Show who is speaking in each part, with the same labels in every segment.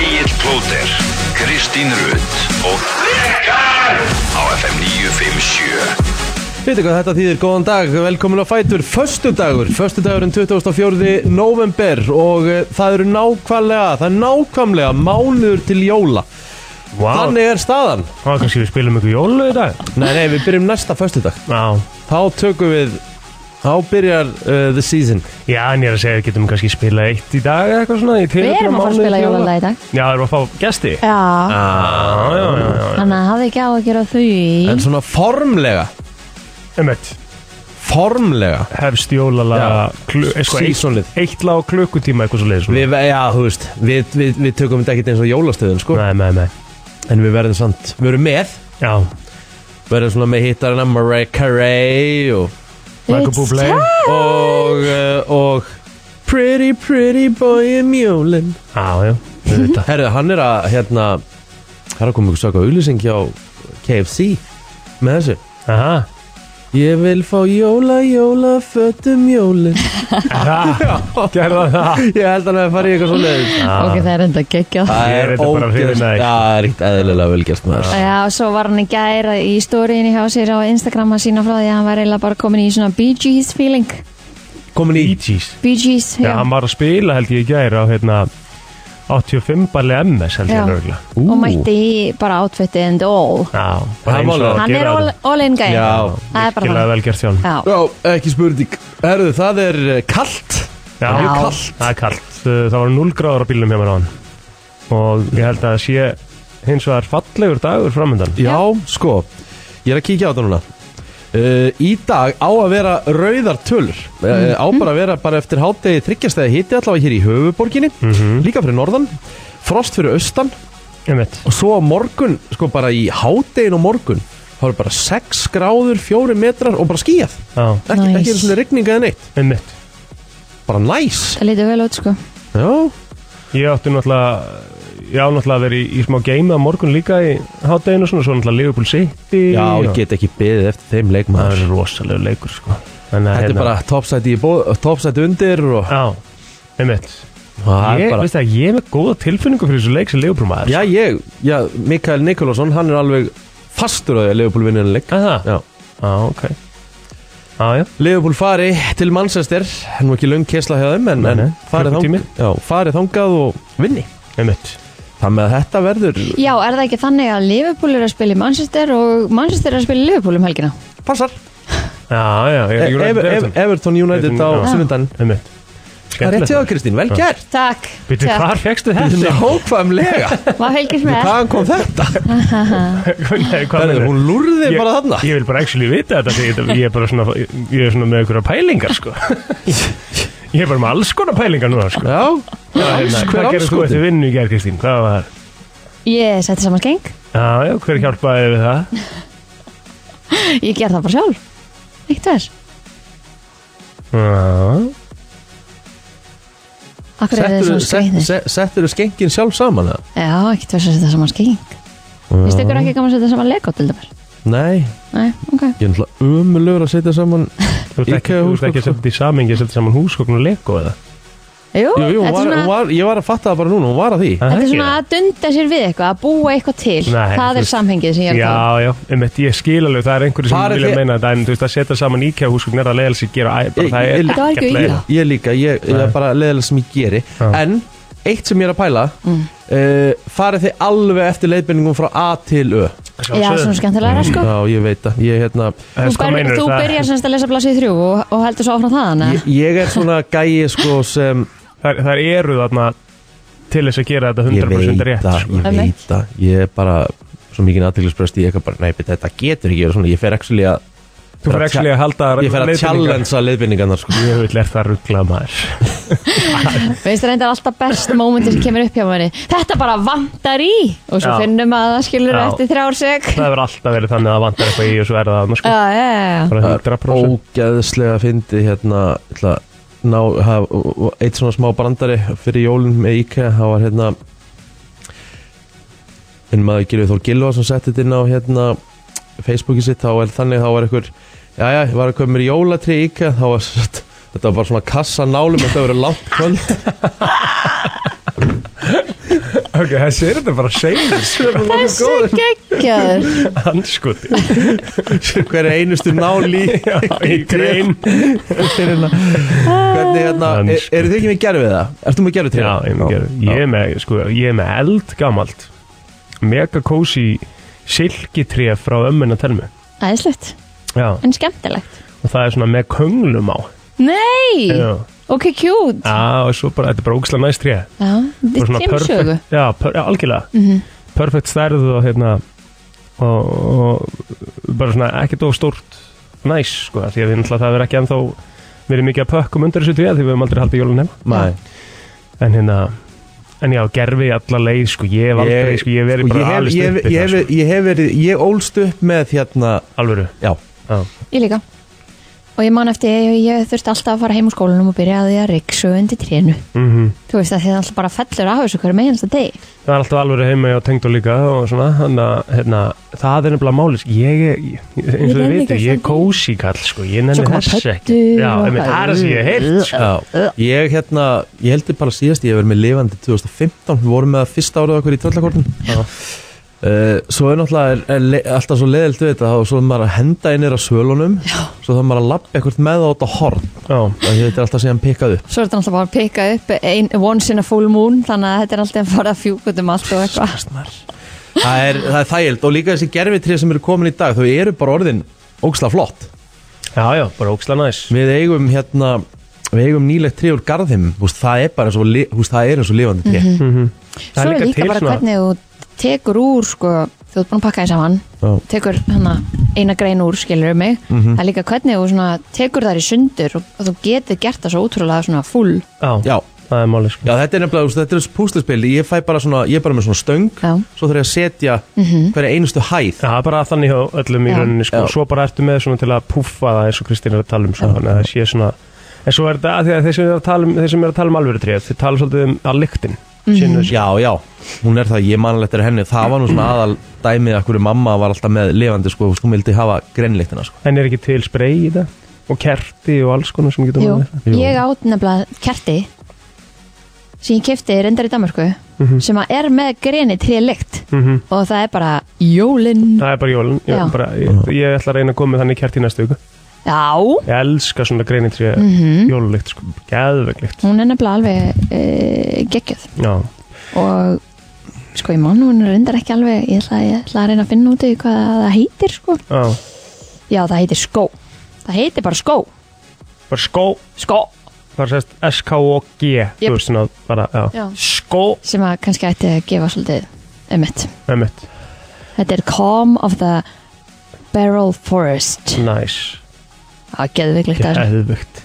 Speaker 1: Plóter, Kristín Rutt og Rikar á FM 957
Speaker 2: Veitu hvað þetta þýðir, góðan dag, velkomin á Fætur, föstudagur, föstudagurinn 24. november og eh, það eru nákvæmlega, það er nákvæmlega mánuður til jóla.
Speaker 3: Vá, þannig
Speaker 2: Þannig er staðan.
Speaker 3: Hvað kannski við spilum ykkur jólu í dag?
Speaker 2: Nei, nei, við byrjum næsta föstudag.
Speaker 3: Já
Speaker 2: Þá tökum við, þá byrjar uh, the season.
Speaker 3: Já, en ég er að segja, við getum kannski spila eitt í dag eða eitthvað svona í
Speaker 4: Við
Speaker 3: tilefni
Speaker 4: erum að fara að
Speaker 3: mánuði
Speaker 4: spila
Speaker 3: til jóla.
Speaker 4: jólalag í dag
Speaker 3: Já, erum við að fá gesti? Já,
Speaker 4: Já,
Speaker 3: já, já, já, já.
Speaker 4: þannig að hafði ekki á að gera
Speaker 2: En
Speaker 4: því
Speaker 2: svona formlega,
Speaker 3: Emmett,
Speaker 2: formlega,
Speaker 3: hefst jólala
Speaker 2: Já.
Speaker 3: klu, eh, sko,
Speaker 2: Seasonlið.
Speaker 3: eitt, eitt lag og klukkutíma eitthvað sko. svo leiðis
Speaker 2: við, já, þú veist, við, við, við tökum þetta ekkert eins og jólastöðun, sko.
Speaker 3: Nei, nei, nei
Speaker 2: En við verðum samt, við verðum með,
Speaker 3: Já,
Speaker 2: verðum svona með hittarina Mariah Carey og...
Speaker 3: Michael Bublé Já,
Speaker 2: og, uh, og Pretty pretty boy in mjólin
Speaker 3: já, við veit það
Speaker 2: Herðu, hann er að hérna Það er að koma ykkur svaka auðlýsing hjá KFC með þessu
Speaker 3: Aha,
Speaker 2: Ég vil fá jóla, jóla, fötum jólin
Speaker 3: aha, gerða það
Speaker 2: Ég held hann að fara í eitthvað svo leiðis
Speaker 4: Ok, það er enda geggjað
Speaker 2: Það
Speaker 3: Ég er
Speaker 2: er
Speaker 3: þetta bara hrifinn
Speaker 2: ógeðst
Speaker 3: af
Speaker 2: Já,
Speaker 3: því.
Speaker 2: það er eitt eðlilega velgjast maður
Speaker 4: Já, og svo var hann í gæra í stóriðinni hjá sér á Instagram að sína frá því að hann var eiginlega bara komin í svona Bee Gees feeling
Speaker 2: Komin í
Speaker 3: Ítis
Speaker 4: Bee Gees,
Speaker 3: Já, hann var að spila held ég í gæri á hérna 85 balli MS held
Speaker 4: Já.
Speaker 3: ég nörgulega
Speaker 4: og mætti í bara outfitið and all
Speaker 3: Já,
Speaker 2: Það
Speaker 3: bara
Speaker 2: er
Speaker 3: eins
Speaker 2: málið.
Speaker 3: og
Speaker 4: Hann er
Speaker 3: gera
Speaker 4: all,
Speaker 3: þetta.
Speaker 4: all in gæri
Speaker 2: Já,
Speaker 4: það er bara
Speaker 3: Virkilega
Speaker 4: það
Speaker 3: vel gert þjón
Speaker 4: Já,
Speaker 2: Já, ekki spurning Herðu, það er eh, kalt
Speaker 3: Já,
Speaker 4: Já.
Speaker 3: það er kallt Uh, Það var 0 gráður á bílnum hjá mér á hann Og ég held að sé hins vegar fallegur dagur framöndan
Speaker 2: Já, sko, ég er að kíkja á þetta núna uh, Í dag á að vera rauðar tölur uh,
Speaker 3: Mhm.
Speaker 2: Á bara að vera bara eftir hátegi þryggjastæði hiti allavega hér í höfuborginni Líka fyrir norðan, frost fyrir austan
Speaker 3: Mhm. Einmitt.
Speaker 2: Og svo á morgun, sko bara í hátegin og morgun Það eru bara 6 gráður, 4 metrar og bara skíjað
Speaker 3: Já,
Speaker 2: Ekki,
Speaker 4: Nice.
Speaker 2: ekki einu svona rigninga eða neitt
Speaker 3: einmitt
Speaker 2: Bara næs
Speaker 4: það lítið vel út sko
Speaker 2: Já,
Speaker 3: Ég átti náttúrulega Ég á náttúrulega að vera í, í smá game að morgun líka í hátdeginu svona, svo náttúrulega Liverpool City
Speaker 2: Já ég
Speaker 3: og-
Speaker 2: get ekki beðið eftir þeim
Speaker 3: Það
Speaker 2: leikmaður
Speaker 3: er rosalega leikur sko Þannig að
Speaker 2: Þetta er bara topsæti, í bó- topsæti undir og
Speaker 3: Já, einmitt
Speaker 2: Það er
Speaker 3: Ég,
Speaker 2: bara-
Speaker 3: veist það, ég er með góða tilfinningu fyrir þessu leik sem Liverpool maður
Speaker 2: Já, ég, já, Mikael Nikolásson, hann er alveg fastur á því að Leopold vinna henni leik.
Speaker 3: Er það?
Speaker 2: Já.
Speaker 3: Já, ok Já, já
Speaker 2: Leopold fari til Manchester, nú ekki löng kesla hjá þeim, en,
Speaker 3: Nei, nei,
Speaker 2: en farið,
Speaker 3: klukkutími.
Speaker 2: þang, já, farið þangað og vinni.
Speaker 3: Einmitt
Speaker 2: Það með að þetta verður,
Speaker 4: Já, er það ekki þannig að Liverpool er að spila í Manchester og Manchester er að spila í Liverpool um helgina
Speaker 2: passar,
Speaker 3: Já, já, ég
Speaker 2: e
Speaker 3: er United
Speaker 2: Ever-
Speaker 3: Everton.
Speaker 2: Ever- Everton United
Speaker 3: Everton,
Speaker 2: á
Speaker 3: já.
Speaker 2: sunnundan.
Speaker 3: Einmitt
Speaker 2: Það er rétt hjá þér, Kristín, vel gert.
Speaker 4: Takk,
Speaker 3: Býttu,
Speaker 4: takk,
Speaker 3: hvar fegstu þetta?
Speaker 2: Nákvæmlega,
Speaker 4: maður fylgist með
Speaker 2: hvaðan kom þetta?
Speaker 3: Nei, hvað
Speaker 2: Herðu,
Speaker 3: meinarðu?
Speaker 2: Hún lúrði
Speaker 3: Ég-
Speaker 2: bara þarna.
Speaker 3: Ég vil bara actually vita þetta því þetta- ég er bara svona, ég er svona með einhverja pælingar sko Ég er bara með alls konar pælingar núna sko
Speaker 2: Já, alls hver
Speaker 3: Hvað gerðu þú eftir
Speaker 2: anskotin.
Speaker 3: vinnu í gerð Kristín? Hvað var?
Speaker 4: Ég setti saman skeng,
Speaker 3: Já, já, hver hjálpaði þér við það?
Speaker 4: ég ger það bara sjálf Eitt verð,
Speaker 3: Já,
Speaker 4: akkur er þið svona skreitni
Speaker 2: Settur þú skengin sjálf saman það?
Speaker 4: Já, ekkert verið að setja saman skýring Vistu ykkur ekki gaman að setja saman Lego til dæmis?
Speaker 2: Nei,
Speaker 4: Nei, ok
Speaker 2: ég er náttúrulega umulur að setja saman
Speaker 3: þú ert ekki, þú ert
Speaker 2: Ikea
Speaker 3: ekki að
Speaker 2: húsgögn. sko.
Speaker 3: setja þetta í samingi að setja saman húsgókn og lego eða?
Speaker 4: Jú,
Speaker 2: Jú, jú, hún
Speaker 4: þetta
Speaker 2: var,
Speaker 4: er
Speaker 2: hún
Speaker 4: svona,
Speaker 2: var, ég var að fatta það bara núna, hún var að því
Speaker 3: Það
Speaker 4: þetta er
Speaker 3: ekki
Speaker 4: svona
Speaker 3: það?
Speaker 4: að dunda sér við eitthvað að búa eitthvað til
Speaker 3: Nei, þú
Speaker 4: Það er
Speaker 3: veist-
Speaker 4: samhengið sem ég er að tala um.
Speaker 3: Já, já, einmitt, ég skil alveg, það er einhverju sem
Speaker 2: Hvar er
Speaker 3: vilja
Speaker 2: þið-
Speaker 3: meina þetta en þú veist að setja saman IKEA húsgókn er að leiðast í gera æ, bara,
Speaker 2: Ég-
Speaker 3: það er
Speaker 2: ég-
Speaker 4: Þetta var ekki
Speaker 3: ekkert
Speaker 4: illa.
Speaker 3: leiðilegt.
Speaker 2: Ég líka, ég, ég er bara leðilega sem ég geri En, eitt sem ég er að pæla
Speaker 4: Mm.
Speaker 2: uh, Farið þið alveg eftir leiðbendingum frá A til Ö
Speaker 4: Já,
Speaker 3: Sjálfsögðu.
Speaker 4: svona skemmtilega sko
Speaker 2: Já, ég veit það, ég, hérna,
Speaker 3: En
Speaker 4: Þú,
Speaker 3: sko,
Speaker 4: ber,
Speaker 3: meinarðu
Speaker 4: þú
Speaker 3: það-
Speaker 4: byrjar semst að lesa blasið þrjú og, og heldur svo áfram þaðan eða?
Speaker 2: ég, ég er svona gæi sko sem
Speaker 3: þær, þær eru þarna til þess að gera þetta
Speaker 2: Ég
Speaker 3: 100%
Speaker 2: veit
Speaker 3: rétt
Speaker 2: það,
Speaker 3: sko.
Speaker 2: ég veit það Ég er bara svo mikið aðteglisbröst Ég er bara, nei, beti, þetta getur ekki verið svona Ég fer actually að
Speaker 3: Þú fyrir ekki að halda
Speaker 2: Ég fer að challengea leiðbendingarnar sko
Speaker 3: Ég vil er það ruggla maður
Speaker 4: Veist það reyndar alltaf best mómenti sem kemur upp hjá manni Þetta bara vantar í Og svo
Speaker 3: Já.
Speaker 4: finnum að það skilur
Speaker 3: Já.
Speaker 4: eftir þrjár seg
Speaker 3: Það hefur alltaf verið þannig að það vantar eitthvað í og svo er það annars sko.
Speaker 4: Já, já, já
Speaker 3: Bara
Speaker 2: Það er
Speaker 3: 100%
Speaker 2: ógeðslega fyndi hérna ætla, að ná, haf, eitt svona smá brandari fyrir jólun með IKEA það var hérna en maður Gylfi Þór Gylfa sem setti þetta inn á hérna Facebooki sitt þá er þannig þá var einhver jæja, ég var að koma mér í jólatri í IKEA þá var satt, þetta var bara svona kassa nálum þetta var verið langt kvöld
Speaker 3: Ok, þessi er þetta bara segjur
Speaker 4: Þessi geggjaður
Speaker 3: Handskoti
Speaker 2: Hver einustu náli
Speaker 3: Í grein
Speaker 2: Hvernig hérna,
Speaker 3: Hann,
Speaker 2: er,
Speaker 3: sko.
Speaker 2: eru þið ekki með gerfið það? Ertu með gerfið
Speaker 3: Já, ég er með gerð. Ég er með, sko, ég er með eld gamalt Mega kósi silkitré frá ömmuna telmu
Speaker 4: Æðislegt,
Speaker 3: Já,
Speaker 4: en skemmtilegt
Speaker 3: og það er svona með könglum á
Speaker 4: Nei,
Speaker 3: Já,
Speaker 4: ok, cute
Speaker 3: Já, og svo bara, þetta er bara ógislega næst tré
Speaker 4: Já,
Speaker 3: Og
Speaker 4: þetta
Speaker 3: svona
Speaker 4: kemur
Speaker 3: perfect-
Speaker 4: sögu
Speaker 3: Já, per, já algjörlega Perfect stærð og hérna og, og bara svona ekkert of stórt næs, sko, því að við náttúrulega það er ekki ennþá verið mikið að pökkum undir þessu tré því við höfum aldrei haldið jólun heima
Speaker 2: Nei,
Speaker 3: en hérna En já, gerfi alla leið, sko, ég hef aldrei, sko, ég hef verið
Speaker 2: sko,
Speaker 3: bara
Speaker 2: ég hef-
Speaker 3: alist
Speaker 2: ég hef-
Speaker 3: upp í
Speaker 2: ég
Speaker 3: það,
Speaker 2: hef-
Speaker 3: sko,
Speaker 2: Ég hef verið, ég ólst upp með hérna
Speaker 3: alvöru.
Speaker 2: Já,
Speaker 3: Já,
Speaker 4: Ég líka Og ég man eftir, ég, ég þurfti alltaf að fara heim úr skólanum og byrja að því að riksu undir trénu
Speaker 3: mm
Speaker 4: Þú veist að þið alltaf bara fellur af þessu hverju meginsta deg
Speaker 3: Það er alltaf alveg heima hjá tengd og líka og svona, þannig að hérna, það er nefnilega máli, sko, ég, ég, eins og
Speaker 4: Ég
Speaker 3: þið
Speaker 4: nenni ekki
Speaker 3: veitir, ég
Speaker 4: að
Speaker 3: er
Speaker 4: standa í.
Speaker 3: kósi kall, sko, ég
Speaker 4: Svo
Speaker 3: nenni
Speaker 4: koma
Speaker 3: þess ekki.
Speaker 4: pöddur
Speaker 3: Já,
Speaker 4: og
Speaker 3: einmitt, það er það sem ég hef heyrt, sko.
Speaker 2: já Ég hérna, ég heldur bara síðast Ég hef verið með lifandi 2015 Við vorum með það fyrsta árið okkur í tröllakortin
Speaker 3: Já.
Speaker 2: Uh, svo er náttúrulega er, er, le- alltaf svo leðilt við þetta og svo er maður að henda inn á svölunum Já. svo það er maður að lappa eitthvað með það út á horn
Speaker 3: Já,
Speaker 2: og þetta er alltaf síðan pikkað upp
Speaker 4: Svo er þetta alltaf bara að pika upp ein, once in a full moon Þannig að þetta er alltaf að fara að fjúkutum allt og eitthvað
Speaker 2: það er, það er þægild og líka þessi gerfitrið sem eru komin í dag þau eru bara orðin ógsla flott
Speaker 3: já, já, bara óksla næs.
Speaker 2: við eigum hérna við eigum nýlegt trið úr garðim veist, það er bara eins og, li- þú veist, það er eins og lifandi trið
Speaker 3: Mhm. Það
Speaker 4: Mhm. Svo er líka bara hvernig þú tekur úr sko, þú ert búin að pakka því saman
Speaker 2: Já.
Speaker 4: tekur hana eina grein úr skilur mig, það er líka hvernig þú svona, tekur þær í sundur og, og þú getur gert það svo útrúlega svona full
Speaker 3: Já,
Speaker 2: já,
Speaker 3: það er máli, sko.
Speaker 2: já, þetta er nefnilega þú veist, þetta er púslaspil, ég fæ bara svona ég er bara með svona stöng,
Speaker 4: Já. Mhm.
Speaker 2: svo þarf ég að setja hverja einustu hæð
Speaker 3: Já, það er bara þannig hjá öllum í
Speaker 4: Já.
Speaker 3: rauninni, sko,
Speaker 2: Já.
Speaker 3: svo bara ertu með svona til að púffa það eins og Kristín er að tala um, sko, þannig að það sé svona, en svo er þetta að því að þeir sem eru að tala um, þeir sem eru að tala um alvöru tréð, þeir tala svolítið um að lyktin,
Speaker 4: Mhm.
Speaker 3: sínu
Speaker 2: Já, já, hún er það, ég manalegt er henni það var nú svona aðal dæmið að hverju mamma var alltaf með lifandi, sko, hún vildi hafa greinlíktina, sko.
Speaker 3: En er ekki til spray í það? Og kerti og alls konar sem getur
Speaker 4: Jú.
Speaker 3: maður með?
Speaker 4: ég át nefnilega kerti sem ég kefti reyndar í Danmarku sem að er með greni trílikt
Speaker 3: Mhm.
Speaker 4: og það er bara jólin
Speaker 3: Það er bara jólun, ég,
Speaker 4: Já.
Speaker 3: bara, ég, ég ætla að reyna að koma með þannig kerti í næstu viku.
Speaker 4: já,
Speaker 3: Ég elska svona greinir til mm
Speaker 4: Mhm.
Speaker 3: -hmm. jólulikt, sko, geðveglikt.
Speaker 4: hún er nefnilega alveg e, geggjöð
Speaker 3: Já,
Speaker 4: og sko ég man hún reyndar ekki alveg ég ætla, ég ætla að reyna að finna út í hvað það heitir sko
Speaker 3: já,
Speaker 4: Já, það heitir skó. Það heitir bara skó.
Speaker 3: bara skó,
Speaker 4: Skó.
Speaker 3: bara sérst S-K-O-G, þú
Speaker 4: Jep.
Speaker 3: veist svona, bara, já,
Speaker 4: Já.
Speaker 3: skó,
Speaker 4: Sem að kannski ætti að gefa svolítið um mitt.
Speaker 3: með mitt,
Speaker 4: Þetta er Calm of the Barrel Forest.
Speaker 3: næs,
Speaker 4: Það er geðviklegt að þessu.
Speaker 3: geðvegt.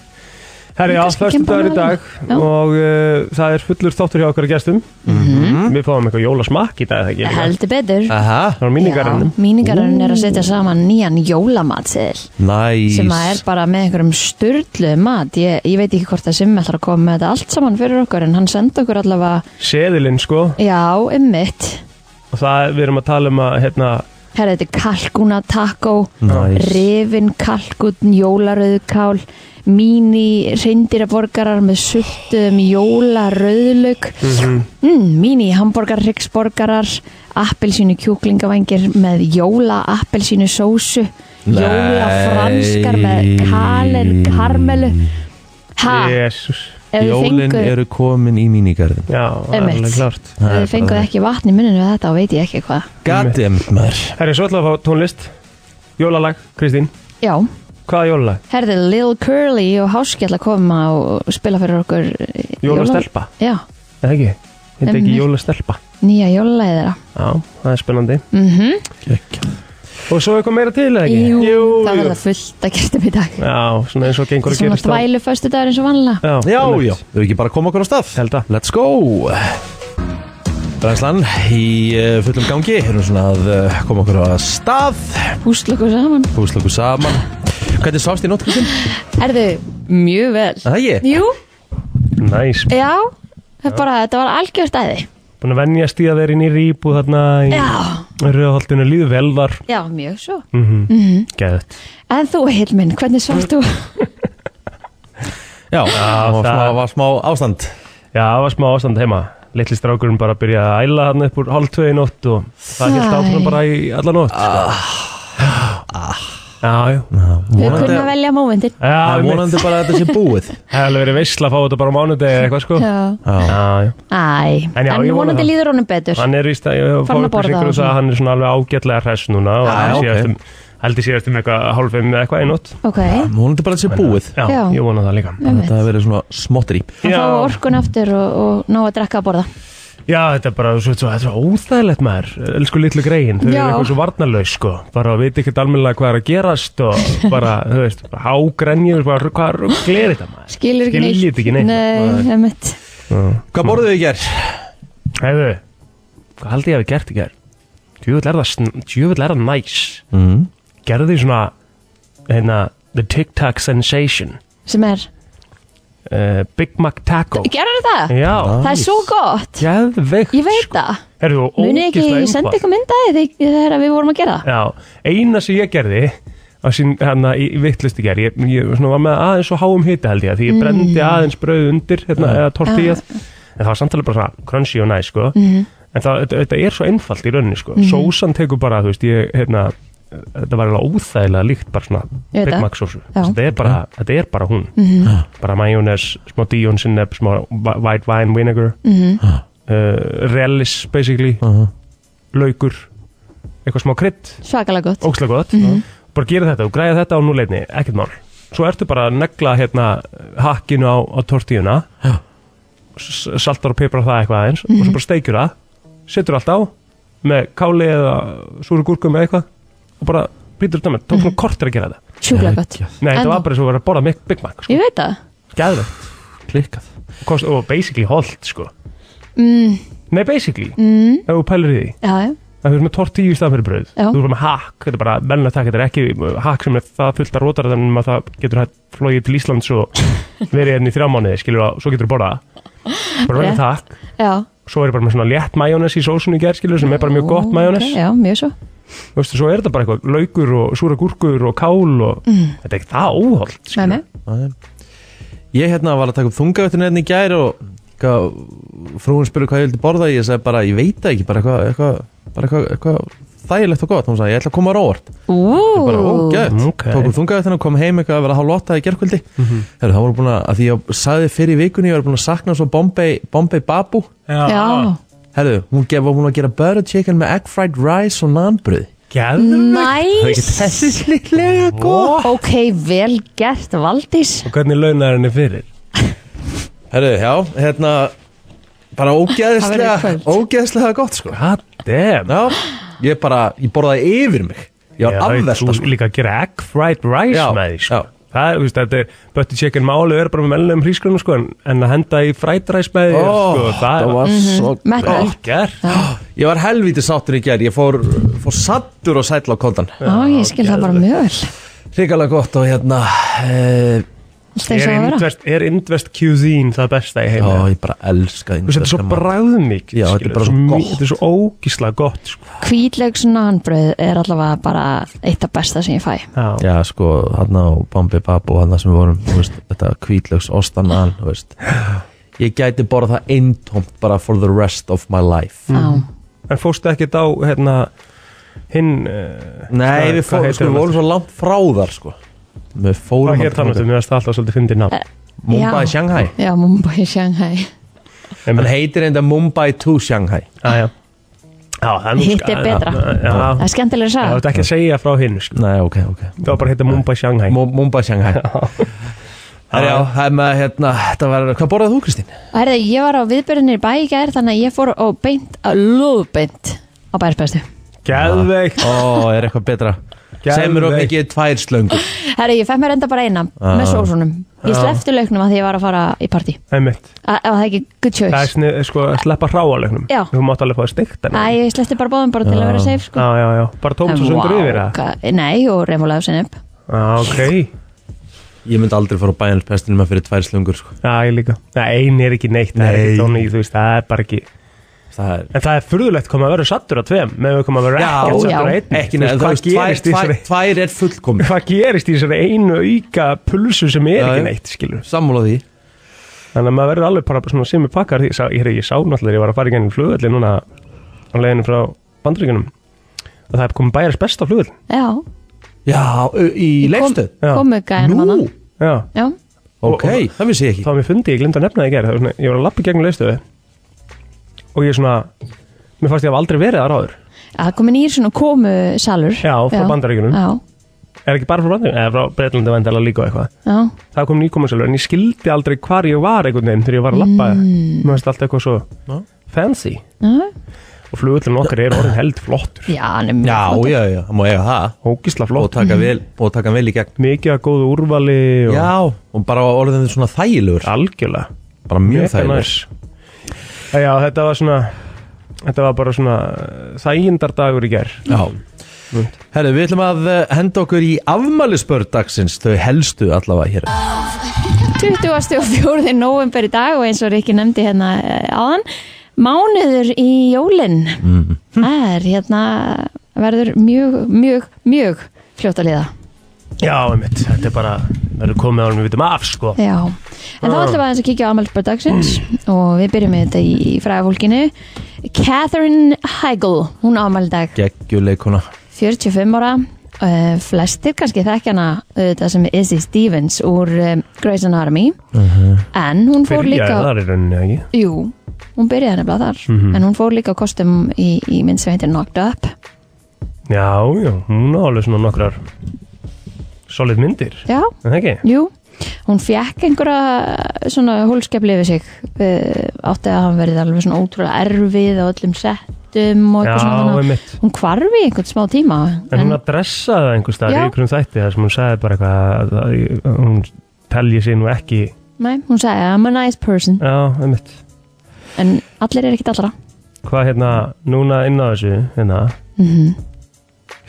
Speaker 3: Herri, já,
Speaker 4: Kannski
Speaker 3: þörstu
Speaker 4: kemur bara
Speaker 3: dagur í
Speaker 4: með
Speaker 3: dag
Speaker 4: Já. Mhm.
Speaker 3: og uh, það er fullur þáttur hjá okkar gestum. Mhm. Við fáum eitthvað jólasmakk í dag, það ekki? líka?
Speaker 4: Heldur betur.
Speaker 2: Aha,
Speaker 3: Það var mínigarannum.
Speaker 4: Míningarinn er að setja saman nýjan jólamatseðil
Speaker 2: næs.
Speaker 4: sem að er bara með einhverjum sturdlu mat. Ég, ég veit ekki hvort að Simmi ætlar að koma með þetta allt saman fyrir okkur en hann sendi okkur allavega,
Speaker 3: Seðilinn, sko,
Speaker 4: já, um mitt.
Speaker 3: og það við erum að tala um að, hérna,
Speaker 4: Herra, þetta er kalkuna taco.
Speaker 2: Næs.
Speaker 4: rifin, kalkutn, jólarauðkál, mini reyndirborgarar með suttum, jólarauðlaug,
Speaker 2: Mhm.
Speaker 4: mm, mini hamburgarryggsborgarar, appelsínu kjúklingavængir með jóla appelsínu sósu, jólafranskar með kalen, karmelu. Ha,
Speaker 3: jésus.
Speaker 4: ef þið
Speaker 2: Jólin
Speaker 4: fenguð,
Speaker 2: eru komin í mínigarðin.
Speaker 3: Já, það er
Speaker 4: Einmitt.
Speaker 3: alveg klart
Speaker 4: ef þið fenguð ekki vatn í muninu við þetta og veit ég ekki hvað.
Speaker 2: Goddammit maður.
Speaker 3: Herri, svo ætlaðu að fá tónlist Jólalag, Kristín,
Speaker 4: Já,
Speaker 3: hvaða jólalag?
Speaker 4: herðið Lil Curly og Háski ætla að koma og spila fyrir okkur eh, jóla-
Speaker 3: Jólastelpa,
Speaker 4: Já,
Speaker 3: eða ekki? Þetta er ekki
Speaker 4: Einmitt.
Speaker 3: jólastelpa
Speaker 4: nýja jólalæði þeirra
Speaker 3: Já, það er spennandi
Speaker 4: mm
Speaker 3: Og svo eitthvað meira til, eða ekki?
Speaker 4: Jú,
Speaker 3: jú,
Speaker 4: það
Speaker 3: jú.
Speaker 4: verða fullt að kertum í dag
Speaker 3: Já, svona eins og gengur að
Speaker 4: Svona
Speaker 3: gerist á-
Speaker 4: þvælu föstu dagur eins og vanlega
Speaker 3: Já,
Speaker 2: Já,
Speaker 3: einmitt.
Speaker 2: já, þau ekki bara koma okkur á stað.
Speaker 3: Held að.
Speaker 2: Let's go. Brænslan í eh, fullum gangi, erum svona að eh, koma okkur á stað,
Speaker 4: Húsla okkur saman
Speaker 2: púsla okkur saman. Hvernig sást í nóttkvöldin?
Speaker 4: Erðu, mjög vel
Speaker 2: Það ég?
Speaker 4: Jú,
Speaker 3: Næs,
Speaker 4: já Það er bara, þetta var algjört æði
Speaker 3: búin að venjast í að vera inn í rýpu þarna í
Speaker 4: Já,
Speaker 3: Rauðholtinu líðu vel þar
Speaker 4: já, mjög svo Mhm.
Speaker 3: mm Geðt
Speaker 4: En þú, Hilmin, hvernig svart þú?
Speaker 2: Já, það var smá,
Speaker 3: það-
Speaker 2: var smá ástand.
Speaker 3: Já, það var smá ástand heima litli strákurinn bara byrjaði að æla hann upp úr hálf tvei í nótt og það
Speaker 4: Æ.
Speaker 3: held áfram bara í alla nótt ah. Já, já
Speaker 4: Þau kunna að velja mómentin
Speaker 3: Já,
Speaker 2: Það er
Speaker 3: einmitt.
Speaker 2: vonandi bara að þetta sé búið
Speaker 3: það hefði alveg verið veisla að fá þetta bara á mánudegi eða eitthvað sko Já,
Speaker 4: Já.
Speaker 3: já
Speaker 4: Æ,
Speaker 3: En
Speaker 4: en,
Speaker 3: já, ég vona
Speaker 4: vonandi
Speaker 3: það.
Speaker 4: líður honum betur
Speaker 3: Hann er víst að ég hef
Speaker 4: Farinn að
Speaker 3: fór
Speaker 4: borða
Speaker 3: upplýsingur
Speaker 4: og
Speaker 3: um það
Speaker 4: svona.
Speaker 3: að hann er svona alveg ágætlega hress núna og
Speaker 2: Já,
Speaker 3: hann um-
Speaker 2: ok.
Speaker 3: sé eftir, heldur sér eftir með eitthvað hálfum með eitthvað í nótt
Speaker 4: Ok,
Speaker 2: Vonandi bara að þetta sé búið
Speaker 3: Já,
Speaker 4: Já.
Speaker 3: ég vona það líka
Speaker 4: einmitt.
Speaker 2: Þetta hafi verið svona smottri
Speaker 4: hann fá
Speaker 3: Já.
Speaker 4: orkun aftur og, og ná að drekka að borða
Speaker 3: Já, þetta er bara, svo, svo, þetta er svo óþægilegt maður Elsku litlu greiðin, þau eru
Speaker 4: Já.
Speaker 3: eitthvað svo varnarlaus sko. bara veit ekki almennilega hvað er að gerast og bara, þú veist, bara hágrenjur bara, hvað rugl er þetta maður
Speaker 4: Skilur ekki neitt
Speaker 3: Skiljiði ekki neitt.
Speaker 4: Nei, einmitt
Speaker 2: Hvað borðuðu þið í gær?
Speaker 3: Hefðu, hvað held ég að við gert í gær? Djöfull er það, sn- djöfull er það næs
Speaker 2: Mm.
Speaker 3: Gerði svona, hérna, the TikTok sensation
Speaker 4: Sem er,
Speaker 3: uh, Big Mac Taco
Speaker 4: gerur það?
Speaker 3: Já,
Speaker 4: Það er svo gott
Speaker 3: geðveikt
Speaker 4: Ég veit það
Speaker 3: Herðu,
Speaker 4: Muni ekki,
Speaker 3: ógeðslega
Speaker 4: ég sendi
Speaker 3: einfalt.
Speaker 4: eitthvað myndaði þegar við vorum að gera það
Speaker 3: Já, eina sem ég gerði á sín, hérna, í, í vittlusti ger ég, ég svona, var með aðeins og háum hita held ég því ég
Speaker 4: Mm.
Speaker 3: brendi aðeins brauð undir hérna,
Speaker 4: Ah.
Speaker 3: eða tortíð, en það var samtalið bara svona crunchy og næ, sko
Speaker 4: Mhm.
Speaker 3: en það, þetta, þetta er svo einfalt í rauninni, sko sósan tekur bara, þú veist, ég, hérna þetta var alveg óþægilega líkt bara svona
Speaker 4: Ég veit
Speaker 3: Big
Speaker 4: það.
Speaker 3: Mac sósu,
Speaker 4: Já. Mhm.
Speaker 3: þetta er bara, þetta er bara hún bara majónes, smá díjón sinneb smá wh- white wine vinegar
Speaker 4: Mhm.
Speaker 3: uh, relis basically, laukur eitthvað smá krydd
Speaker 4: Svakalega gott
Speaker 3: ógslag gott
Speaker 4: Mhm.
Speaker 3: bara gera þetta, þú græða þetta á núleitni, ekkert mál svo ertu bara að negla hérna hakkinu á, á tortíuna s- saltar og piprar það eitthvað aðeins og
Speaker 4: Mhm.
Speaker 3: svo bara steikjur það, setur allt á með káli eða súru gúrkum eða eitthvað og bara býtur þetta með, tók svona kortir að gera þetta
Speaker 4: Mhm. Sjúklega gott
Speaker 3: nei, þetta
Speaker 4: En
Speaker 3: var
Speaker 4: þú-
Speaker 3: bara eins og að vera að borða Mick- Big Mac sko.
Speaker 4: Ég veit það
Speaker 3: gæðvegt
Speaker 2: Klikkað
Speaker 3: kost, og basically holdt sko nei basically mm. ef þú pælir í því
Speaker 4: Já, já,
Speaker 3: það fyrir með tortíu í staðan fyrir brauð
Speaker 4: Já.
Speaker 3: þú fyrir með hakk þetta er bara mennlega takk þetta er ekki hakk sem er það fullt að rótara þannig að það getur hægt flogið til Íslands og verið hérna í þrjá mánuði skilur og svo getur þú borða það. bara verið
Speaker 4: Rétt.
Speaker 3: takk
Speaker 4: já
Speaker 3: svo er ég bara með svona létt majónes í sósunni í gerð skilur sem er bara mjög gott
Speaker 4: Ó,
Speaker 3: majónes
Speaker 4: ok, Já, mjög svo
Speaker 3: Þú veistu, svo er þetta bara eitthvað laukur og súra gúrkur og kál og þetta er ekki það óholt
Speaker 4: Mm. Nei, nei.
Speaker 2: Ég hérna var að taka upp þungavættin hérna í gær og hvað, frúin spurði hvað ég vildi borða ég sagði bara, ég veit það ekki, bara eitthvað eitthvað, bara eitthvað, eitthvað þægilegt og gott hún sagði, ég ætla að koma á róvart
Speaker 4: Ú,
Speaker 2: bara ógætt,
Speaker 3: ok.
Speaker 2: tókum þungavættin og kom heim eitthvað að vera hálf lotta í gerkvöldi mm -hmm. það voru búin að, að því ég sagði fyrir í vikunni ég var búin að sakna svo Bombay, Bombay Babu
Speaker 4: Já,
Speaker 2: herðu, hún gef, var búin að gera butter chicken með egg fried rice og nanbröð
Speaker 3: Gæðvegt
Speaker 4: næs
Speaker 2: þessi sliklega góð
Speaker 4: Ok, vel gert, Valdís
Speaker 3: og hvernig launar henni fyrir
Speaker 2: herðu, já, hérna bara ógæðslega,
Speaker 4: Það verður í kvöld.
Speaker 2: ógæðslega gott sko
Speaker 3: God damn
Speaker 2: Já, ég bara, ég borðaði yfir mig Ég var afversta
Speaker 3: Þú
Speaker 2: sko.
Speaker 3: líka að gera egg fried rice
Speaker 2: Já,
Speaker 3: með því sko.
Speaker 2: já.
Speaker 3: Það er, þú veist, þetta er Butter chicken málið er bara með mellum hrísgrunum sko, en, en að henda í fried rice með því
Speaker 2: Ó,
Speaker 3: sko, Það
Speaker 2: Það
Speaker 3: er
Speaker 2: var
Speaker 4: Mhm.
Speaker 2: svo
Speaker 4: Metnaður.
Speaker 2: gott.
Speaker 3: okkar
Speaker 2: Ég var helvítið sáttur í gerð Ég fór, fór sattur og sætla á koldan
Speaker 4: Já, ég skil það bara mjög vel
Speaker 2: Ríkalega gott og hérna e,
Speaker 4: Allt eins og að vera
Speaker 3: Er Indvest cuisine það besta í
Speaker 2: Já,
Speaker 3: heima?
Speaker 2: ég bara elska
Speaker 3: Þú veist, þetta er svo bræðmikið
Speaker 2: Já, þetta er
Speaker 3: skilur,
Speaker 2: bara svo
Speaker 3: mi-
Speaker 2: gott.
Speaker 3: Þetta er svo ógíslega gott sko.
Speaker 4: Hvítlegs nanbröð er allavega bara eitt af besta sem ég fæ
Speaker 3: Já,
Speaker 2: Já, sko, hann á Bambi Babu Hann sem við vorum, þú veist, þetta kvítlöks Ostanan, þú veist Ég gæti borða það eintómt bara for the rest of my life
Speaker 4: Já,
Speaker 3: En fórstu ekkert á hérna hinn uh, Hvað-
Speaker 2: Nei, við,
Speaker 3: hvað
Speaker 2: fór,
Speaker 3: heitir
Speaker 2: sko,
Speaker 3: hann
Speaker 2: við vorum svo langt frá þar, sko Við fórum
Speaker 3: Hvað hér
Speaker 2: aldrei
Speaker 3: þannig
Speaker 2: þangað.
Speaker 3: að mér varst alltaf svolítið fyndið nafn
Speaker 2: Mumbai,
Speaker 4: Já.
Speaker 2: Shanghai
Speaker 4: já Mumbai, Shanghai
Speaker 2: Hann
Speaker 3: Einmitt. Ah,
Speaker 2: heitir enda Mumbai to Shanghai
Speaker 3: Já, já. Já, það er nú-
Speaker 4: Hitt er betra.
Speaker 3: Já,
Speaker 4: Það
Speaker 3: já.
Speaker 4: er skemmtilega að
Speaker 3: Já, þú
Speaker 4: sagða
Speaker 3: ert ekki að segja frá hinn sko.
Speaker 2: Nei, ok, ok
Speaker 3: Það var bara að hitta Mumbai Shanghai
Speaker 2: Mu- Mumbai, Shanghai Herra, já, það er með, hérna, þetta var, hvað borðað þú, Kristín?
Speaker 4: Herði, ég var á viðbyrðinni í bæ í gær þannig að ég fór og beint, á- lóðbeint á bæðisbæðstu.
Speaker 3: Gæðveikt
Speaker 2: Ó, er eitthvað betra Segð mér of
Speaker 3: Geðveikt.
Speaker 2: mikið tvær slöngur
Speaker 4: Herði, ég fekk mér enda bara eina með sósunum. Ég slefti lauknum að því ég var að fara í partí.
Speaker 3: Einmitt.
Speaker 4: A- Ef það er ekki good
Speaker 3: Það er
Speaker 4: choice.
Speaker 3: snið, sko, að sleppa hráalegnum
Speaker 4: Já.
Speaker 3: Þú mátt alveg fá að stikta
Speaker 4: Æ, ég slefti bara bóðum bara til að vera safe, sko.
Speaker 3: Já, já, já, bara tóms og sundur yfir það
Speaker 4: það? Nei, og remulega sinni upp.
Speaker 3: Já, Ah, ok
Speaker 2: Ég myndi aldrei fara á bæjanspestinu með fyrir tvær slöngur, sko
Speaker 3: Já, ég líka Það eini er ekki neitt, það er
Speaker 2: Nei.
Speaker 3: ekki tóni Þú veist, það er bara ekki
Speaker 2: Það er
Speaker 3: En það er furðulegt koma að vera sattur á tveim Með við koma að vera
Speaker 2: Já,
Speaker 3: ekkert sattur á
Speaker 4: já.
Speaker 3: einn
Speaker 2: Ekki nefn,
Speaker 3: Þú
Speaker 2: þú
Speaker 3: veist, Hvað
Speaker 2: veist, tvær,
Speaker 3: gerist í
Speaker 2: tvær,
Speaker 3: þessari
Speaker 2: tvær er fullkomi
Speaker 3: Hvað gerist í þessari einu auka pulsu sem er
Speaker 2: Já,
Speaker 3: ekki
Speaker 2: já.
Speaker 3: neitt, skilur
Speaker 2: Sammála því
Speaker 3: þannig að maður verður alveg bara svona sem ég pakkar því, ég sá, ég, heyrði, ég sá náttúrulega þegar ég var að fara í gennum flugvelli núna á leiðinu frá Bandaríkunum að það er komið bæjarins besta flugvöll
Speaker 4: Já,
Speaker 2: Já, ö- í leifstöð
Speaker 3: Já.
Speaker 4: komu gæðin
Speaker 2: Nú,
Speaker 4: manna
Speaker 3: já,
Speaker 4: Já,
Speaker 2: ok, það vissi ég
Speaker 3: þá
Speaker 2: ekki
Speaker 3: var mér fundi, ég glemd að nefna það í gerð svona, ég var að lappa gegnum leiðstöðu og ég svona mér fannst ég að hafa aldrei verið þar áður
Speaker 4: að það komi nýr svona komu salur
Speaker 3: Já, frá Bandaríkjunum.
Speaker 4: Já,
Speaker 3: er ekki bara frá Bandaríkunum, eða frá Breitlandi vendala líka og eitthvað
Speaker 4: já,
Speaker 3: það kom nýkomansölu en ég skildi aldrei hvar ég var einhvern veginn þegar ég var að lappa
Speaker 4: Mm.
Speaker 3: mér finnst allt eitthvað svo fancy
Speaker 4: já,
Speaker 3: og flugullin okkar er orðin held flottur
Speaker 4: já, hann er mjög
Speaker 2: Já,
Speaker 4: flottur. Mhm.
Speaker 2: já, já, það má eiga það
Speaker 3: ógisla
Speaker 2: og
Speaker 3: flott,
Speaker 2: taka vel, og taka vel í gegn
Speaker 3: mikið að góðu úrvali og
Speaker 2: Já, og bara orðin svona þægilegur
Speaker 3: algjörlega
Speaker 2: Bara mjög
Speaker 3: Mega
Speaker 2: þægilegur
Speaker 3: næs. Já, já, þetta var svona þetta var bara svona eh, þægindardagur í ger
Speaker 2: Já Herru, við ætlum að eh, henda okkur í afmælisbörn dagsins, þau helstu allavega hér
Speaker 4: 24. november í dag og eins og Rikki nefndi hérna eh, áðan mánuður í jólin
Speaker 3: Mhm.
Speaker 4: það er hérna verður mjög, mjög, mjög fljótt að liða
Speaker 3: Já, einmitt, þetta er bara verður komið ánum við vitum af, sko
Speaker 4: Já, en þá ætlum við aðeins að kíkja á ammælspöld dagsins og við byrjum með þetta í fræðafólkinu Catherine Heigl, hún ámæli dag
Speaker 2: Geggjuleikuna
Speaker 4: 45 ára uh, flestir kannski þekkjana auðvitað sem er Izzy Stevens úr um, Grey's Anatomy en hún fór
Speaker 3: Byrjaði
Speaker 4: líka
Speaker 3: þar Mhm. í rauninni, ekki?
Speaker 4: Jú, hún byrjaði nefnilega þar
Speaker 3: Mhm.
Speaker 4: en hún fór líka á kostum í, í mynd sem heitir Knocked Up
Speaker 3: Já, já, hún á alveg svona nokkrar solid myndir,
Speaker 4: Já,
Speaker 3: en það ekki?
Speaker 4: jú Hún fjekk einhverja svona hólskepli yfir sig eh, átti að hann verið alveg svona ótrúlega erfið á öllum settum og
Speaker 3: Já,
Speaker 4: eitthvað svona þannig að
Speaker 3: einmitt
Speaker 4: Hún hvarfi í einhvern smá tíma
Speaker 3: En hún að dressa það einhver staðar í
Speaker 4: Já.
Speaker 3: ykkurum þætti þar sem hún sagði bara eitthvað að- að hún telji sig nú ekki
Speaker 4: nei, hún sagði I'm a nice person
Speaker 3: Já, einmitt
Speaker 4: en allir er ekkit allra
Speaker 3: Hvað hérna, núna inn á þessu, hérna
Speaker 4: mm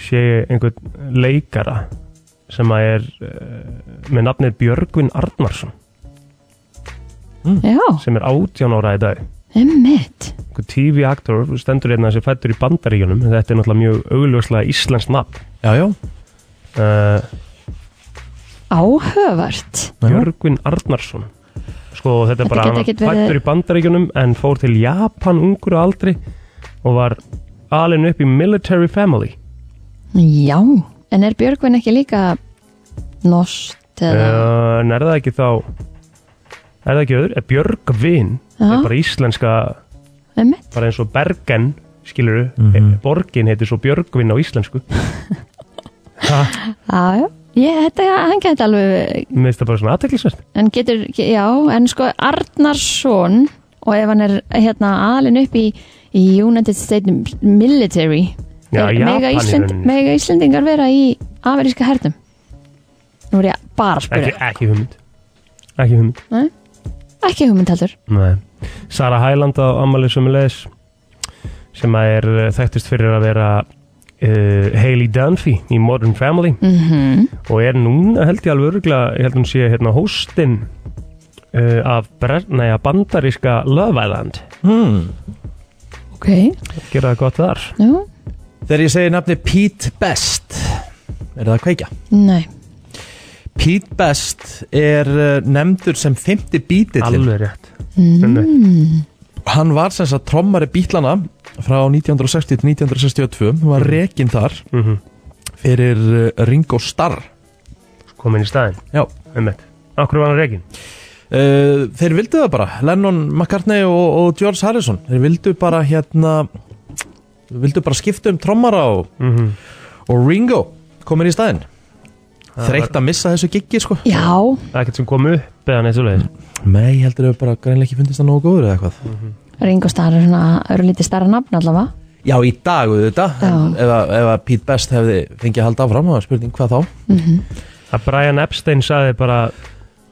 Speaker 3: sé einhvern leikara sem að er uh, með nafnið Björgvin Arnarsson Hmm.
Speaker 4: Já,
Speaker 3: sem er 18 ára í dag
Speaker 4: emmitt
Speaker 3: einhver TV-aktor, stendur hérna sem fættur í bandaríkjunum þetta er náttúrulega mjög augljóslega íslensk nafn
Speaker 2: Já, já,
Speaker 3: uh,
Speaker 4: Áhöfart
Speaker 3: Björgvin Arnarsson sko og þetta er
Speaker 4: Þetta
Speaker 3: bara
Speaker 4: gæti
Speaker 3: hann var
Speaker 4: ekkert verið-
Speaker 3: fættur í bandaríkjunum en fór til Japan ungur að aldri og var alin upp í military family
Speaker 4: Já, en er Björgvin ekki líka Nost eða
Speaker 3: Uh, en er það ekki þá er það ekki öður, er Björgvin
Speaker 4: Já.
Speaker 3: er bara íslenska
Speaker 4: Emmitt
Speaker 3: bara eins og Bergen skilur borgin heitir svo Björgvin á íslensku
Speaker 4: Já, já Ég, þetta, hann gæti alveg,
Speaker 3: mér finnst það bara svona aðteklisvert
Speaker 4: hann getur, já, en sko Arnarsson og ef hann er hérna alin upp í, í United States Military
Speaker 3: Já,
Speaker 4: er-
Speaker 3: Japan
Speaker 4: mega,
Speaker 3: í rauninni.
Speaker 4: mega Íslendingar vera í ameríska hernum Nú er ég bara að
Speaker 3: ekki,
Speaker 4: spyrja
Speaker 3: ekki hugmynd ekki hugmynd
Speaker 4: Nei? Ekki hugmynd heldur
Speaker 3: Nei. Sara Hæland á Amalys Sumulegis sem að er uh, þekktist fyrir að vera uh, Hailey Dunphy í Modern Family
Speaker 4: mm -hmm.
Speaker 3: og er núna held ég alveg öruglega ég held hún sé hérna hóstinn uh, af, Bre- nei, af bandaríska Love Island
Speaker 2: hmm.
Speaker 4: Ok,
Speaker 3: gera það gott þar
Speaker 4: já,
Speaker 2: Þegar ég segi nafni Pete Best Er það að kveikja?
Speaker 4: nei
Speaker 2: Pete Best er eh, nefndur sem fymti bítillin
Speaker 3: alveg rétt
Speaker 4: Mm.
Speaker 2: Hann var sem sagt trommari bítlana frá 1960 til 1962 Hann
Speaker 3: Mhm.
Speaker 2: var rekinn þar
Speaker 3: mm
Speaker 2: fyrir eh, Ringo Starr
Speaker 3: komin í staðin
Speaker 2: Já
Speaker 3: Einmitt. Akkur var hann reygin?
Speaker 2: Uh, þeir vildu það bara, Lennon, McCartney og, og George Harrison þeir vildu bara hérna vildu bara skipta um trommara og,
Speaker 3: Mm -hmm.
Speaker 2: og Ringo komin í staðinn
Speaker 3: Það
Speaker 2: þreytt að missa þessu giggi sko
Speaker 4: Já,
Speaker 3: Það er ekkert sem kom upp eða neitt svo leiðis.
Speaker 2: nei, ég heldur þau bara greinlega ekki fundist það nógu góður eða eitthvað
Speaker 3: Mhm.
Speaker 4: Ringo Starr er svona örlítið starra nafn allavega
Speaker 2: já, í dag auðvitað, en
Speaker 4: Já.
Speaker 2: ef, að- ef að Pete Best hefði fengið að halda áfram, það var spurning hvað þá
Speaker 3: Að Brian Epstein saði bara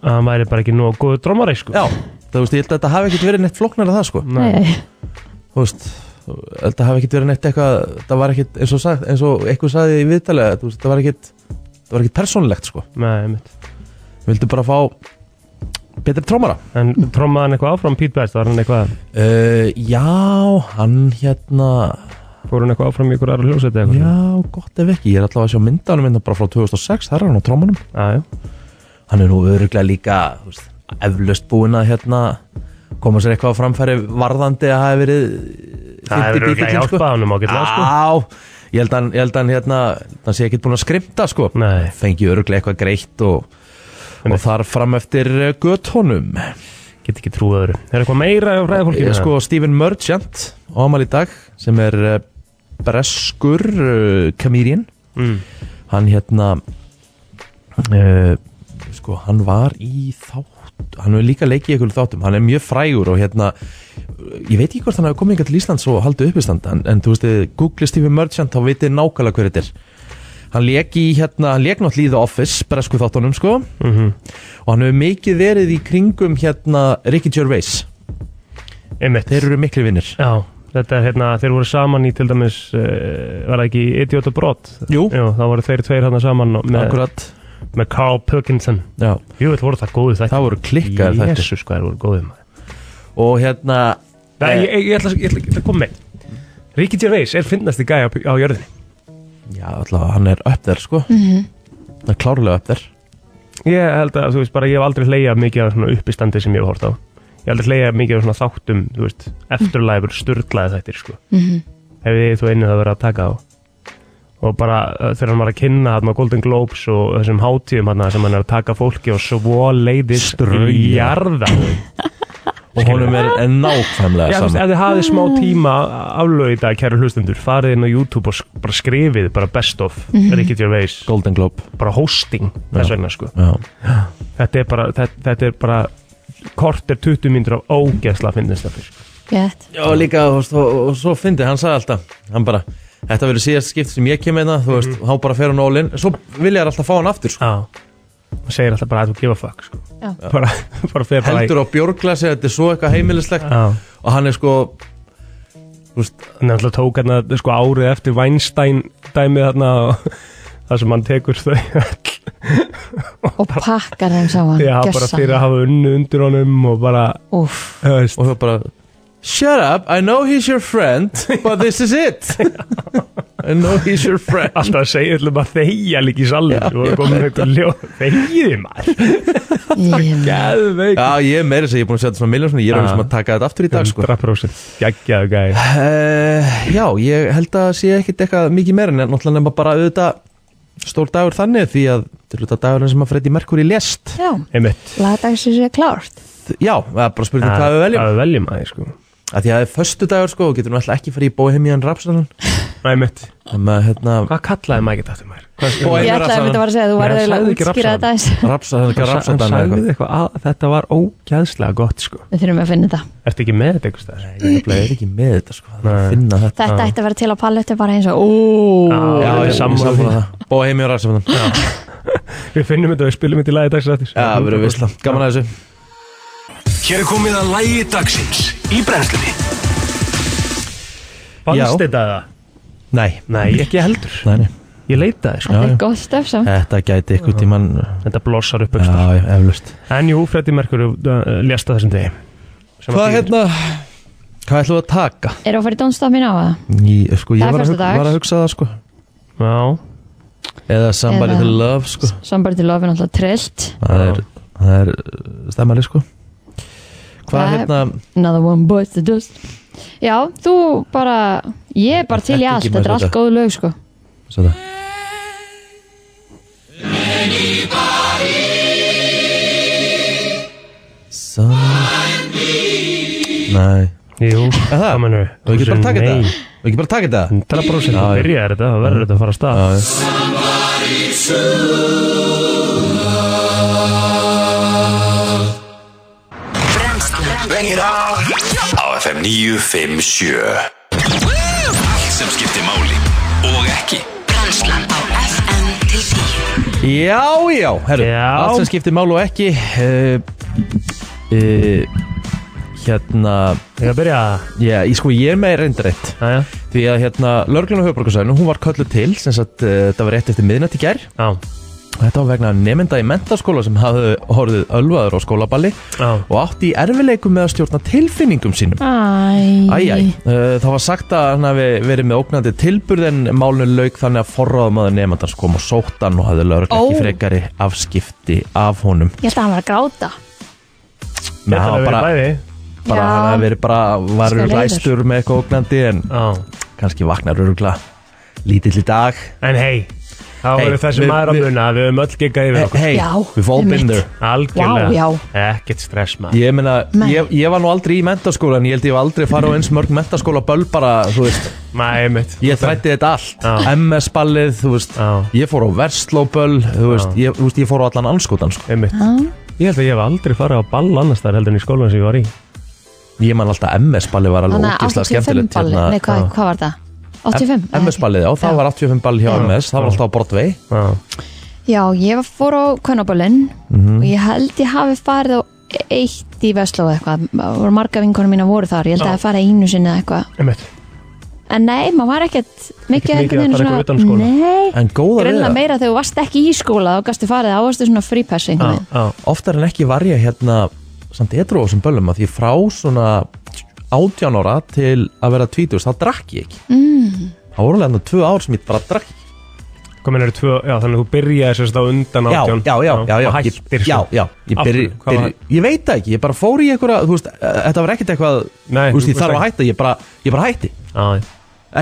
Speaker 3: að hann væri bara ekki nógu góður drómari sko.
Speaker 2: já, þú veist, ég held að þetta hafi ekkert verið neitt flóknar að það sko,
Speaker 3: Nei.
Speaker 4: Nei.
Speaker 2: þú veist þetta hafi ekkert verið neitt eitthvað það var ekkert, eins og, sagt, eins og eitthvað sagði í viðtalega, þú veist, það var ekkert það var ekkert persónlegt sko
Speaker 3: Nei, einmitt.
Speaker 2: Við vildum bara fá betri trómara
Speaker 3: En trómaði hann eitthvað áfram Pete Best? Var hann eitthvað,
Speaker 2: uh, Já, hann hérna
Speaker 3: fór hann eitthvað áfram í ykkur aðra hljóseti eitthvað?
Speaker 2: Já, gott ef ekki, ég er allavega að sjá myndanum hérna bara frá 2006, þar er hann á trómanum
Speaker 3: Já, já.
Speaker 2: Hann er nú öruglega líka þú veist, eflaust búin að hérna koma sér eitthvað á framfæri varðandi að hafi verið
Speaker 3: Það hefur örugglega hjálpað honum ágætlega, sko.
Speaker 2: Já, ég held að hann- ég held að hann hérna, hann sé ekkert búin að skrimta sko
Speaker 3: Nei.
Speaker 2: fengi öruglega eitthvað greitt og, og þar fram eftir eh, götunum
Speaker 3: Get ekki trúið öðru Er eitthvað meira á
Speaker 2: Ég,
Speaker 3: ræðafólkinu?
Speaker 2: sko, Stephen Merchant ámali í dag sem er eh, breskur uh, comedian
Speaker 3: mm.
Speaker 2: hann hérna uh, sko, hann var í þátt hann hefur líka leikið í einhverjum þáttum hann er mjög frægur og hérna ég veit ekki hvort hann hefur komið einhvern til Íslands og haldið uppistand en, en þú veist, þið Google Stephen Merchant þá veitir nákvæmlega hver þetta er hann leik í hérna, hann leik náttúrulega í The Office bresku þáttunum sko
Speaker 3: Mhm.
Speaker 2: og hann hefur mikið verið í kringum hérna Ricky Gervais,
Speaker 3: Einmitt
Speaker 2: þeir eru miklu vinnir
Speaker 3: Já, þetta er hérna, þeir voru saman í til dæmis uh, Var það ekki í Idiot og Brot?
Speaker 2: Jú,
Speaker 3: Jú, þá voru þeir tveir hérna saman og- með,
Speaker 2: akkurat
Speaker 3: með Carl Perkinson
Speaker 2: Já,
Speaker 3: Jú, þetta voru það góðu þetta
Speaker 2: það voru klikkar þetta
Speaker 3: Jésus, hvað þeir voru góðu maður
Speaker 2: og hérna
Speaker 3: Nei, ég, ég, ég, ætla, ég, ætla, ég ætla að koma með Ricky Gervais er finnast í gæja á, á jörðinni
Speaker 2: Já, alltaf hann er upp þær sko Það er klárlega upp þær
Speaker 3: Ég held að, þú veist, bara ég hef aldrei hleyjað mikið af svona uppistandi sem ég hef hort á Ég hef aldrei hleyjað mikið af svona þáttum, þú veist, eftirlæfur, styrlaði þættir, sko mm -hmm. Hef ég þú einu það verið að taka á Og bara uh, þegar hann var að kynna hann á Golden Globes og þessum hátíðum hann sem hann er að taka fólki og svo leiðist
Speaker 2: Strauja.
Speaker 3: í jarða
Speaker 2: Og honum er nákvæmlega
Speaker 3: Já, þú veist,
Speaker 2: saman
Speaker 3: ef þið hafið smá tíma aflögu í dag, kæru hlustendur, farið inn á YouTube og sk- bara skrifið bara best of Ricky Gervais,
Speaker 2: Golden Globe
Speaker 3: bara hosting þess vegna, sko.
Speaker 2: Já,
Speaker 3: Þetta er bara, þetta, þetta er bara kort er 20 mínútur af ógeðsla að finnast það fyrst.
Speaker 4: Gett.
Speaker 2: Já líka, þú veist, og, og svo fyndi, hann sagði alltaf Hann bara, þetta verður síðast skipt sem ég kem einna Þú veist, mm hann bara fer hann all in Svo vil ég alltaf fá hann aftur sko
Speaker 3: Mhm. Já. Og segir alltaf bara að þú gefa fuck, sko.
Speaker 4: Já.
Speaker 3: Bara, bara fyrir bara
Speaker 2: Heldur á bjórglasi, þetta er svo eitthvað heimilislegt
Speaker 3: Já.
Speaker 2: Og hann er sko Þú veist,
Speaker 3: Þannig að tók hann sko árið eftir Weinstein dæmið þarna og það sem hann tekur þau öll
Speaker 4: og pakkar þeim saman
Speaker 3: Já, bara fyrir að hafa unnu undir honum og bara,
Speaker 4: Úff,
Speaker 3: þú veist,
Speaker 2: og það bara Shut up, I know he's your friend But this is it I know he's your friend
Speaker 3: alltaf að segja öllum að þeia líka í salin og það komið með eitthvað ljóð þeigiði maður,
Speaker 4: ég-
Speaker 3: geðveik
Speaker 2: Já, ég er meira þess að ég er búin að setja svona miljón Ég er alveg sem að taka þetta aftur í dag sko
Speaker 3: 100% geggjaðu gæði
Speaker 2: Uh, já, ég held að sé ekkit eitthvað mikið meira en náttúrulega nema bara auðvitað stór dagur þannig því að þetta er auðvitað dagurinn sem að Freddy Mercury lést
Speaker 4: já,
Speaker 3: einmitt
Speaker 4: lagdagsins er klárt
Speaker 2: Já, það er bara spurning hvað við veljum
Speaker 3: að við veljum aðeins sko
Speaker 2: að Því að það er föstu dagur sko og getur nú alltaf ekki farið í Bohemian Rhapsody
Speaker 3: einmitt,
Speaker 2: Þannig að hérna
Speaker 3: hvað kallaði maður ekki þetta maður? Hvað-
Speaker 2: Bohemian
Speaker 4: ég ætlaði að mynda að vara að segja að þú
Speaker 3: Nei, hann
Speaker 4: varði að
Speaker 3: sagði ekki
Speaker 4: útskýra þetta aðeins.
Speaker 2: Rhapsody, hann
Speaker 3: Hann sa-
Speaker 2: Rhapsody
Speaker 3: hann
Speaker 2: eitthvað
Speaker 3: sagði eitthvað að þetta var ógeðslega gott sko
Speaker 4: við þurfum að finna þetta
Speaker 3: Ertu ekki með þetta einhvers staðar?
Speaker 2: Ég nefnilega er ekki með þetta sko, það er
Speaker 3: Nei.
Speaker 2: að finna þetta
Speaker 4: þetta ætti að vera til á palletu bara eins og óóó
Speaker 3: Já,
Speaker 2: Já,
Speaker 3: ég er
Speaker 2: ég
Speaker 3: sammála
Speaker 2: sammála
Speaker 3: því.
Speaker 2: það Bohemian Rhapsody Já,
Speaker 3: Við finnum þetta og við spilum þetta í lagi dags rættis
Speaker 2: það verður visla Gaman að þessu
Speaker 1: Hér er komið að lægi dagsins í brennslunni
Speaker 3: Fannst
Speaker 2: Já.
Speaker 3: þetta það?
Speaker 2: Nei,
Speaker 3: Nei, ekki heldur
Speaker 2: nei, nei
Speaker 3: Ég leitaði sko
Speaker 4: þetta
Speaker 2: já.
Speaker 4: er gott stöf samt
Speaker 2: Þetta gæti ykkur tíman
Speaker 3: Þetta blossar upp
Speaker 2: Já,
Speaker 3: aukstar
Speaker 2: já, eflust
Speaker 3: En jú, Freddy Merkur uh, lesta þessum degi Sem að
Speaker 2: Hvað
Speaker 3: þýðir-
Speaker 2: hérna Hvað ætlum við að taka?
Speaker 4: er það að fara í dónstaf mín á það?
Speaker 2: Ný, sko, ég
Speaker 4: Það er
Speaker 2: var að, hugsa,
Speaker 4: föstudags.
Speaker 2: var að hugsa það sko
Speaker 3: Já,
Speaker 2: Eða somebody
Speaker 4: Eða-
Speaker 2: to love sko
Speaker 4: Somebody to Love er náttúrulega trillt
Speaker 2: Það er, það er uh, stemmari sko Hvað
Speaker 4: Það er-
Speaker 2: hérna
Speaker 4: Another one bites the dust Já, þú bara Ég er bara til í
Speaker 2: Þetta
Speaker 4: allt,
Speaker 2: ekki
Speaker 4: þetta er
Speaker 2: með
Speaker 4: allt
Speaker 2: þetta.
Speaker 4: góð lög sko
Speaker 2: svo það. Somebody Nei
Speaker 3: jú,
Speaker 2: það?
Speaker 3: hvað mennur við?
Speaker 2: Við getum bara að taka þetta Við getum bara að taka þetta
Speaker 3: 100%
Speaker 2: Já,
Speaker 3: að
Speaker 2: já.
Speaker 3: byrja þetta, það verður þetta að fara að stað
Speaker 2: Já, já.
Speaker 1: Bengir á Á FM 957 Allt sem skiptir máli Og ekki
Speaker 5: Brennslan á FM til 10
Speaker 2: Já, já, herru,
Speaker 3: Já.
Speaker 2: allt sem skiptir mál og ekki uh, uh, Hérna,
Speaker 3: Þegar að byrja,
Speaker 2: já, ég sko ég er með reyndarétt
Speaker 3: já, já,
Speaker 2: Því að hérna, lörglun á höfbrukarsæðinu, hún var kölluð til sem sagt, uh, þetta var rétt eftir miðnætt í gær
Speaker 3: já,
Speaker 2: og þetta var vegna nemynda í mentaskóla sem hafði horfið ölvaður á skólaballi
Speaker 3: já
Speaker 2: og átti í erfileikum með að stjórna tilfinningum sínum Æj, æj,
Speaker 4: Æj
Speaker 2: uh, það var sagt að hann hafi verið með ógnandi tilburð en málinu lauk þannig að forráðamaður nefndans kom og sótt hann og hafði
Speaker 4: Ó.
Speaker 2: lögur ekki frekari afskipti af honum.
Speaker 4: Ég held að hann var að gráta
Speaker 2: Nei,
Speaker 3: Þetta
Speaker 2: hann
Speaker 3: er
Speaker 2: bara,
Speaker 3: bæði
Speaker 2: bara hann hafi verið bara var
Speaker 4: Skal leiður.
Speaker 2: ræstur með eitthvað ógnandi en
Speaker 3: Já.
Speaker 2: kannski vaknar örugla lítill í dag
Speaker 3: En hei, þá
Speaker 2: Hey,
Speaker 3: eru þessi
Speaker 2: við-
Speaker 3: maður að
Speaker 2: við-
Speaker 3: muna að Við höfum öll gegað yfir okkur
Speaker 2: hey,
Speaker 4: Já,
Speaker 2: we've all been
Speaker 4: einmitt.
Speaker 2: there
Speaker 3: Algjörlega,
Speaker 4: já.
Speaker 3: ekkert stress maður
Speaker 2: Ég meina,
Speaker 4: Nei.
Speaker 2: ég, ég var nú aldrei í mentaskóla en ég held ég var aldrei farið á eins mörg mentaskóla böl bara, þú veist,
Speaker 3: Maður einmitt
Speaker 2: ég þrætti þetta allt
Speaker 3: Já.
Speaker 2: MS-ballið, þú veist
Speaker 3: Já.
Speaker 2: ég fór á verslóböl, þú veist, ég, þú veist ég fór á allan anskotan, sko.
Speaker 3: Einmitt. Ég held að ég hef aldrei farið á ball annars þar heldur en í skólan sem ég var í
Speaker 2: ég man alltaf MS-ballið var alveg
Speaker 4: Þannig að
Speaker 2: ógislega
Speaker 4: 85
Speaker 2: skemmtilegt
Speaker 4: ball,
Speaker 2: hérna.
Speaker 4: nei hvað,
Speaker 2: Já.
Speaker 4: hvað var það? 85? Nei,
Speaker 2: MS-ballið, já, það
Speaker 4: Já.
Speaker 2: var 85 ball hjá MS, það var alltaf á Broadway
Speaker 3: Já,
Speaker 4: Já, ég var- fór á Kvennaballin
Speaker 2: Mhm. Mm.
Speaker 4: og ég held ég hafi farið á eitt í Vestló eitthvað, voru marga vinkonum mína voru þar, ég held að ég farið einu sinni eða eitthvað
Speaker 3: einmitt
Speaker 4: en nei, maður var ekkert mikið
Speaker 3: mikið að
Speaker 4: einhvern veginn
Speaker 3: fara eitthvað utan
Speaker 4: svona,
Speaker 3: skóla.
Speaker 4: nei
Speaker 2: en góða við
Speaker 4: greinlega
Speaker 2: það,
Speaker 4: meira þegar þú varst ekki í skóla þá gastu farið á varstu svona frípass
Speaker 3: Já,
Speaker 2: Ah,
Speaker 4: einhvern veginn
Speaker 3: já,
Speaker 2: oftar en ekki var ég hérna samt edru á þessum böllum að því frá svona 18 ára til að vera 20, þá drakk ég ekki mm. það voru alveg hérna tvö ár sem ég bara drakk ekki.
Speaker 3: komin eru tvö, já þannig að þú byrjaði sérst á undan
Speaker 2: já,
Speaker 3: átján
Speaker 2: já, já, já, já,
Speaker 3: og
Speaker 2: ég,
Speaker 3: hættir
Speaker 2: já, já ég,
Speaker 3: Af
Speaker 2: byrj,
Speaker 3: hverju? Hvað
Speaker 2: byrj,
Speaker 3: var-
Speaker 2: ég veit það ekki, ég bara fór í einhverja þú veist, eh, þetta var ekkert eitthvað
Speaker 3: Nei,
Speaker 2: þú veist,
Speaker 3: þú
Speaker 2: ég þarf
Speaker 3: veist
Speaker 2: að hætta, ég bara, ég bara hætti
Speaker 3: já,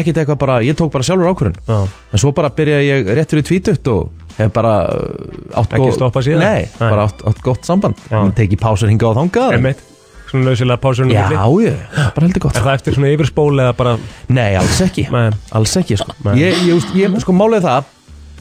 Speaker 2: ekkert eitthvað bara, ég tók bara sjálfur ákvörun
Speaker 3: já,
Speaker 2: en svo bara byrjaði ég rétt fyrir tvítugt og hef bara uh, átt
Speaker 3: Ekki
Speaker 2: gó-
Speaker 3: stoppað síðan?
Speaker 2: nei,
Speaker 3: Nei.
Speaker 2: bara átt, átt gott samband
Speaker 3: Já.
Speaker 2: tekið pásur hingað og þangað
Speaker 3: einmitt svona lausilega pásunum
Speaker 2: já, ég, bara heldur gott
Speaker 3: Er það eftir svona yfirspól eða bara
Speaker 2: nei, alls ekki,
Speaker 3: Nei.
Speaker 2: alls ekki sko.
Speaker 3: Nei.
Speaker 2: ég, ég, ég, ég, sko málið er það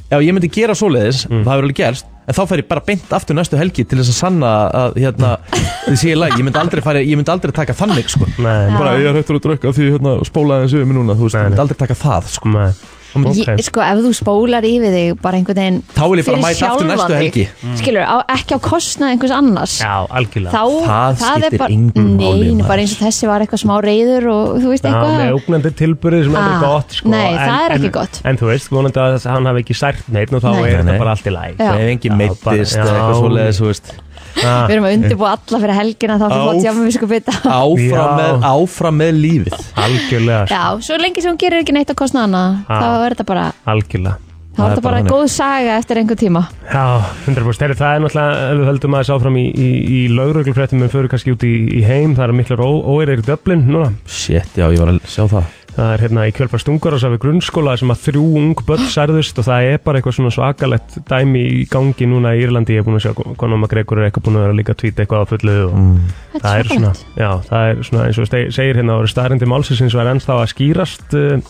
Speaker 2: ef ég myndi gera svoleiðis,
Speaker 3: Mm.
Speaker 2: það hefur alveg gerst en þá fer ég bara beint aftur næstu helgi til þess að sanna að hérna, þið sé ég læg ég myndi aldrei, fari, ég myndi aldrei taka þannig sko.
Speaker 3: Nei,
Speaker 2: bara ég er hættur að drukka því hérna, spólaði þessu um mig núna, þú veist,
Speaker 3: Nei,
Speaker 2: ég
Speaker 3: nei.
Speaker 2: myndi aldrei taka það sko.
Speaker 3: nei
Speaker 4: Ég, sko, ef þú spólar yfir þig bara einhvern veginn
Speaker 2: Þá vil ég bara
Speaker 4: fyrir
Speaker 2: mæta aftur
Speaker 4: sjálfan
Speaker 2: næstu
Speaker 4: þig,
Speaker 2: helgi. Mm.
Speaker 4: skilur, á, ekki á kostnað einhvers annars
Speaker 3: Já, algjörlega
Speaker 4: þá,
Speaker 2: það
Speaker 4: er
Speaker 2: skiptir
Speaker 4: bara,
Speaker 2: engu máli, um
Speaker 4: nein,
Speaker 2: maður.
Speaker 4: bara eins og þessi var eitthvað smá reyður og þú veist
Speaker 3: Já,
Speaker 4: eitthvað
Speaker 3: með ógnandi tilbyrði sem er
Speaker 4: Ah,
Speaker 3: aldrei gott sko,
Speaker 4: nei, það er ekki
Speaker 3: en,
Speaker 4: gott.
Speaker 3: En þú veist, vonandi að hann hafi ekki sært neitt og þá
Speaker 4: Nei.
Speaker 3: er
Speaker 2: Nei, nei.
Speaker 3: þetta bara allt í læg
Speaker 4: Já.
Speaker 2: ef engin
Speaker 3: Já,
Speaker 2: meittist
Speaker 3: bara-
Speaker 2: eða eitthvað
Speaker 3: já. Ah.
Speaker 2: svoleiðis, þú veist
Speaker 4: við erum að undirbúa alla fyrir helgina þá þú
Speaker 2: Á.
Speaker 4: fótt jáfnum við sko bita
Speaker 2: Ah, áfram,
Speaker 3: Já.
Speaker 2: með, áfram með lífið
Speaker 3: Algjörlega, sko,
Speaker 4: já, svo lengi sem hún gerir ekki neitt á kostnað hana
Speaker 3: Ah.
Speaker 4: þá er þetta bara,
Speaker 3: algjörlega
Speaker 4: þá er þetta bara
Speaker 2: þannig.
Speaker 4: góð saga eftir einhver tíma
Speaker 3: Já, 100% Heri, það er náttúrulega, ef við höldum aðeins áfram í, í, í lauruglufréttum en fyrir kannski út í, í heim, það er miklar óeirir í Dublin núna,
Speaker 2: shit, já, ég var að sjá það
Speaker 3: það er hérna í kjölfar stungar og við grunnskóla þar sem að þrjú ung börn særðust og það er bara eitthvað svona svakalett dæmi í gangi núna í Írlandi ég er búin að sjá konar maður Gregor er eitthvað búin að vera líka að tvíta eitthvað á fullu og
Speaker 2: Mm.
Speaker 4: Þetta
Speaker 3: það er svona,
Speaker 4: svakalegt.
Speaker 3: já, það er svona eins og steg, segir hérna, það eru staðrindi málsins og er ennþá að skýrast uh,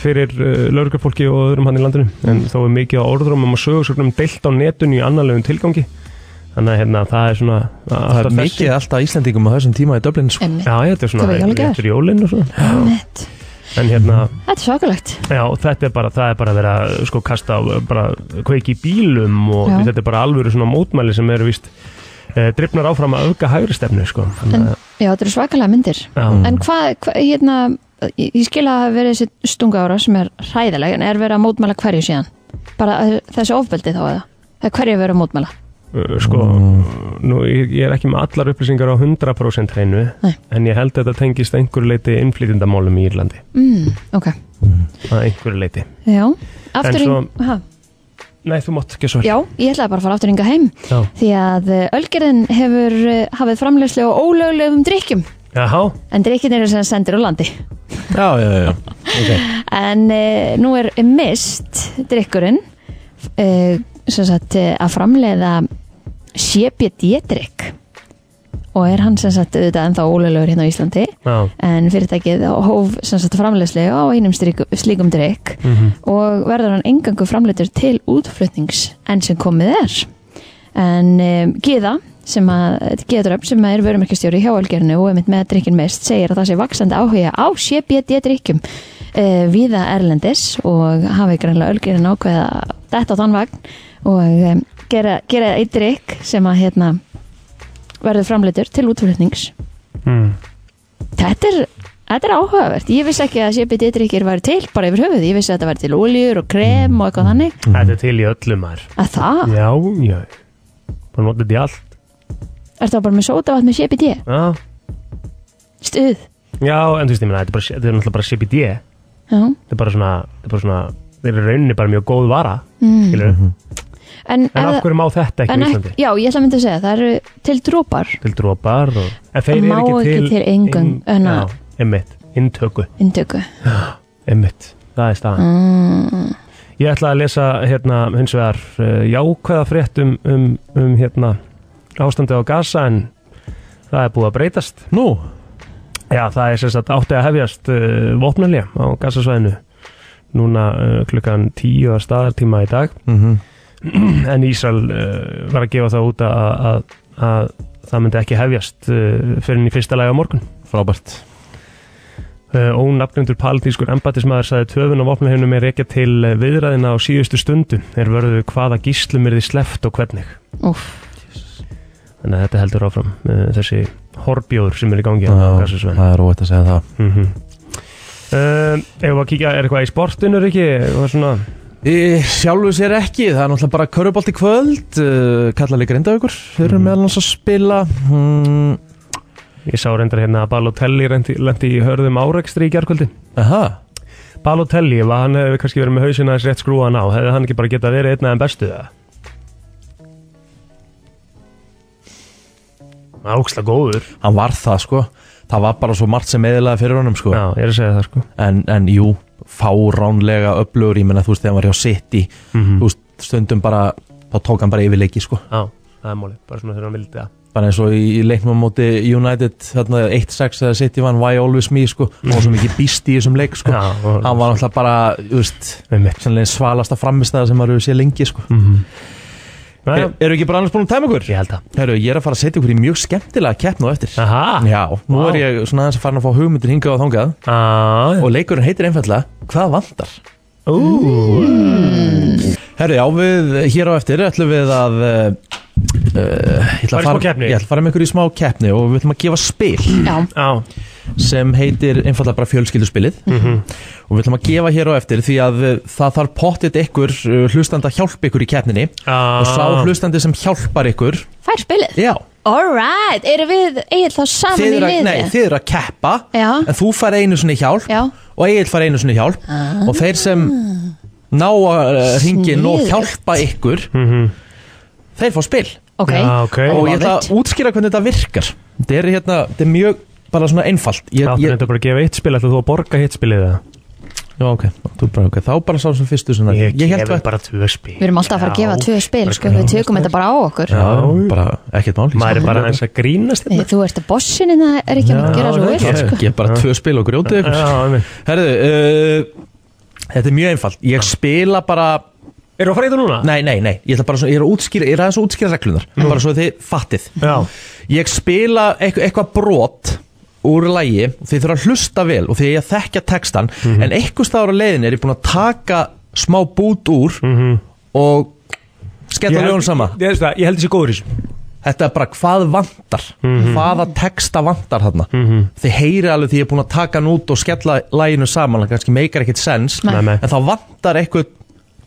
Speaker 3: fyrir uh, lauruglufólki og öðrum hann í landinu en
Speaker 2: Mm.
Speaker 3: þó er mikið á orðrumum og sögursögnum deilt á netinu í annarlegum tilgangi þannig að hérna, það er svona
Speaker 2: það er mikið alltaf Íslendingum á þessum tíma í Dublin sko.
Speaker 4: Einmitt.
Speaker 3: Já, þetta er
Speaker 4: Það
Speaker 3: svona
Speaker 4: var jólagjafir.
Speaker 3: réttur jólinn og svona
Speaker 4: Einmitt.
Speaker 3: en hérna,
Speaker 4: þetta er svakalegt
Speaker 3: Já, þetta er bara, það er bara að vera sko kasta á, bara kveiki í bílum og
Speaker 4: Já.
Speaker 3: þetta er bara alvöru svona mótmæli sem eru víst e, drifnar áfram að auka hægri stefnu sko.
Speaker 4: en,
Speaker 3: Þannig að-
Speaker 4: já, þetta eru svakalega myndir
Speaker 3: Já,
Speaker 4: En hvað, hva, hérna, ég ég skil að hafa verið þessi stunga ára sem er hræðileg, en er verið að mótmæla hverju síðan? Bara að- þessi ofbeldi þá eða? Eða hverju er verið að mótmæla?
Speaker 3: e, sko, nú ég, ég er ekki með allar upplýsingar á 100% hreinu
Speaker 4: Nei.
Speaker 3: en ég held að þetta tengist að einhverju leiti innflytindamálum í Írlandi,
Speaker 4: Mm, ok,
Speaker 3: að einhverju leiti
Speaker 4: já. Aftur
Speaker 3: En
Speaker 4: í, ha,
Speaker 3: Nei, þú mátt ekki svara
Speaker 4: já, ég ætlaði bara að fara aftur ynga heim,
Speaker 3: Já.
Speaker 4: því að eh, ölgerðin hefur eh, hafið framlegslu á ólöglegum drikkjum,
Speaker 3: Jaha,
Speaker 4: en drikkjum eru sem sendir úr landi.
Speaker 2: já, já, já, okay.
Speaker 4: En uh, nú er mist drikkurinn uh, sem sagt eh, að framleiða CBD-drikk og er hann sem sagt auðvitað ennþá ólegulegur hérna á Íslandi
Speaker 3: já,
Speaker 4: en fyrirtækið hóf sem sagt framleiðslu á einum stríku, slíkum drikk
Speaker 1: Mm.
Speaker 4: og verður hann engangu framleitur til útflutnings enn sem komið er en um, Gíða sem að Gíðadröf sem er vörumarkistjóri hjá Ölgerinu og einmitt með drikkin mest segir að það sé vaksandi áhuga á CBD drikkjum uh, viða Erlendis og hafi greinlega Ölgerin ákveða þetta á þann vagn og um, gera, gera eitt drikk sem að hérna verður framleitur til útflutnings
Speaker 3: mm.
Speaker 4: Þetta er, þetta er áhugavert. Ég vissi ekki að CBD-drikkir væri til bara yfir höfuð. Ég vissi að þetta væri til oljur og krem og eitthvað þannig.
Speaker 3: þetta er til í öllum maður
Speaker 4: Að það?
Speaker 3: Já, já, bara notið þetta í allt
Speaker 4: Er það bara með sótavatn með CBD?
Speaker 3: Já,
Speaker 4: Stuð?
Speaker 3: já en þú veist, ég meina, þetta er bara- þetta er náttúrulega bara CBD
Speaker 4: Já.
Speaker 3: þetta er bara svona, þetta er bara svona þeir eru rauninni bara mjög góð vara mm. skilur,
Speaker 4: En, ef
Speaker 3: En af
Speaker 4: það-
Speaker 3: hverju má þetta ekki
Speaker 4: en
Speaker 3: á
Speaker 4: ek-
Speaker 3: Íslandi?
Speaker 4: Já, ég ætla að mynda að segja, það eru til drópar
Speaker 3: Til drópar og... En þeir
Speaker 4: Það má
Speaker 3: eru
Speaker 4: ekki
Speaker 3: ekki til...
Speaker 4: til eingang, en
Speaker 3: Já,
Speaker 4: að-
Speaker 3: einmitt. Inntöku.
Speaker 4: inntöku.
Speaker 3: Einmitt. Það er staðan.
Speaker 4: Mm,
Speaker 3: Ég ætla að lesa hérna hins vegar uh, jákvæða frétt um, um, um hérna ástandi á Gaza en það er búið að breytast.
Speaker 2: Nú,
Speaker 3: Já, það er sem sagt átti að hefjast uh, vopnarlega á Gazasvæðinu núna uh, klukkan 10 að staðartíma í dag
Speaker 2: mm
Speaker 3: en Ísrael uh, var að gefa það út að, að, að það myndi ekki hefjast uh, fyrir í fyrsta lagi á morgun.
Speaker 2: frábært
Speaker 3: Uh, ónafnendur paldinskur embatismæður sagði töfun á vopnahefnum er ekki til eh, viðræðina á síðustu stundu er vörðu hvaða gíslum er því sleft og hvernig
Speaker 4: úff,
Speaker 3: þannig að þetta heldur áfram uh, þessi horbjóður sem er í gangi á
Speaker 2: Já,
Speaker 3: Gassasvæðinu
Speaker 2: Það er óvægt að segja það
Speaker 3: mm -hmm. uh, Ef við að kíkja, er eitthvað í sportinu Riki? Eitthvað svona,
Speaker 2: Í Sjálfu sér ekki, það er náttúrulega bara körubolti kvöld, uh, kallaði grindavíkur, þeir eru meðal hans að spila mm,
Speaker 3: ég sá reyndar hérna að Balotelli rendi, lendi í hörðum árekstri í gerkvöldi
Speaker 2: Aha,
Speaker 3: Balotelli, var hann hefði kannski verið með hausina þess rétt skrúan á, hefði hann ekki bara getað verið einn af þeim bestu það? Það er ógslag góður
Speaker 2: hann var það sko, það var bara svo margt sem eðilaði fyrir honum sko,
Speaker 3: Já, ég er að segja það sko
Speaker 2: en, en jú, fáránlega öflugur, ég menna þú veist, þegar hann var hjá City,
Speaker 3: Mhm.
Speaker 2: þú veist, stundum bara, þá tók hann bara yfirleiki sko,
Speaker 3: Já, það er máli, bara svona þegar hann vildi það
Speaker 2: bara eins og í, í leiknum á móti United, þarna 1-6 eða City vann, why always me sko, og svo mikið býst í þessum leik sko,
Speaker 3: Já,
Speaker 2: hann var náttúrulega bara, þú veist,
Speaker 3: með mitt
Speaker 2: sannlega svalasta framistæða sem maður hefur séð lengi sko.
Speaker 3: Næja,
Speaker 2: Er, eru ekki bara annars búin að tæma ykkur?
Speaker 3: Mhm. ég held það
Speaker 2: Herru, ég er að fara að setja ykkur í mjög skemmtilega keppn og eftir
Speaker 3: Aha,
Speaker 2: Já, nú
Speaker 3: Vá.
Speaker 2: er ég svona aðeins að fara að fá hugmyndir hingað og þangað
Speaker 3: já
Speaker 2: Og leikurinn heitir einfallega Hvað vantar?
Speaker 3: Ú,
Speaker 1: Mm.
Speaker 2: Herru, já, við hér á eftir ætlum við að uh, uh, Ég ætla
Speaker 3: Fara í
Speaker 2: að
Speaker 3: smá keppni.
Speaker 2: Ég ætla að fara með ykkur í smá keppni og við ætlum að gefa spil
Speaker 4: já,
Speaker 3: já, Mhm.
Speaker 2: sem heitir einfallega bara fjölskylduspilið og við ætlum að gefa hér á eftir því að uh, það þarf pottit ykkur uh, hlustandi að hjálpa ykkur í keppninni og sá
Speaker 3: já
Speaker 2: hlustandi sem hjálpar ykkur
Speaker 4: fær spilið.
Speaker 2: Já,
Speaker 4: Alright, eru við eigið þá saman
Speaker 2: þið
Speaker 4: í
Speaker 2: eru að,
Speaker 4: liði?
Speaker 2: nei, þið eru að keppa
Speaker 4: Já.
Speaker 2: en þú fær einu sinni hjálp
Speaker 4: Já. Ah.
Speaker 2: og Egil fær einu sinni hjálp og þeir sem ná að ringin og
Speaker 4: Sniðugt.
Speaker 2: hjálpa ykkur þeir fá spil
Speaker 4: Ok,
Speaker 3: Mhm. Já, ok.
Speaker 2: og
Speaker 4: love
Speaker 2: ég ætla
Speaker 4: it.
Speaker 2: að útskýra hvernig þetta virkar þetta er, hérna, þetta er mjög bara svona einfalt ég,
Speaker 3: Það
Speaker 2: ég,
Speaker 3: þetta bara að gefa eitt spil, ætlaðu þú að borga hitt spilið það?
Speaker 2: já, okay. Þú bara, okay. þá bara sá sem fyrstu sinna
Speaker 3: gefi
Speaker 2: held að
Speaker 3: bara tvö spil
Speaker 4: við erum alltaf að fara að gefa tvö spil, sko, við tökum þetta bara á okkur.
Speaker 2: já, bara ekkert máli
Speaker 3: Maður er bara eins að grínast
Speaker 4: Nei,
Speaker 3: þetta
Speaker 4: Þú ert að bossinni, það er ekki að
Speaker 3: Já,
Speaker 4: gera svo
Speaker 3: það
Speaker 4: vel,
Speaker 3: er
Speaker 4: sko.
Speaker 2: ég er bara tvö spil og grjótið ykkur
Speaker 3: Já, einmitt
Speaker 2: herðu uh, þetta er mjög einfalt ég spila bara
Speaker 3: Erum við að fara í þetta núna? Mm.
Speaker 2: Nei, nei, nei, ég ætla bara svona, ég er að útskýra, ég er aðeins að útskýra reglunar Bara svo þið fattið
Speaker 3: Já,
Speaker 2: Ég spila eitth- eitthvað brot úr lægi og þið þurfa að hlusta vel og þið ég að þekkja textan
Speaker 3: Mhm.
Speaker 2: En eitthvað staðar á leiðin er ég búin að taka smá bút úr og skella lögum sama
Speaker 3: Mhm. Ég held það, ég held þessi góður í þessu
Speaker 2: Þetta er bara hvað vantar,
Speaker 3: Mhm.
Speaker 2: hvaða texta vantar þarna Þið heyri alveg því ég er búin að taka hann út og skella læginu saman, það kannski meikar ekkit sens
Speaker 4: Nei.
Speaker 3: Nei, nei.
Speaker 2: En þá vantar eitthvað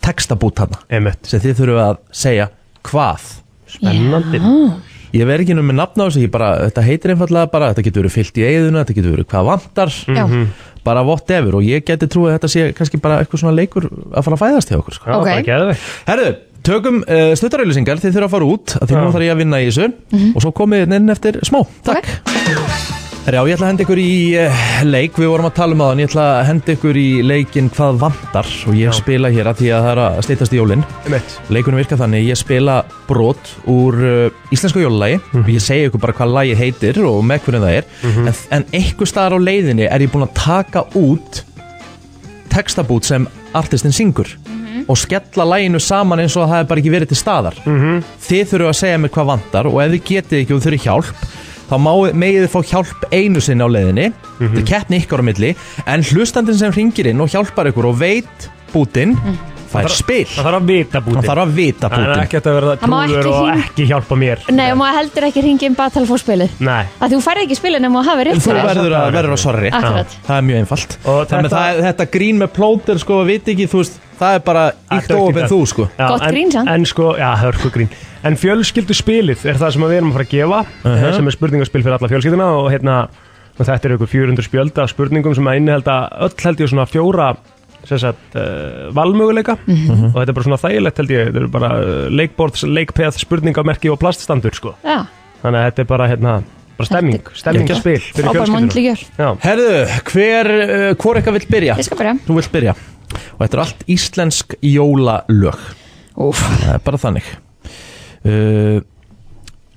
Speaker 2: textabút þarna
Speaker 3: Einmitt
Speaker 2: sem þið þurfum að segja hvað
Speaker 3: Spennandi
Speaker 2: ég verð ekki nú með nafn á þessu ég bara, þetta heitir einfallega bara, þetta getur verið fyllt í eigðuna þetta getur verið hvað vantar
Speaker 4: Já,
Speaker 3: Mhm.
Speaker 2: bara whatever og ég geti trúið að þetta sé kannski bara eitthvað svona leikur að fara að fæðast hjá okkur sko.
Speaker 3: Já,
Speaker 4: Ok.
Speaker 3: bara geðveikt.
Speaker 2: herðu, tökum uh, stuttarauðlýsingar þið þurfa að fara út, að því nú
Speaker 3: Já.
Speaker 2: þarf ég að vinna í þessu og svo komið þið inn eftir smá, takk okay. herru, já, ég ætla að henda ykkur í uh, leik, við vorum að tala um það en ég ætla að henda ykkur í leikin hvað vantar og ég spila hér að því að það er að steytast í jólinn
Speaker 3: Einmitt
Speaker 2: Leikunum virka þannig, ég spila brot úr uh, íslensku jólalagi
Speaker 3: Mhm.
Speaker 2: og ég segi ykkur bara hvað lagi heitir og með hvernig það er
Speaker 6: Mhm.
Speaker 2: en, en einhver staðar á leiðinni er ég búinn að taka út textabút sem artistin syngur
Speaker 4: Mhm.
Speaker 2: og skella laginu saman eins og það hefur bara ekki verið til staðar
Speaker 3: Mhm.
Speaker 2: Þið þurfu að segja mér hvað vantar og ef þið getið ekki og þurfu hjálp þá má- megið þið fá hjálp einu sinni á leiðinni
Speaker 3: Mhm.
Speaker 2: þið keppni ykkar á milli en hlustandinn sem ringir inn og hjálpar ykkur og veit bútin
Speaker 4: Mhm.
Speaker 2: fær spil
Speaker 3: Það þarf að vita
Speaker 2: hann
Speaker 3: bútið
Speaker 2: þarf að vita
Speaker 3: Það er
Speaker 2: Putin
Speaker 3: ekkert að vera
Speaker 4: Það má ekki
Speaker 3: trúður og
Speaker 4: hring-
Speaker 3: ekki hjálpa mér
Speaker 4: nei, og maður heldur ekki ringin bara til að fá spilið.
Speaker 3: Nei
Speaker 4: Að þú færði ekki spilið nema að hafa rétt
Speaker 2: þú
Speaker 4: fyrir þér.
Speaker 2: verður að verður að sorry
Speaker 4: Akkurat.
Speaker 2: það er mjög einfalt
Speaker 3: Og þetta-
Speaker 2: þannig þetta... Það, er- þetta grín með plóter sko veit ekki þú veist það er bara
Speaker 3: Þetta
Speaker 2: ykt
Speaker 3: er ekki
Speaker 2: ofin
Speaker 3: það.
Speaker 2: þú sko
Speaker 3: Já,
Speaker 4: Gott
Speaker 3: en-
Speaker 4: grín samt.
Speaker 3: En sko, já, hörku grín En fjölskyldu spilið er það sem við erum að fara að gefa eh,
Speaker 2: Uh-huh.
Speaker 3: sem er spurningaspil fyrir alla fjölskylduna og hérna, og þetta eru ykkur 400 spjölda af spurningum sem að innihelda öll held ég svona fjóra sem sagt, uh, valmöguleika
Speaker 2: Uh-huh.
Speaker 3: og þetta er bara svona þægilegt held ég þetta eru bara uh, leikborðs, leikpeð, spurningamerki og plaststandur sko
Speaker 4: já,
Speaker 3: þannig að þetta er bara, hérna, bara stemming
Speaker 4: Þetta er-
Speaker 3: stemmingaspil fyrir
Speaker 4: frábær
Speaker 3: fjölskyldunum
Speaker 4: mannlegjör
Speaker 3: Já,
Speaker 2: Herðu, hver, uh, hvor eitthvað vill byrja?
Speaker 4: Ég skal byrja
Speaker 2: Þú vill byrja Og þetta er allt íslensk jólalög
Speaker 4: Úf,
Speaker 2: Það er bara þannig uh,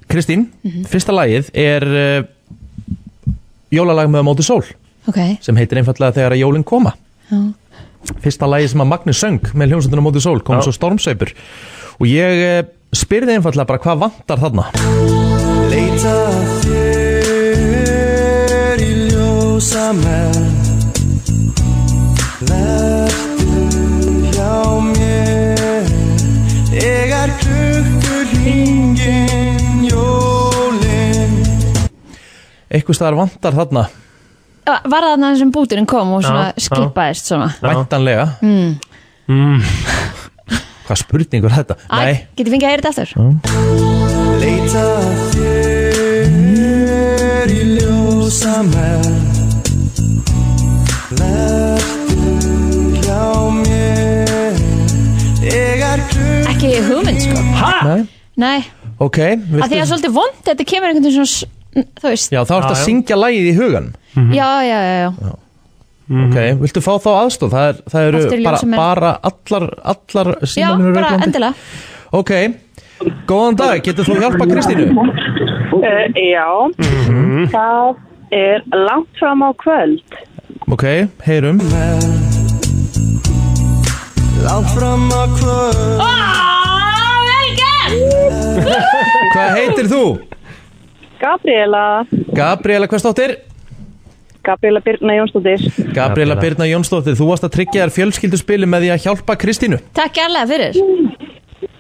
Speaker 2: Kristín,
Speaker 4: Mhm.
Speaker 2: fyrsta lagið er uh, jólalag með á móti sól
Speaker 4: ok
Speaker 2: sem heitir einfallega þegar að jólinn koma
Speaker 4: já.
Speaker 2: fyrsta lagi sem að Magnus söng með hljómsveitin á móti sól kom
Speaker 3: Já.
Speaker 2: svo stormsaupur og ég eh, spyrði einfallega bara hvað vantar þarna
Speaker 1: Leita þér í ljósa með Vertu hjá mér Þegar klukkur hringin jólin
Speaker 2: eitthvað staðar vantar þarna
Speaker 4: Var það þannig að sem búturinn kom og svona
Speaker 3: Já, já.
Speaker 4: skipaðist svona
Speaker 3: Já.
Speaker 2: væntanlega mm. hvað spurningur er þetta? Nei,
Speaker 4: Æ, geti fengið að heyra þetta aftur
Speaker 1: Leita þér í ljósa með Vertu hjá mér Þegar klukkur
Speaker 4: Ekki hugmynd sko
Speaker 2: nei,
Speaker 4: Nei,
Speaker 2: ok
Speaker 4: að því að
Speaker 2: viltu...
Speaker 4: svolítið vond Þetta kemur einhvern veginn svona s- n- Þú veist,
Speaker 2: Já, þá
Speaker 3: Já,
Speaker 2: ertu að
Speaker 3: já.
Speaker 2: syngja lagið í hugan
Speaker 4: já, já, já, já.
Speaker 2: Ok,
Speaker 3: Mm.
Speaker 2: viltu fá þá aðstóð? Það, er, það eru
Speaker 4: Aftur í
Speaker 2: bara,
Speaker 4: ljósa með.
Speaker 2: bara allar, allar
Speaker 4: Já,
Speaker 2: símanum
Speaker 4: bara endilega
Speaker 2: Ok, góðan dag, getur þú hjálpa Kristínu?
Speaker 7: Uh, já, það er langt fram á kvöld.
Speaker 2: Ok, heyrum
Speaker 1: Langt fram að kvöld
Speaker 4: Á, vel gert!
Speaker 2: Hvað heitir þú?
Speaker 7: Gabriela,
Speaker 2: Gabriela Hversdóttir?
Speaker 7: Gabriela Birna Jónsdóttir.
Speaker 2: Gabriela Birna Jónsdóttir, þú varst að tryggja þér fjölskylduspili með því að hjálpa Kristínu
Speaker 4: Takk jærlega fyrir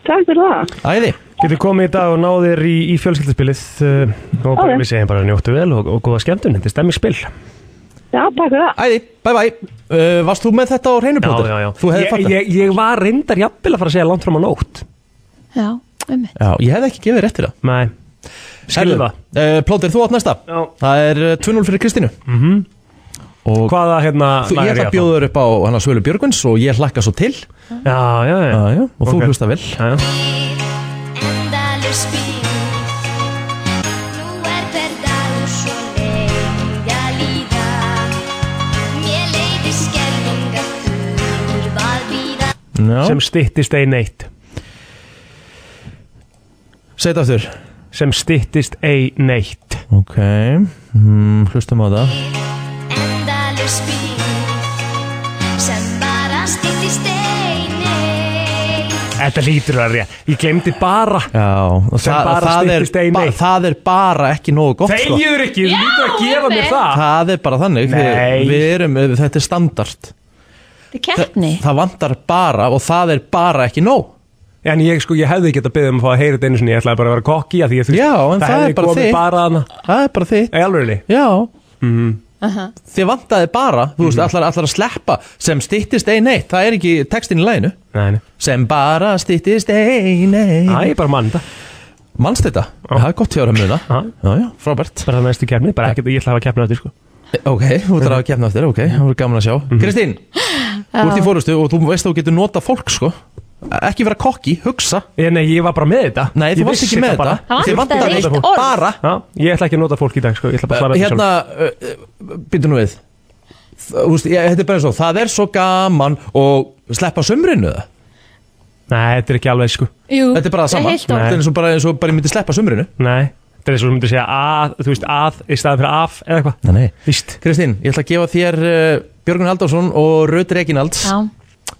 Speaker 7: Takk fyrir það.
Speaker 2: Æði,
Speaker 3: getur komið í dag og náðir í, í fjölskyldaspilið uh, og bara
Speaker 7: Ok.
Speaker 3: við segjum bara njóttu vel og, og góða skemmtun, þetta er stemmingsspil
Speaker 7: Já, takk fyrir það.
Speaker 2: æði, bye bye uh, Varst þú með þetta á reynuplótur? Þú hefði
Speaker 3: ég,
Speaker 2: fatt
Speaker 3: ég, ég var reyndar jafnvel að fara að segja langt fram á nótt
Speaker 4: Já, um mitt
Speaker 2: Já, ég hefði ekki gefið rétt fyrir það
Speaker 3: Nei, skilðu það
Speaker 2: uh, Plótur, þú átt næsta
Speaker 3: Já. Mhm.
Speaker 2: Það er uh, 2-0 fyrir Kristínu Og
Speaker 3: Hvaða hérna
Speaker 2: Þú,
Speaker 3: lag er
Speaker 2: ég ætla að bjóða þér upp á hana Svölu Björgvins og ég hlakka svo til
Speaker 3: þá? Já, já, já,
Speaker 2: Já, já, og þú
Speaker 3: Ok.
Speaker 2: hlusta vel
Speaker 3: já, já.
Speaker 8: Endalaus bíl Nú er hver dagur svo lengi að líða Mér leiðir skelfing að þurfa að bíða
Speaker 2: Já.
Speaker 3: Sem styttist ein eitt
Speaker 2: Segð aftur
Speaker 3: Sem styttist ein eitt
Speaker 2: Ok, mm, hlustum á það
Speaker 8: Endalaus bíl Sem bara stýtti steini
Speaker 3: Þetta lítur að rétt, ég glemdi bara
Speaker 2: Já, og
Speaker 3: Sem
Speaker 2: það,
Speaker 3: bara
Speaker 2: það, er,
Speaker 3: styttist ein
Speaker 2: ba
Speaker 3: eitt.
Speaker 2: það er bara ekki nógu gott sko.
Speaker 3: Þegiður ekki, þú lítur að gefa mér
Speaker 4: einmitt.
Speaker 3: það
Speaker 2: Það er bara þannig við,
Speaker 3: Nei.
Speaker 2: við erum, Þetta er standard
Speaker 4: Þetta er keppni
Speaker 2: Það vantar bara og það er bara ekki nóg
Speaker 3: En ég sko, ég hefði geta beðið um að fá að heyra þetta einu sinni Ég ætlaði bara að vera kokki að því að þú
Speaker 2: Já, en það er
Speaker 3: hefði
Speaker 2: bara
Speaker 3: komið
Speaker 2: þitt.
Speaker 3: bara Mhm. hana
Speaker 2: Það er bara þitt
Speaker 3: Í alvörunni?
Speaker 2: Já Þið vantaði bara, þú veist,
Speaker 3: Mhm.
Speaker 2: allar, allar að sleppa sem styttist ein eitt, það er ekki textin í læginu
Speaker 3: Nei, nei.
Speaker 2: sem bara styttist ein eitt
Speaker 3: Æ, bara mann þetta
Speaker 2: Manst þetta? Það er gott hjá þér að muna
Speaker 3: Já.
Speaker 2: Já, já, frábært Eh,
Speaker 3: Bara næstu kemni, bara ekkert, ég ætla að hafa kemna þetta sko. Mhm.
Speaker 2: Ok, þú ert að kemna eftir, ok, það voru gaman að sjá Kristín, þú ert í fórustu og þú veist að þú getur nota fólk sko Ekki vera kokki, hugsa
Speaker 3: Ég, nei, ég var bara með þetta
Speaker 2: Nei, þú
Speaker 3: Ég
Speaker 2: varst
Speaker 3: vissi
Speaker 2: ekki með
Speaker 3: bara.
Speaker 2: þetta
Speaker 4: Það
Speaker 2: Þið
Speaker 4: vantaði
Speaker 2: vantaði
Speaker 4: eitt
Speaker 2: eitt
Speaker 4: orð.
Speaker 2: bara
Speaker 3: Já, ég ætla ekki að nota fólk í dag sko. Ég ætla bara að svara
Speaker 2: Hérna, býtu nú við Þú veist, ég- þetta er bara svo, það er svo gaman og sleppa sömrinu það
Speaker 3: sjálf Nei, þetta er ekki alveg sko.
Speaker 4: Jú,
Speaker 2: Þetta er bara það sama
Speaker 4: heilt orð.
Speaker 2: Þetta er eins og bara, eins og bara ég myndi sleppa sömrinu
Speaker 3: Nei, þetta er eins og þú myndir segja að Þú veist, að í staðan fyrir af eða eitthvað
Speaker 2: Nei, nei
Speaker 3: Víst
Speaker 2: Kristín, ég ætla að gefa þér uh, Björgun Halldórsson og Rauður Eginalds
Speaker 4: Já.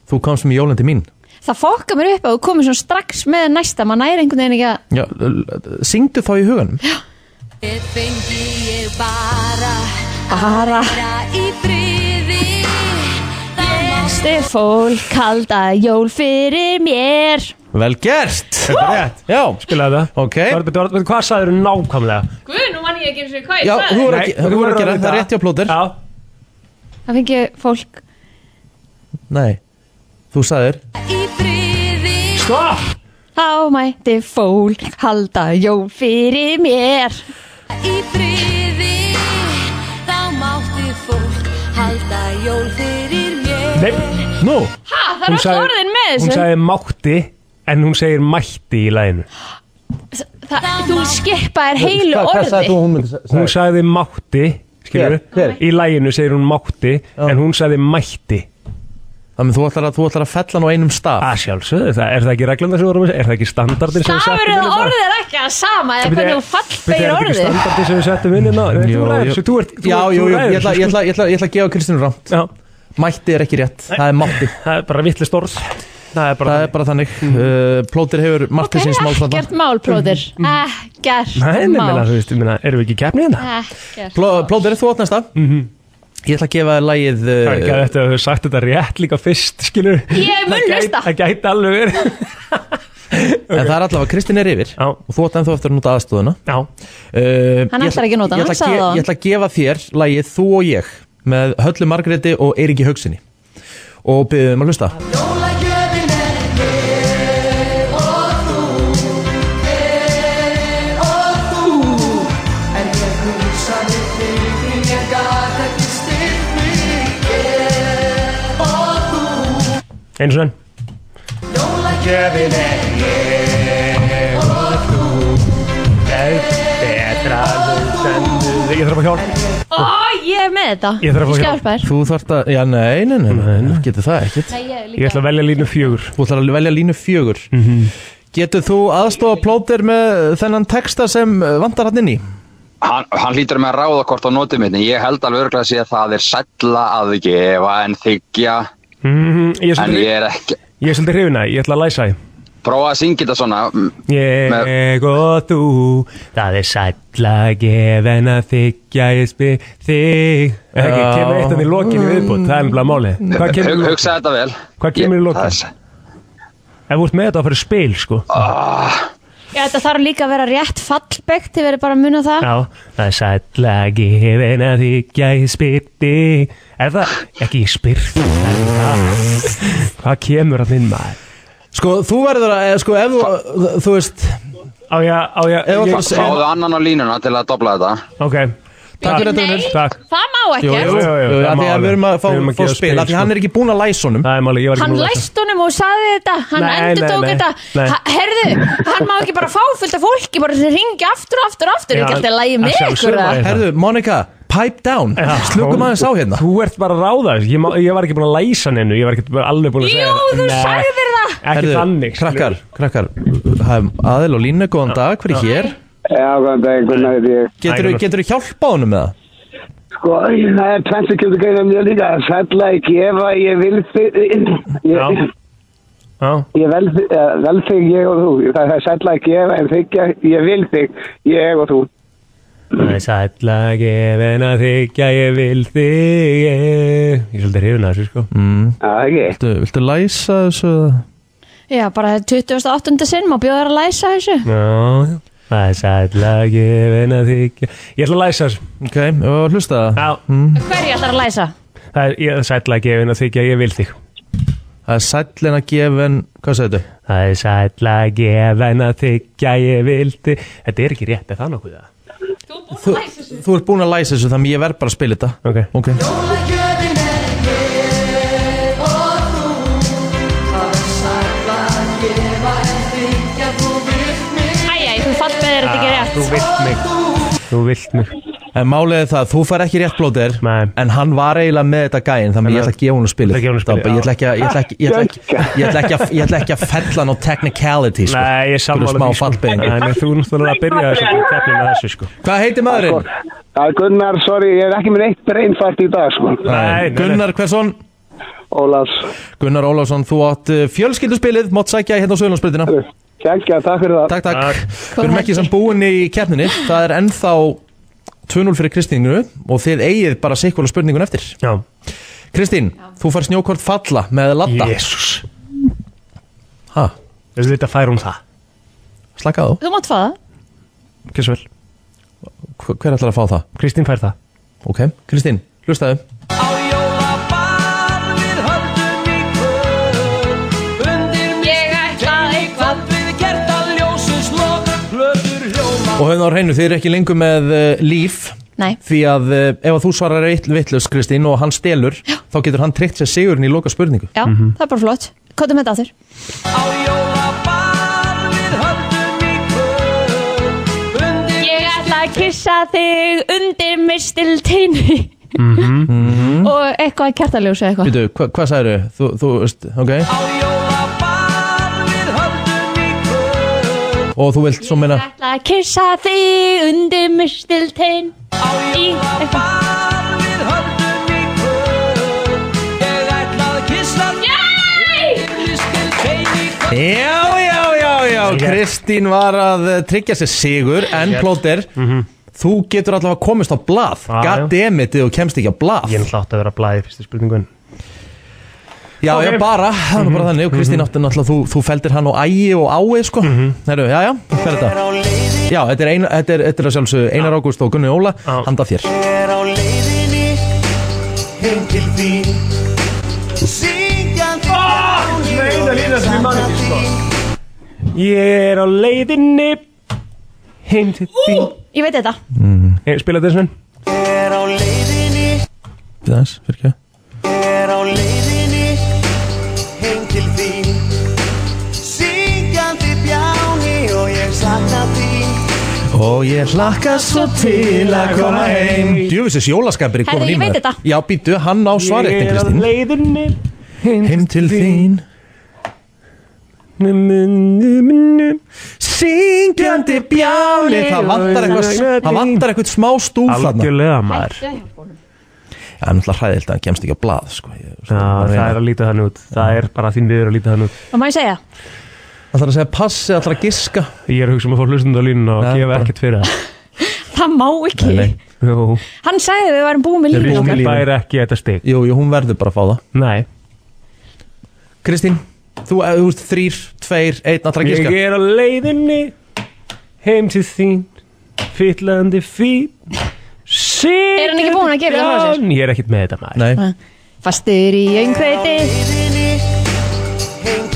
Speaker 2: Þú komst með jólandi mín
Speaker 4: Það fokka mér upp að þú komir svona strax með næsta maður næri einhvern veginn ekki að
Speaker 2: Já, l- l- syngdu þá í huganum
Speaker 8: Hér fengi ég bara
Speaker 4: Bara
Speaker 8: Bara í friði Það má
Speaker 4: Þið fólk kalda jól fyrir mér
Speaker 2: Vel gert
Speaker 3: Þetta er rétt
Speaker 2: Já,
Speaker 3: Spilaði það
Speaker 2: ok
Speaker 3: Var, betur, var, betur, Hvað sagður nákvæmlega?
Speaker 4: Guð, nú mann ég ekki eins og hvað
Speaker 2: Já, þú voru
Speaker 3: Nei,
Speaker 2: ekki, þú voru
Speaker 3: verður
Speaker 2: að gera
Speaker 3: vita
Speaker 2: þetta rétt hjá plótir
Speaker 3: Já,
Speaker 4: Það fengi fólk
Speaker 2: Nei, þú sagðir
Speaker 8: í friði
Speaker 3: stopp
Speaker 4: Þá mætti fólk halda jól fyrir mér
Speaker 8: Í friði Þá mátti fólk halda jól fyrir mér
Speaker 3: Nei,
Speaker 9: Nú,
Speaker 4: Ha, það er
Speaker 3: hún
Speaker 4: öll orðin með
Speaker 3: hún
Speaker 4: þessu
Speaker 3: sagði mátti en hún segir mætti í læginu
Speaker 4: Þa, Þú skipaðir heilu
Speaker 9: hvað, hvað sagði
Speaker 4: orði
Speaker 9: þú hún myndi sagði?
Speaker 3: hún sagði mátti skilur,
Speaker 9: Hver? Hver?
Speaker 3: í læginu segir hún mátti en hún sagði mætti
Speaker 2: Þannig að þú ætlar að, þú ætlar að fella hann á einum stað
Speaker 3: að sjálfsögðu, það, er það ekki reglanda sem við vorum að segja? er það ekki standardin sem við settum
Speaker 4: Stafur eða
Speaker 3: inn í
Speaker 4: orðið er ekki að sama eða
Speaker 3: Bíddu,
Speaker 4: hvernig þú
Speaker 3: bíddu,
Speaker 4: fallbegir
Speaker 3: Er það ekki
Speaker 4: orðið
Speaker 3: standardin sem við settum inn í ná
Speaker 2: Jú,
Speaker 3: þú ræður,
Speaker 2: jú.
Speaker 3: svo þú ert þú-
Speaker 2: Já,
Speaker 3: þú
Speaker 2: jú, jú,
Speaker 3: ræður
Speaker 2: ég ætla,
Speaker 3: þessu,
Speaker 2: ég, ætla, ég, ætla, ég ætla að gefa Kristínu rámt
Speaker 3: sko. Já,
Speaker 2: Mætti er ekki rétt, það er mátti
Speaker 3: það er bara vittlist orð það er bara
Speaker 2: Það er bara þannig uh, Plótir hefur margt til síns málfrönda
Speaker 4: Ekkert mál, plóðir Ekkert
Speaker 3: Mm-hmm. Nei, nei, meina,
Speaker 4: mál
Speaker 3: þú veist, ég meina, erum við ekki í keppni hérna?
Speaker 4: Ekkert
Speaker 2: Plótir, þú átt næsta Ég ætla að gefa þér lagið
Speaker 3: Það er ekki að
Speaker 2: uh,
Speaker 3: Mhm. þetta hefur sagt þetta rétt líka fyrst, skilur
Speaker 4: Ég mun
Speaker 3: Það gæti-
Speaker 4: hlusta.
Speaker 3: Það gæti alveg verið
Speaker 2: En það er allavega, Kristín er yfir
Speaker 3: Já,
Speaker 2: Og þú átt ennþá eftir að nota aðstóðuna
Speaker 3: já,
Speaker 2: Uh,
Speaker 4: Hann
Speaker 2: ég
Speaker 4: ætlar ekki að nota hann,
Speaker 2: ég ætla
Speaker 4: sagði
Speaker 2: ge-
Speaker 4: það áðan.
Speaker 2: Ég ætla að gefa þér lagið Þú og ég með Höllu Margréti og Eiríki Haugsinni og byrðum að hlusta
Speaker 3: eins og enn Ég þarf að hjálpa
Speaker 4: Ó, ég er með þetta
Speaker 3: Ég þarf að fá hjálp.
Speaker 4: hjálpa þér
Speaker 2: Þú þarft að, já nei, nei, nei, nei, nei. getur það ekkert
Speaker 3: Ég ætla að velja línu fjögur Mhm.
Speaker 2: Þú ætlar að velja línu fjögur mm -hmm. Getur þú aðstofa plótir með þennan texta sem uh, vantar hann inn í?
Speaker 10: Hann, hann hlýtur með ráðakort á nótum minni. Ég held alveg örglega að sé að það er sælla að gefa en þykja.
Speaker 3: Mhm, Ég er
Speaker 10: En
Speaker 3: svolítið-
Speaker 10: ég er ekki...
Speaker 3: ég er svolítið hrifin að Ég ætla að læsa því
Speaker 10: Prófa að syngja þetta svona. mm,
Speaker 3: Ég og þú Það er sæll að gefa en að þykja ég spyr þig Er það ekki, kemur eitt af því lokinu viðbútt Það er umlað máli Hvað kemur, í
Speaker 10: Hug,
Speaker 3: lokin?
Speaker 10: hugsa þetta vel.
Speaker 3: Hvað kemur í
Speaker 10: Ég-
Speaker 3: lokin?
Speaker 10: það er sæ-
Speaker 3: Ef þú ert með þetta að fara í spil sko
Speaker 10: Ah.
Speaker 4: Já, þetta þarf líka að vera rétt fallbegt Þið verið bara að muna það
Speaker 3: Já, það er sæll að gefa en að þykja ég spyr þig Er það ekki ég spyr þig það er það. Hvað kemur að minn maður?
Speaker 2: Sko, þú verður að, eh, sko, ef þú, þú veist
Speaker 3: Á já, á já
Speaker 2: Ef
Speaker 3: ég,
Speaker 2: að-
Speaker 10: Fáðu annan á línuna til að dobla þetta.
Speaker 3: Ok
Speaker 2: Takk fyrir þetta,
Speaker 4: Nei.
Speaker 2: Unnur
Speaker 3: Takk
Speaker 4: Það má
Speaker 3: Jú,
Speaker 4: ekkert
Speaker 3: jú, jú,
Speaker 2: Jú,
Speaker 3: það
Speaker 2: af
Speaker 3: má
Speaker 2: því að
Speaker 3: alveg.
Speaker 2: við erum að fá,
Speaker 3: Við erum að
Speaker 2: fá
Speaker 3: gefa
Speaker 2: spil,
Speaker 3: spil,
Speaker 2: af því
Speaker 3: sko.
Speaker 2: hann er ekki búin að læsa honum
Speaker 3: Það er máli, ég var ekki
Speaker 4: Hann
Speaker 3: búinn að lesa.
Speaker 4: læst honum og sagði þetta Hann
Speaker 3: Nei, nei,
Speaker 4: endur tók
Speaker 3: nei,
Speaker 4: þetta
Speaker 3: nei.
Speaker 4: Ha- Herðu, hann má ekki bara fá fullt af fólki bara sem ringi aftur og aftur og aftur
Speaker 3: Já,
Speaker 4: ekki alltaf að lægi
Speaker 3: að
Speaker 4: með
Speaker 3: sjálfsögðu
Speaker 4: ykkur
Speaker 3: má
Speaker 4: eða?
Speaker 3: ég.
Speaker 2: Herðu, Monika, pipe down
Speaker 3: Já.
Speaker 2: Slökum aðeins á hérna
Speaker 3: Þú ert bara að ráða þessu, ég, má- ég var ekki búin að læsa hann Ég var ekki bara alveg búin að segja
Speaker 4: Jú, þú
Speaker 3: Nei,
Speaker 4: sagðir það.
Speaker 3: Ekki
Speaker 2: Herðu,
Speaker 3: þannig
Speaker 2: Krakkar, krakkar, hæm, aðil og línu, góðan dag, hver er hér?
Speaker 11: Já, góðan dag, hvernig er ég?
Speaker 3: Æ,
Speaker 2: Getur þú hjálpa honum með það?
Speaker 11: Sko, það er tvennt sem kemur greina mér líka. Sæll að gefa, ég vil þig, ég,
Speaker 3: Já. Já,
Speaker 11: ég vel, þig- eh, vel þig, ég og þú. Það er sæll að gefa, en þykja, ég vil þig, ég og þú.
Speaker 3: það er sæll að gefin að þykja ég vil þig Ég er svolítið hrifin að þessu sko
Speaker 11: Já, það ekki.
Speaker 2: Mm. Viltu, viltu læsa þessu?
Speaker 4: Já, bara 28. sinn má bjóða þér að læsa þessu
Speaker 3: Já, já Það er sæll að gefin að þykja Ég ætla að læsa þessu
Speaker 2: Ok, og hlusta það Mm.
Speaker 3: Já,
Speaker 4: Hverju ætlar að læsa?
Speaker 3: það er ég er sæll að gefin að þykja ég vil þig
Speaker 2: Það er sællin að gefa en, hvað segir þetta?
Speaker 3: Það er sæll að gefin að þykja ég vil þig Þetta er ekki rétt, er það nokkuð það?
Speaker 2: Þú, þú ert búin að læsa þessu þannig ég verð bara að spila þetta
Speaker 3: Ok
Speaker 2: Ok
Speaker 4: Æjæ, þú fallbeðir þetta ekki rétt
Speaker 3: Þú vilt mig Þú vilt mig
Speaker 2: En málið er það, þú fær ekki rétt blóðir
Speaker 3: Nei.
Speaker 2: En hann var eiginlega með þetta gæinn Þannig
Speaker 3: En
Speaker 2: ég ætla
Speaker 3: að-
Speaker 2: að gefa hún að
Speaker 3: Ætla
Speaker 2: spila
Speaker 3: að gefa honum spilið, já.
Speaker 2: Ég ætla ekki að Ég ætla ekki Ég ætla ekki, ég ætla ekki, að, ég ætla ekki að fella hann á technicality sko.
Speaker 3: Nei, ég sammála
Speaker 2: Einhverju smá fallbeinu.
Speaker 3: Nei, nei, þú náttúrulega að byrja þessu sko, keppni með þessu sko
Speaker 2: Hvað heitir maðurinn?
Speaker 11: Það er Gunnar, sorry, ég er ekki með eitt breynfært í dag, sko.
Speaker 3: Nei,
Speaker 2: Gunnar Hversson
Speaker 11: Ólafs,
Speaker 2: Gunnar Ólafsson, þú átt uh, fjölskylduspilið Mátt sækja hérna á Söðlandsbrytina
Speaker 11: kjækja, takk fyrir það.
Speaker 2: Takk, takk Við
Speaker 4: Góð
Speaker 2: erum ekki
Speaker 4: helgi.
Speaker 2: sem búin í keppninni Það er ennþá 2-0 fyrir Kristínu Og þið eigið bara sikkur spurningun eftir
Speaker 3: Já,
Speaker 2: Kristín, þú fær snjókort falla með latta
Speaker 3: jésús
Speaker 2: Ha,
Speaker 3: Þessu þetta fær hún það
Speaker 2: slakaðu á.
Speaker 4: Þú mátt fá það
Speaker 3: Hversu vel
Speaker 2: Hver- Hver ætlar að fá það?
Speaker 3: Kristín fær það
Speaker 2: Ok, Kristín, hlustaðu
Speaker 4: Ég ætla eitthvað
Speaker 2: Og höfum það á hreinu, þið eru ekki lengur með uh, líf
Speaker 4: Nei.
Speaker 2: Því að eh, ef að þú svarar vittlust Kristín og hann stelur Já. þá getur hann tryggt sér sigurinn í loka spurningu
Speaker 4: Já, það er bara flott Kottum þetta aftur Ég ætla að kissa þig undir mistilteinu Og eitthvað kertaljós eða eitthvað
Speaker 2: Býtu, Mhm. hva, hvað sagður þú? Þú veist, ok Og þú vilt svo meina
Speaker 4: Ég ætla að kissa þig undir mistiltein Í eitthvað
Speaker 2: Já, já, já, já Kristín var að eh, tryggja sér sigur en
Speaker 3: Yes.
Speaker 2: plóter Þú getur allavega komist á blað
Speaker 3: Ah, já.
Speaker 2: Goddammit, þú kemst ekki á blað
Speaker 3: Ég er náttúrulega átti að vera að blæði fyrstu spurningun
Speaker 2: Já,
Speaker 3: Ok. Mhm,
Speaker 2: já, bara, það var bara þannig og Kristín átti náttúrulega, þú, þú feldir hann á ægi og ái, sko
Speaker 3: Mhm.
Speaker 2: Herru, já, já, hver er þetta? Já, þetta er, ein, þetta er, þetta er að sjálfsögðu Einar Ágúst og Gunni Óla, handa þér
Speaker 3: Ég er á leiðinni Heim til þín
Speaker 4: Ég veit þetta
Speaker 3: Hey, Spila þetta svona
Speaker 2: Við aðeins, fyrir ekki Og ég hlakka svo til að koma heim Djöfisins jólaskapir er
Speaker 4: Herðu,
Speaker 2: komin í
Speaker 4: ég veit
Speaker 2: maður.
Speaker 4: þetta.
Speaker 2: Já, býtu, hann á svarið, Kristín
Speaker 3: leiðinni
Speaker 2: Heim til þín Syngjandi bjáni Það vantar eitthvað Það vantar eitthvað smá stúf þarna
Speaker 3: Algjörlega maður Já,
Speaker 2: Það er náttúrulega hræðilt að hann kemst ekki á blað sko. Ég-
Speaker 3: Það er að líta þannig út Það er bara þín viður að líta þannig út
Speaker 4: Og má ég segja
Speaker 2: Það þarf að segja passi, það þarf að giska
Speaker 3: Ég er að hugsa um að fá hlustund á línuna og
Speaker 2: Nei,
Speaker 3: gefa
Speaker 2: bara-
Speaker 3: ekkert fyrir það
Speaker 4: Það má ekki
Speaker 3: Jú,
Speaker 4: Hann sagði við varum búin með lífið okkar
Speaker 3: Kristín fær ekki þetta stig
Speaker 2: Jú, jú, hún verður bara að fá það
Speaker 3: Nei,
Speaker 2: Kristín, þú eh, þú veist þrýr, tveir, einn Það þarf að
Speaker 3: ég
Speaker 2: giska
Speaker 3: er á leiðinni Heim til þín Fyllandi fín
Speaker 4: Er hann ekki búinn að gefa það frá sér?
Speaker 3: Ég er ekkert með þetta maður
Speaker 2: Nei,
Speaker 4: Fastur í öngveiti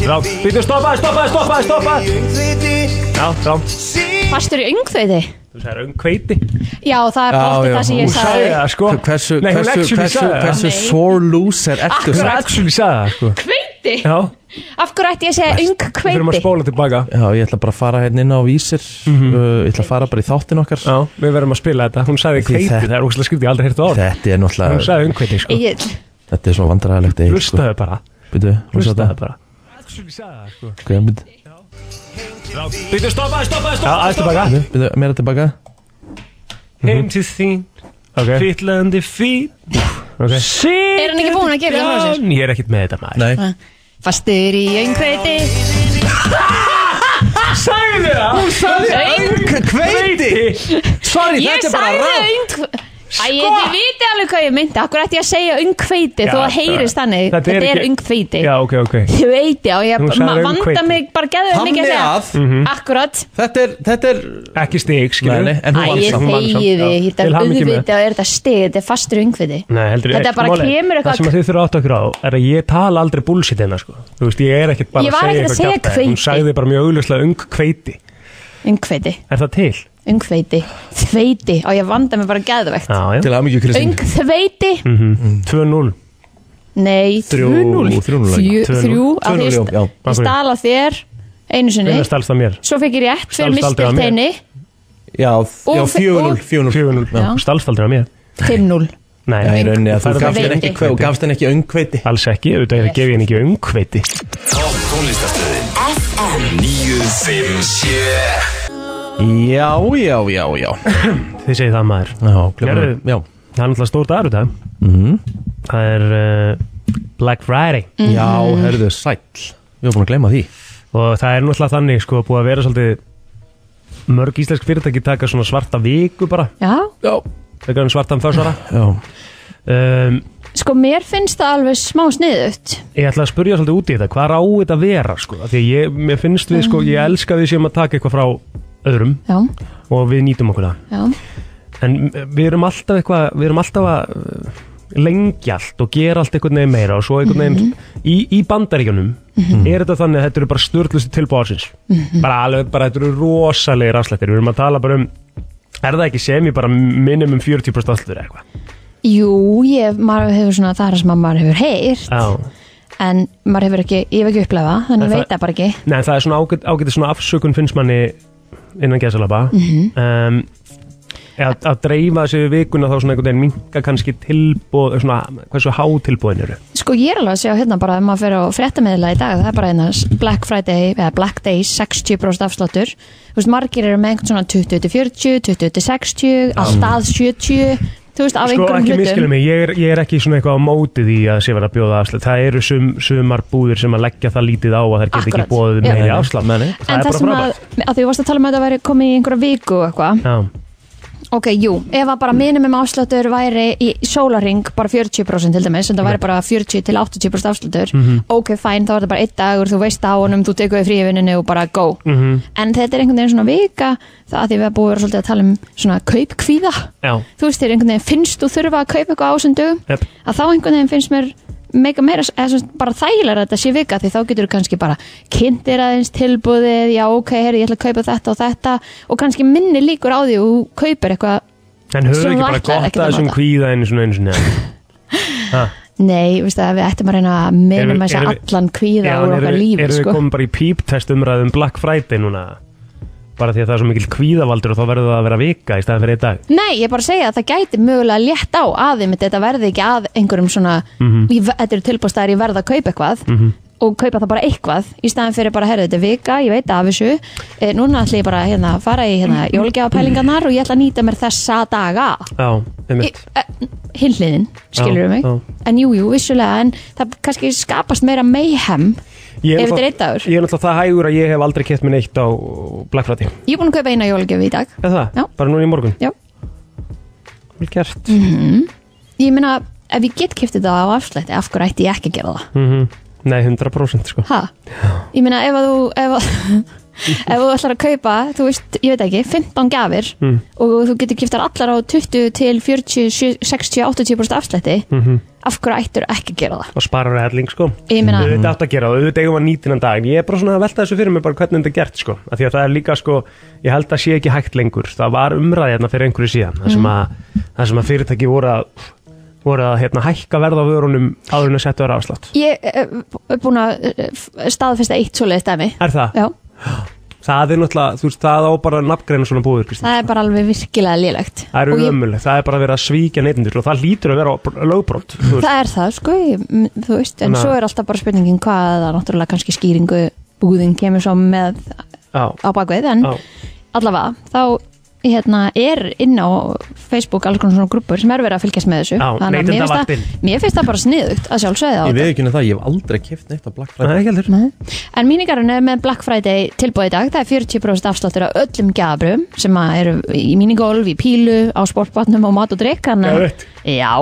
Speaker 3: Rátt, býttu stoppa, stoppa, stoppa, stoppa Já, rátt
Speaker 4: Fastur í öngveiti
Speaker 3: Þú um sagði raun kveiti
Speaker 4: Já, það er
Speaker 2: Já,
Speaker 4: ofta
Speaker 2: já,
Speaker 4: það sem ég
Speaker 2: hún
Speaker 4: sagði
Speaker 3: það sko
Speaker 2: hversu,
Speaker 3: Nei, hún
Speaker 2: hversu,
Speaker 3: actually
Speaker 2: hversu,
Speaker 3: sagði
Speaker 2: hversu
Speaker 4: það.
Speaker 2: sore loser ertu
Speaker 3: Hún
Speaker 2: Já,
Speaker 3: actually sagði það sko
Speaker 4: Kveiti?
Speaker 3: Já,
Speaker 4: Af hverju ætti ég að segja
Speaker 3: við þurfum að
Speaker 4: öngkveiti?
Speaker 3: spóla tilbaka Mhm.
Speaker 2: ég ætla bara að fara hérna inn á vísir uh, Ég ætla að fara bara í þáttin okkar
Speaker 3: Já, við verðum að spila þetta Hún sagði
Speaker 2: Því
Speaker 3: kveiti,
Speaker 2: þetta-
Speaker 3: það er óslega skrifti, ég hef aldrei hérta á það
Speaker 2: Þetta er
Speaker 3: Hún
Speaker 2: náttúrulega,
Speaker 3: sagði raun kveiti sko
Speaker 4: Egil,
Speaker 2: þetta er svo vandræðilegt Egill, sko.
Speaker 3: Hlustaðu bara,
Speaker 2: Býtu, hún sagði
Speaker 3: hlustaðu
Speaker 2: það
Speaker 3: bara Actually sagði það sko
Speaker 2: Ok, býtu,
Speaker 3: Býttu stoppa, stoppa, stoppa Já, aðeins tilbaka Mhm.
Speaker 2: býtu, meira tilbaka Mhm.
Speaker 3: Heim til þín okay. Fyllandi fín okay.
Speaker 4: er hann ekki búinn að gefa það frá sér?
Speaker 3: Ég er ekkert með þetta maður
Speaker 2: Nei,
Speaker 4: Fastur í öngkveiti
Speaker 3: Sagði það Hún sagði Kveiti
Speaker 2: sorry,
Speaker 4: Ég
Speaker 2: þetta er bara
Speaker 4: sagði
Speaker 2: rátt
Speaker 4: öngkveiti Æ, ég þið viti alveg hvað ég myndi Af hverju ætti ég að segja öngkveiti
Speaker 3: Sko- Já,
Speaker 4: Þó að heyrist þannig
Speaker 3: þetta er
Speaker 4: Þetta er
Speaker 3: ekki-
Speaker 4: öngkveiti
Speaker 3: Já, ok, ok
Speaker 4: Kveiti, og ég
Speaker 3: Hún sagði
Speaker 4: ma- vanda
Speaker 3: öngkveiti.
Speaker 4: mig bara gæðið mikið
Speaker 2: Þannig
Speaker 4: að
Speaker 2: að-
Speaker 3: Mhm.
Speaker 4: segja Akkurat
Speaker 2: Þetta er, þetta er
Speaker 3: Ekki stig, skilur
Speaker 2: Nei, nei, en
Speaker 4: Æ,
Speaker 2: hún vann
Speaker 4: ég
Speaker 2: samt.
Speaker 3: vann samt,
Speaker 4: þegi
Speaker 3: já.
Speaker 4: þið Þetta
Speaker 3: Til
Speaker 4: er
Speaker 3: hamingju með
Speaker 4: auðvitað, er þetta stið Þetta er fastur öngkveiti
Speaker 3: Nei, heldur,
Speaker 4: Þetta
Speaker 3: eitt
Speaker 4: bara
Speaker 3: mál er-
Speaker 4: kemur eitthvað-
Speaker 3: Það sem að þið þurfa að átta okkur á er að ég tala aldrei bullshit hérna sko. Þú veist, ég er ekkert bara
Speaker 4: Ég var ekkert að segja
Speaker 3: kjaftæði. Hún
Speaker 4: hveiti.
Speaker 3: sagði bara mjög augljóslega ung kveiti
Speaker 4: Öngkveiti,
Speaker 3: Er það til?
Speaker 4: öngkveiti, þveiti Og ég vanda mig bara gæðvegt
Speaker 3: Já, Mhm. já
Speaker 2: Til að mikið Kristín Mm.
Speaker 4: Öngþveiti
Speaker 3: 2-0
Speaker 4: Nei,
Speaker 2: Þrjú-
Speaker 4: 3-0
Speaker 2: þrjú-
Speaker 4: 3-0
Speaker 2: núll.
Speaker 3: Tvö- núll.
Speaker 2: Tvö- núll, já, já.
Speaker 4: Ég stala þér einu sinni
Speaker 3: Hvernig stælst það mér?
Speaker 4: Svo fekk ég rétt fyrir
Speaker 3: Stalst aldrei af mér.
Speaker 4: mistilteini
Speaker 2: Já, já,
Speaker 4: Og-
Speaker 2: 4-0, 4-0
Speaker 4: Já.
Speaker 3: 4-0 Stálst aldrei á mér
Speaker 4: 5-0
Speaker 3: Nei,
Speaker 2: Já, í rauninni að þú
Speaker 3: færðu-
Speaker 2: gafst henni ekki,
Speaker 4: Kveiti.
Speaker 2: kve- gafst henni ekki öngkveiti
Speaker 3: Alls ekki, auðvitað yes. gef ég henni ekki ung kveiti
Speaker 1: Topp tónlistastöðin FM 957
Speaker 2: Já, já, já, já
Speaker 3: Þið segið það maður
Speaker 2: Já, klukkan er-
Speaker 3: Gerðu-
Speaker 2: já, Mhm.
Speaker 3: Það er náttúrulega stór dagur í dag Það er uh, Black Friday
Speaker 2: já, herðu, sæll Við erum búin að gleyma því
Speaker 3: og það er náttúrulega þannig sko búið að vera svolítið mörg íslensk fyrirtæki taka svona svarta viku bara
Speaker 4: Já,
Speaker 2: Já,
Speaker 3: þegar hann svartan försvara
Speaker 2: já,
Speaker 3: um,
Speaker 4: sko mér finnst það alveg smá sniðut
Speaker 3: ég ætla að spurja svolítið út í þetta hvað á þetta að vera sko af því að ég, mér finnst við sko, ég elska að við séum að taka eitthvað frá öðrum
Speaker 4: Já,
Speaker 3: og við nýtum okkur það
Speaker 4: já,
Speaker 3: en eh, við erum alltaf eitthvað, við erum alltaf að eh, lengja allt og gera allt einhvern veginn meira og svo einhvern veginn í, í bandaríkjunum er þetta þannig að þetta eru bara störtlusti tilbúið ársins bara alveg, bara þetta eru rosalegir afslættir, við erum að tala bara um Er það ekki sem ég bara minnum um 40% allur eitthvað?
Speaker 4: Jú, ég, maður hefur svona það er það sem að maður hefur heyrt
Speaker 3: Já.
Speaker 4: en maður hefur ekki, ég hef ekki upplefa
Speaker 3: En
Speaker 4: þannig ég
Speaker 3: það-
Speaker 4: veit það bara ekki
Speaker 3: Nei, það er svona ágætt, ágætt svona afsökun finnst manni innan gæsalaba
Speaker 4: Mhm.
Speaker 3: um, að, að dreifa þessu yfir vikuna þá svona einhvern veginn minka kannski tilbóð, svona hversu há tilbóðin eru
Speaker 4: Sko ég er alveg að sjá hérna bara ef maður fer á fréttamiðla í dag það er bara hérna Black Friday eða Black Days 60% afsláttur þú veist margir eru með einhvern svona 20-40 20-60, allt að 70 þú veist af
Speaker 3: Mm. Sko
Speaker 4: einhverjum
Speaker 3: ekki
Speaker 4: hlutum
Speaker 3: miskilum mig, ég er, ég er ekki svona eitthvað á móti því að sé verið að bjóða afslátt Það eru sum, sumar búðir sem að leggja það lítið á að þær geta
Speaker 4: Akkúrat,
Speaker 3: ekki bóðið
Speaker 4: já.
Speaker 3: meiri afslátt Það er
Speaker 4: en það
Speaker 3: bara
Speaker 4: sem að,
Speaker 3: frábært
Speaker 4: að því þú varst að tala um að þetta væri komið í einhverja viku og eitthvað
Speaker 3: Já,
Speaker 4: ok, jú, ef að bara minimum afsláttur væri í sólaring bara 40% til dæmis, en það væri bara 40-80% afsláttur
Speaker 8: Mhm.
Speaker 4: ok, fæn, þá er þetta bara einn dagur, þú veist á honum þú tekur við frívinninni og bara go
Speaker 8: Mhm.
Speaker 4: en þetta er einhvern veginn svona vika það að því við erum búið að vera svolítið að tala um svona kaupkvíða
Speaker 3: já
Speaker 4: þú veist þér einhvern veginn finnst þú þurfa að kaupa eitthvað ásendugum
Speaker 3: Jep.
Speaker 4: að þá einhvern veginn finnst mér mega meira, eða sem sagt bara þægilega að þetta sé vika því þá getur þú kannski bara kynntir aðeins tilbúðið, já ok, herri, ég ætla að kaupa þetta og þetta og kannski minni líkur á því og þú kaupir eitthvað
Speaker 3: En höfum
Speaker 4: sem
Speaker 3: við
Speaker 4: þú
Speaker 3: ekki bara
Speaker 4: ætlaðir
Speaker 3: gott
Speaker 4: ekkert
Speaker 3: að þessum
Speaker 4: nota.
Speaker 3: kvíða einu svona einu svona Ha,
Speaker 4: Nei, veist það, við ættum að reyna að minna
Speaker 3: Erum-
Speaker 4: með þess
Speaker 3: erum
Speaker 4: að
Speaker 3: við-
Speaker 4: allan
Speaker 3: Já,
Speaker 4: kvíða úr
Speaker 3: en
Speaker 4: okkar
Speaker 3: við-
Speaker 4: lífi,
Speaker 3: erum við
Speaker 4: sko.
Speaker 3: komin bara í píptest umræðum Black Friday núna bara því að það er svo mikil kvíðavaldur og þá verður það að vera vika í staðan fyrir einn dag
Speaker 4: Nei, ég er bara að segja að það gæti mögulega létt á aðeim þetta verði ekki að einhverjum svona
Speaker 3: Mhm.
Speaker 4: í- þetta eru tilbústæðar ég verð að kaupa eitthvað
Speaker 3: Mhm.
Speaker 4: og kaupa það bara eitthvað í staðin fyrir bara, herru, þetta er vika, ég veit af þessu e, núna ætla ég bara hérna, að fara í hérna,
Speaker 3: Mm.
Speaker 4: jólgjafapælingarnar og ég ætla að nýta mér þessa daga
Speaker 3: Já, einmitt
Speaker 4: hinliðin, skilur við mig
Speaker 3: Já, já.
Speaker 4: en jú, jú, vissulega, en það kannski skapast meira mayhem
Speaker 3: Ég
Speaker 4: ef
Speaker 3: náttúrulega-
Speaker 4: þetta er eitt dagur
Speaker 3: Ég er náttúrulega það hægur að ég hef aldrei kett mér neitt á Black Friday
Speaker 4: Ég er búin að kaupa eina jólgjafi í dag
Speaker 3: Eða það?
Speaker 4: Já.
Speaker 3: Bara núna í morgun?
Speaker 4: Já.
Speaker 3: Vel gert
Speaker 4: Mhm. Ég meina, ef ég get kiftið það á afslætti af hverju ætti ég ekki að gera það?
Speaker 3: mm Nei, 100% sko
Speaker 4: Ha? Ég meina ef að þú ef, að- ef þú ætlar að kaupa þú veist, ég veit ekki, 15 gjafir
Speaker 3: mm.
Speaker 4: og þú getur kiptar allar á 20 til 40, 70, 60, 80% afslætti
Speaker 3: Mm
Speaker 4: af hverju ættur ekki að gera það?
Speaker 3: Og sparar að helling sko
Speaker 4: Ég meina-
Speaker 3: Þú veit átt að gera það, þú veit eigum að nýta hann dag Ég er bara svona að velta þessu fyrir mig bara hvernig þetta er gert sko Af Því að það er líka sko, ég held að sé ekki hægt lengur Það var umræði hérna fyrir einhverju síðan
Speaker 4: Mhm.
Speaker 3: Það sem að, það sem að fyrirtæki voru að voru að hérna, hækka verð á vörunum áður en að setja þær afslátt
Speaker 4: Ég eh, er búin að eh, f- staðfesta eitt svoleiðið stæmi
Speaker 3: Er það?
Speaker 4: Já,
Speaker 3: Það er náttúrulega, þú veist, það á bara nafngreina svona búður, Kristín
Speaker 4: það er bara alveg virkilega lélegt
Speaker 3: Það
Speaker 4: Og
Speaker 3: eru
Speaker 4: ég-
Speaker 3: ömulegt, það er bara að vera að svíkja neytendur og það lítur að vera lögbrótt
Speaker 4: Það er það, sko, ég, m- þú veist en
Speaker 3: Þannig að-
Speaker 4: svo er alltaf bara spurningin hvað það náttúrulega kannski skýringu búðin kemur svo með á bakvið en
Speaker 3: Já.
Speaker 4: allavega, þá hérna, er inn á Facebook alls konar svona grúpur sem er verið að fylgjast með þessu
Speaker 2: Já,
Speaker 4: að mér finnst, það,
Speaker 2: Neytendavaktin.
Speaker 4: mér finnst það bara sniðugt að sjálfsögða á
Speaker 2: Ég
Speaker 4: þetta
Speaker 2: veið ekki henni það, ég hef aldrei keft neitt á Black Friday
Speaker 3: Nei, ekki heldur
Speaker 4: en míningarinn er með Black Friday tilbúið í dag það er 40% afsláttur á öllum gjafrum sem að eru í míningolf, í pílu á sportbotnum og mat og drikk
Speaker 8: Geðveikt.
Speaker 4: já,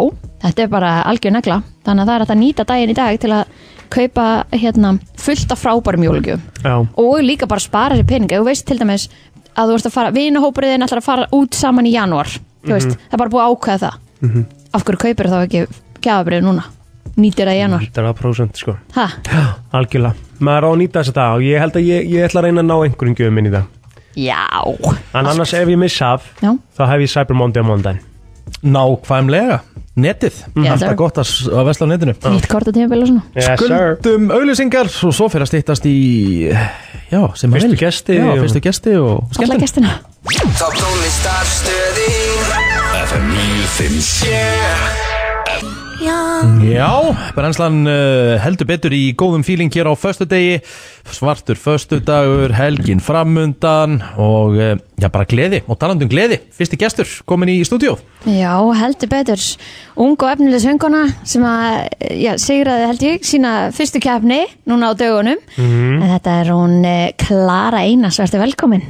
Speaker 4: þetta er bara algjör negla þannig að það er hægt að nýta daginn í dag til að kaupa hérna, fullt af frábærum jólugjöfum
Speaker 3: Já,
Speaker 4: og líka bara spara sér pening ef þú veist til dæmis að þú ert að fara vinahóparið þinn ætlar að fara út saman í janúar þú veist,
Speaker 3: Mhm.
Speaker 4: það er bara búið að ákveða það
Speaker 3: Mhm.
Speaker 4: af hverju kaupir þá ekki gjafabrið núna nýtir það í janúar
Speaker 3: 100% sko,
Speaker 4: ha,
Speaker 3: algjörlega Maður á að nýta þess að dag og ég held að ég, ég ætla að reyna að ná einhverjum gjöfum inn í það
Speaker 4: já
Speaker 3: En annars ef ég missa af,
Speaker 4: Já.
Speaker 3: þá hef ég Cyber Monday á Mm. mondan
Speaker 2: Nákvæmlega, netið
Speaker 4: Yes,
Speaker 2: Mhm. Alltaf
Speaker 4: sir.
Speaker 2: gott að, s- að vesla á netinu
Speaker 4: nýtt korta tímabil og svona
Speaker 2: Skuldum auðlýsingar og svo fyrir að stýttast í Já, sem að
Speaker 3: Fyrstu
Speaker 2: vil.
Speaker 3: gesti
Speaker 2: Já,
Speaker 3: og-
Speaker 2: fyrstu gesti og
Speaker 4: alla
Speaker 2: skemmtum
Speaker 4: gestina
Speaker 1: Þá tónlist af stöðin FM 957
Speaker 2: Já, brennslan uh, heldur betur í góðum fíling hér á föstudegi Svartur föstudagur, helgin framundan og uh, já, bara gleði og talandum gleði Fyrsti gestur komin í stúdíó
Speaker 4: já, heldur betur ung og efnileg söngona sem að, já, sigraði held ég sína fyrstu keppni núna á dögunum
Speaker 3: Mhm.
Speaker 4: en þetta er hún eh, Klara Einars, verður velkomin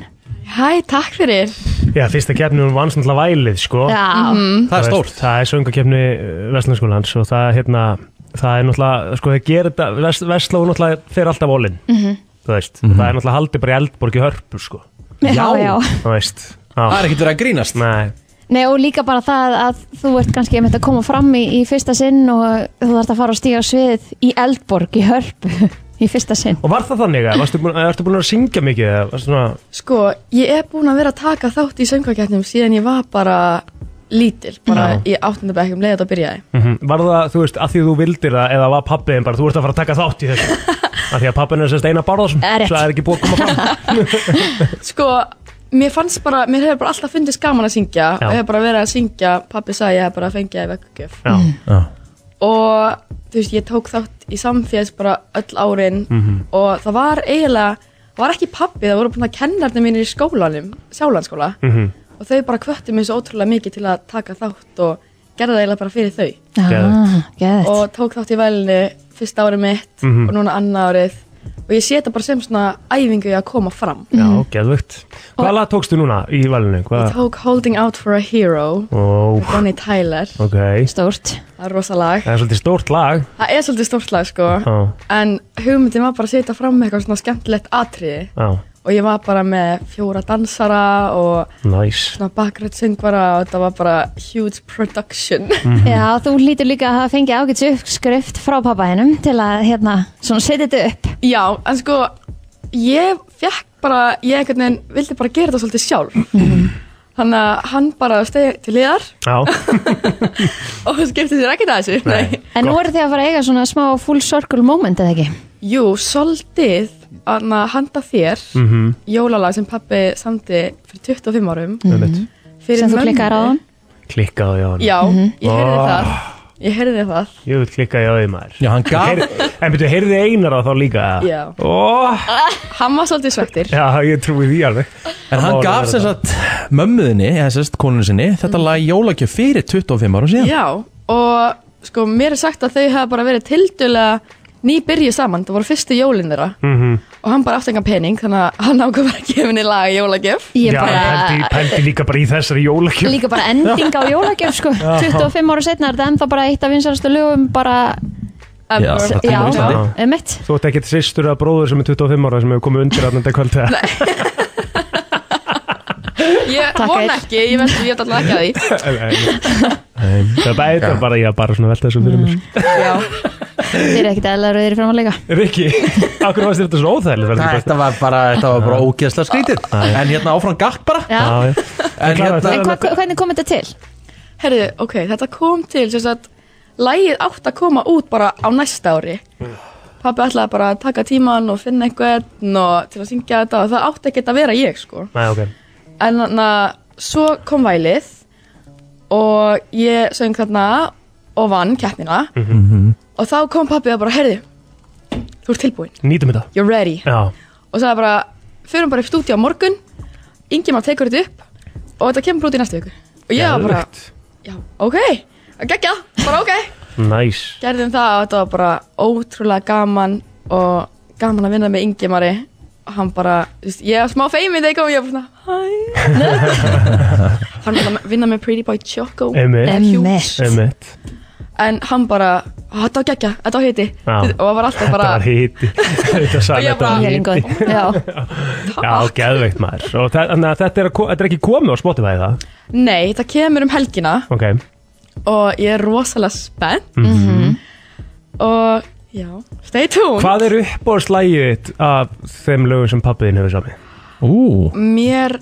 Speaker 4: Hæ, takk fyrir
Speaker 3: Já, fyrsta keppni hún vann svona vælið sko
Speaker 4: Já. Mhm.
Speaker 2: Það er
Speaker 3: Þú
Speaker 2: stórt.
Speaker 3: veist, Það er söngakeppni Vestlandskólans og það, hérna, það er náttúrulega, sko, það gerir þetta Vestló náttúrulega fer alltaf volinn
Speaker 4: Mhm.
Speaker 3: Þú veist, það er náttúrulega haldið bara í eldborg í hörpu sko
Speaker 4: Já, Já. já.
Speaker 3: Þú veist Það
Speaker 2: er ekkert verið að grínast
Speaker 3: Nei,
Speaker 4: Nei og líka bara það að þú ert kannski einmitt að koma fram í, í fyrsta sinn og þú þarft að fara að stíga á svið í Eldborg í Hörpu í fyrsta sinn
Speaker 3: Og var það þannig að, varstu búin, ertu búin að syngja mikið eða varstu svona,
Speaker 12: Sko, ég er búin að vera að taka þátt í söngvakeppnum síðan ég var bara lítil, bara
Speaker 3: Já.
Speaker 12: í áttundabæk um leið að þetta byrjaði.
Speaker 3: mm var það, þú veist, að því þú vildir það eða var pappiðin bara, þú ert að fara að taka þátt í þessu að því að pappiðin er sérst eina barðarsum
Speaker 12: Það er rétt.
Speaker 3: svo það er ekki búið að koma fram
Speaker 12: Sko, mér fannst bara, mér hefur bara alltaf fundist gaman að syngja
Speaker 3: Já.
Speaker 12: og hefur bara verið að syngja, pappi sagði ég hef bara fengið það í vekkugjöf.
Speaker 3: Já, já,
Speaker 12: Og þú veist, ég tók þátt í samfélags bara öll árin
Speaker 3: Mhm.
Speaker 12: og það var eiginlega, það var ekki pappi, það voru bara kennarnir mínir í skólanum, sjálanskóla
Speaker 3: mhm
Speaker 12: og þau bara kvöttu mig svo ótrúlega mikið til að taka þátt og gerði það eiginlega bara fyrir þau.
Speaker 4: Geðvegt.
Speaker 12: og tók þátt í velinu fyrsta árið mitt
Speaker 3: Mhm.
Speaker 12: og núna annað árið og ég sé þetta bara sem svona æfingu í að koma fram
Speaker 3: Já, geðvögt Hvaða lag tókstu núna í valinu?
Speaker 12: ég
Speaker 3: Hvað?
Speaker 12: tók Holding Out for a Hero
Speaker 3: Ó,
Speaker 12: með Bonnie Tyler,
Speaker 3: ok
Speaker 4: Stórt
Speaker 12: það er rosa lag
Speaker 3: Það er svolítið stórt lag
Speaker 12: það er svolítið stórt lag sko
Speaker 3: Já,
Speaker 12: en hugmyndin var bara að setja fram með eitthvað svona skemmtilegt atriði
Speaker 3: já,
Speaker 12: og ég var bara með fjóra dansara og
Speaker 3: næs
Speaker 12: svona bakrætt söngvara og þetta var bara huge production
Speaker 4: Já, þú lítur líka að hafa fengið ágæts uppskrift frá pappa hennum til að hérna, svona setja þetta upp
Speaker 12: Já, en sko ég fekk bara, ég einhvern veginn vildi bara gera þetta svolítið sjálf
Speaker 3: Mhm.
Speaker 12: þannig að hann bara stegi til liðar
Speaker 3: Já,
Speaker 12: og skipti sér ekkert að þessu Nei.
Speaker 4: En nú eru þið að fara að eiga svona smá full circle moment eða ekki?
Speaker 12: Jú, svolítið að handa þér
Speaker 3: mhm
Speaker 12: jólalag sem pappi samti fyrir 25 árum
Speaker 3: Einmitt.
Speaker 12: fyrir
Speaker 4: Mhm. Sem þú
Speaker 12: mömmu.
Speaker 4: klikkar á Mhm. hann?
Speaker 3: Klikkaði á hann
Speaker 12: Já, ég heyrði
Speaker 3: Ah.
Speaker 12: það Ég heyrði það
Speaker 3: Ég vil klikkaði á því maður
Speaker 2: Já, hann gaf
Speaker 3: Heyr, En betur, heyrði Einar á þá líka? eða?
Speaker 12: Já,
Speaker 3: Ó,
Speaker 12: hann var svolítið svektir
Speaker 3: já, ég trúi því alveg
Speaker 2: En hann gaf sem sagt mömmuðinni, eða sem sagt konunni sinni,
Speaker 4: Mm.
Speaker 2: þetta lag jólagjöf fyrir 25 árum síðan.
Speaker 12: Já, og sko mér er sagt að þau hafa bara verið tildulega nýbyrju saman, það voru fyrstu jólin þeirra
Speaker 3: Mhm.
Speaker 12: og hann bara átti engan pening þannig að hann ákvað bara að gefa henni lag í jólagjöf
Speaker 4: Ég
Speaker 3: Já,
Speaker 4: bara,
Speaker 3: pældi, pældi líka bara í þessari jólakjöf
Speaker 4: líka bara ending á jólagjöf sko 25 ára setna er þetta ennþá bara eitt af vinsarastu lögum bara,
Speaker 2: Já, það
Speaker 4: já,
Speaker 2: tíma á Íslandi.
Speaker 4: um mitt
Speaker 3: Þú ert ekkert sýstur að bróður sem er 25 ára sem hefur komið undir aðnanda kvöld eða?
Speaker 12: Ég
Speaker 4: Takk,
Speaker 12: vona
Speaker 4: Eir.
Speaker 12: ekki, ég veist ég veit alltaf ekki að því
Speaker 3: Nei, nei. Það bæta bara ég bara svona velta þessu fyrir mér
Speaker 12: Já,
Speaker 4: Þið eru ekkert eðla rauðir fram að leika
Speaker 3: Rikki, akkur varst þér þetta svona óþægilegt verður ekki
Speaker 2: Þetta var bara, þetta var bara ógeðslega skrítið. En hérna áfram gakk bara.
Speaker 4: Já,
Speaker 3: bara- Já, já.
Speaker 2: En hérna,
Speaker 4: en hva, hva- hvernig kom þetta til?
Speaker 12: herðu, ok, þetta kom til sem sagt, lagið átt að koma út bara á næsta ári Pabbi ætlaði bara að taka tíman og finna einhvern og til að syngja þetta og það átti ekkert að vera ég sko
Speaker 3: Nei, ok
Speaker 12: En þannig að svo kom vælið og ég söng þarna og vann keppnina
Speaker 2: Mhm.
Speaker 12: og þá kom pappi og bara, heyrðu, þú ert tilbúin,
Speaker 3: Nýtum þetta
Speaker 12: you're ready.
Speaker 3: Já,
Speaker 12: Og sagði bara, förum bara upp stúdíu á morgun, Ingimar tekur þetta upp og þetta kemur bara út í næstu viku. Og ég var bara,
Speaker 3: Geðveikt.
Speaker 12: já, ok, geggja, bara ok.
Speaker 3: Næs
Speaker 12: Gerðum það og þetta var bara ótrúlega gaman og gaman að vinna með Ingimari og hann bara, þú veist, ég var smá feimið þegar ég kom, ég var bara svona, hann var að vinna með Pretty Boy Choco
Speaker 3: Einmitt.
Speaker 12: Hughes.
Speaker 3: Einmitt
Speaker 12: en hann bara, þetta var geggja, þetta var hiti
Speaker 3: Já.
Speaker 12: og hann var alltaf
Speaker 3: Þetta
Speaker 12: bara
Speaker 3: var hiti Þetta
Speaker 12: Og
Speaker 3: sagði
Speaker 12: ég
Speaker 3: þetta
Speaker 12: bara-
Speaker 3: var
Speaker 4: Ég er
Speaker 3: hiti
Speaker 4: lengur, já
Speaker 3: Já, geðveikt maður Og þe- þannig að þetta er, að ko- þetta er ekki komið á Spotify það
Speaker 12: nei, það kemur um helgina
Speaker 3: Ok,
Speaker 12: og ég er rosalega spennt og já, stay
Speaker 3: Mhm.
Speaker 12: tuned
Speaker 3: hvað er uppbóðslægið þitt af þeim lögum sem pappiðin hefur sami?
Speaker 2: ú,
Speaker 12: mér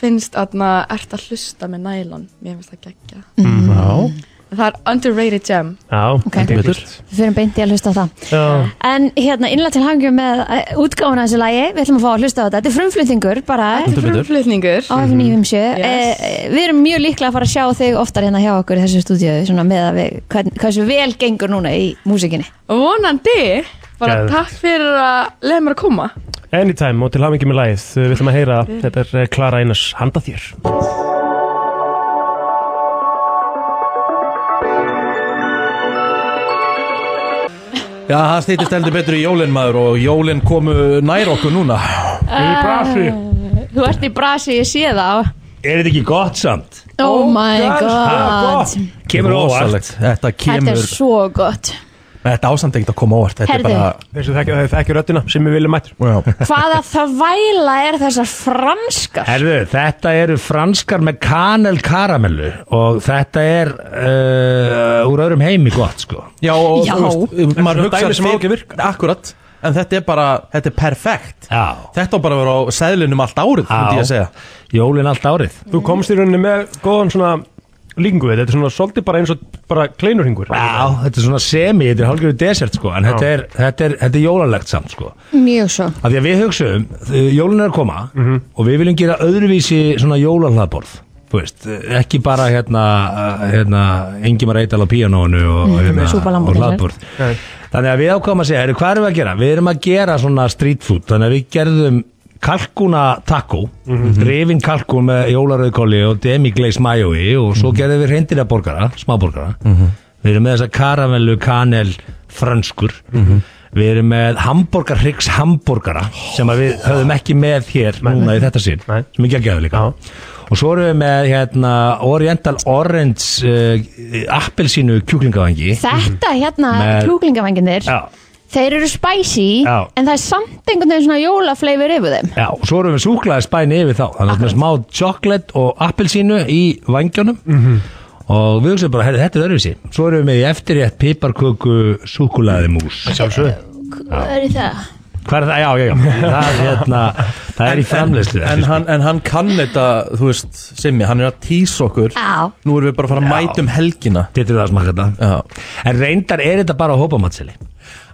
Speaker 12: finnst aðna ert að hlusta með nælon mér finnst það geggja
Speaker 2: já,
Speaker 12: það er underrated gem
Speaker 3: Já, þetta er
Speaker 2: betur.
Speaker 3: fínt.
Speaker 4: Við fyrir beint í að hlusta á það
Speaker 3: Já,
Speaker 4: En hérna, innlega til hangjum með eh, útgáfuna af þessu lagi Við ætlum að fá að hlusta á þetta Þetta er frumflutningur bara
Speaker 12: þetta er
Speaker 2: betur.
Speaker 12: frumflutningur
Speaker 4: á F957 yes.
Speaker 12: Yes.
Speaker 4: Eh, Við erum mjög líklega að fara að sjá þig oftar hérna hjá okkur í þessu stúdíu svona með að við, hvern, hversu vel gengur núna í músikinni
Speaker 12: og vonandi, bara
Speaker 3: Geðveikt.
Speaker 12: takk fyrir að leið mér að koma
Speaker 3: anytime og til hafa mikið með lagið Við ætlum að heyra, það. þetta er eh, Klara Einars Handa þér
Speaker 2: já, það stýttist heldur betur í jólinn maður og jólinn komu nær okkur núna.
Speaker 3: Í brasi
Speaker 4: Eh, Þú ert í brasi, ég sé það
Speaker 13: Er þetta ekki gott samt?
Speaker 4: Oh my god
Speaker 13: Kemur óvart
Speaker 2: Rosalegt. Þetta
Speaker 4: Þetta
Speaker 2: kemur,
Speaker 4: er svo gott
Speaker 2: þetta ásamt ekkert að koma óvart. Þetta er
Speaker 4: Herðu.
Speaker 2: bara,
Speaker 3: Þessu þekkja þekki röddina sem við viljum mættur
Speaker 2: já,
Speaker 4: Hvaða þvæla er þessar franskar?
Speaker 13: Herðu, þetta eru franskar með kanel karamellu og þetta er uh, úr öðrum heimi gott sko
Speaker 2: já, og
Speaker 4: Já.
Speaker 2: þú veist, maður
Speaker 3: Þetta er dæmi sem á
Speaker 2: hugsar
Speaker 3: ekki virka.
Speaker 2: akkurat. en þetta er bara, þetta er perfekt
Speaker 13: Já.
Speaker 2: Þetta á bara að vera á seðlinum allt árið myndi ég að segja.
Speaker 13: Jólin allt árið
Speaker 3: Þú komst í rauninni með góðan svona líkingu við, þetta þetta er svona svolítið bara eins og bara kleinurhingur
Speaker 13: Já, þetta er svona semi, þetta er hálfgerðu desert sko, en þetta er, þetta, er, þetta er jólalegt samt sko.
Speaker 4: Mjög svo
Speaker 13: Af því að við hugsaum, þau- jólin er að koma og við viljum gera öðruvísi svona jólahlaðborð Þú veist, ekki bara hérna, hérna Engimar Eital á píanónu og,
Speaker 4: Mm,
Speaker 13: hérna,
Speaker 4: súpalambið
Speaker 13: og hlaðborð Þannig að við ákvæmum að segja, heyrðu, hvað erum við að gera? Við erum að gera svona street food Þannig að við gerðum kalkuna taco Drifin kalkun með jólarauðkóli og demiglaze mayo í Og svo gerðum við reyndirja borgara, smáborgara
Speaker 14: Mhm.
Speaker 13: Við erum með þessa karamellu kanel franskur Við erum með hamburger hryggs hamburgara sem að við höfum ekki með hér núna í þetta sín sem ekki að gefa líka og svo erum við með hérna, Oriental Orange uh, appelsínu kjúklingavangi
Speaker 4: Þetta hérna,
Speaker 13: Með-
Speaker 4: kjúklingavanginir
Speaker 13: Já.
Speaker 4: Þeir eru spicy
Speaker 13: Já.
Speaker 4: En það er samt einhvern veginn svona jólafleifur yfir þeim
Speaker 13: Já, og svo erum við súklaði spæni yfir þá þannig að við erum smá chocolate og appelsínu í vangjónum og við hugsaum bara, herri, þetta er öðruvísi svo erum við með í eftirrétt piparköku súkulaði mús Sjálfsög
Speaker 4: Hvað er í það?
Speaker 13: Hvað er það? Já, já, já Það er, hérna, það er í framleiðslu
Speaker 2: en, en, hann, en hann kann þetta, þú veist, Simmi, hann er að tísa okkur
Speaker 4: Já.
Speaker 2: Nú erum við bara að fara að mæta um helgina
Speaker 13: Þetta er það að smaka þetta
Speaker 2: Já.
Speaker 13: En reyndar er þetta bara hópamatseli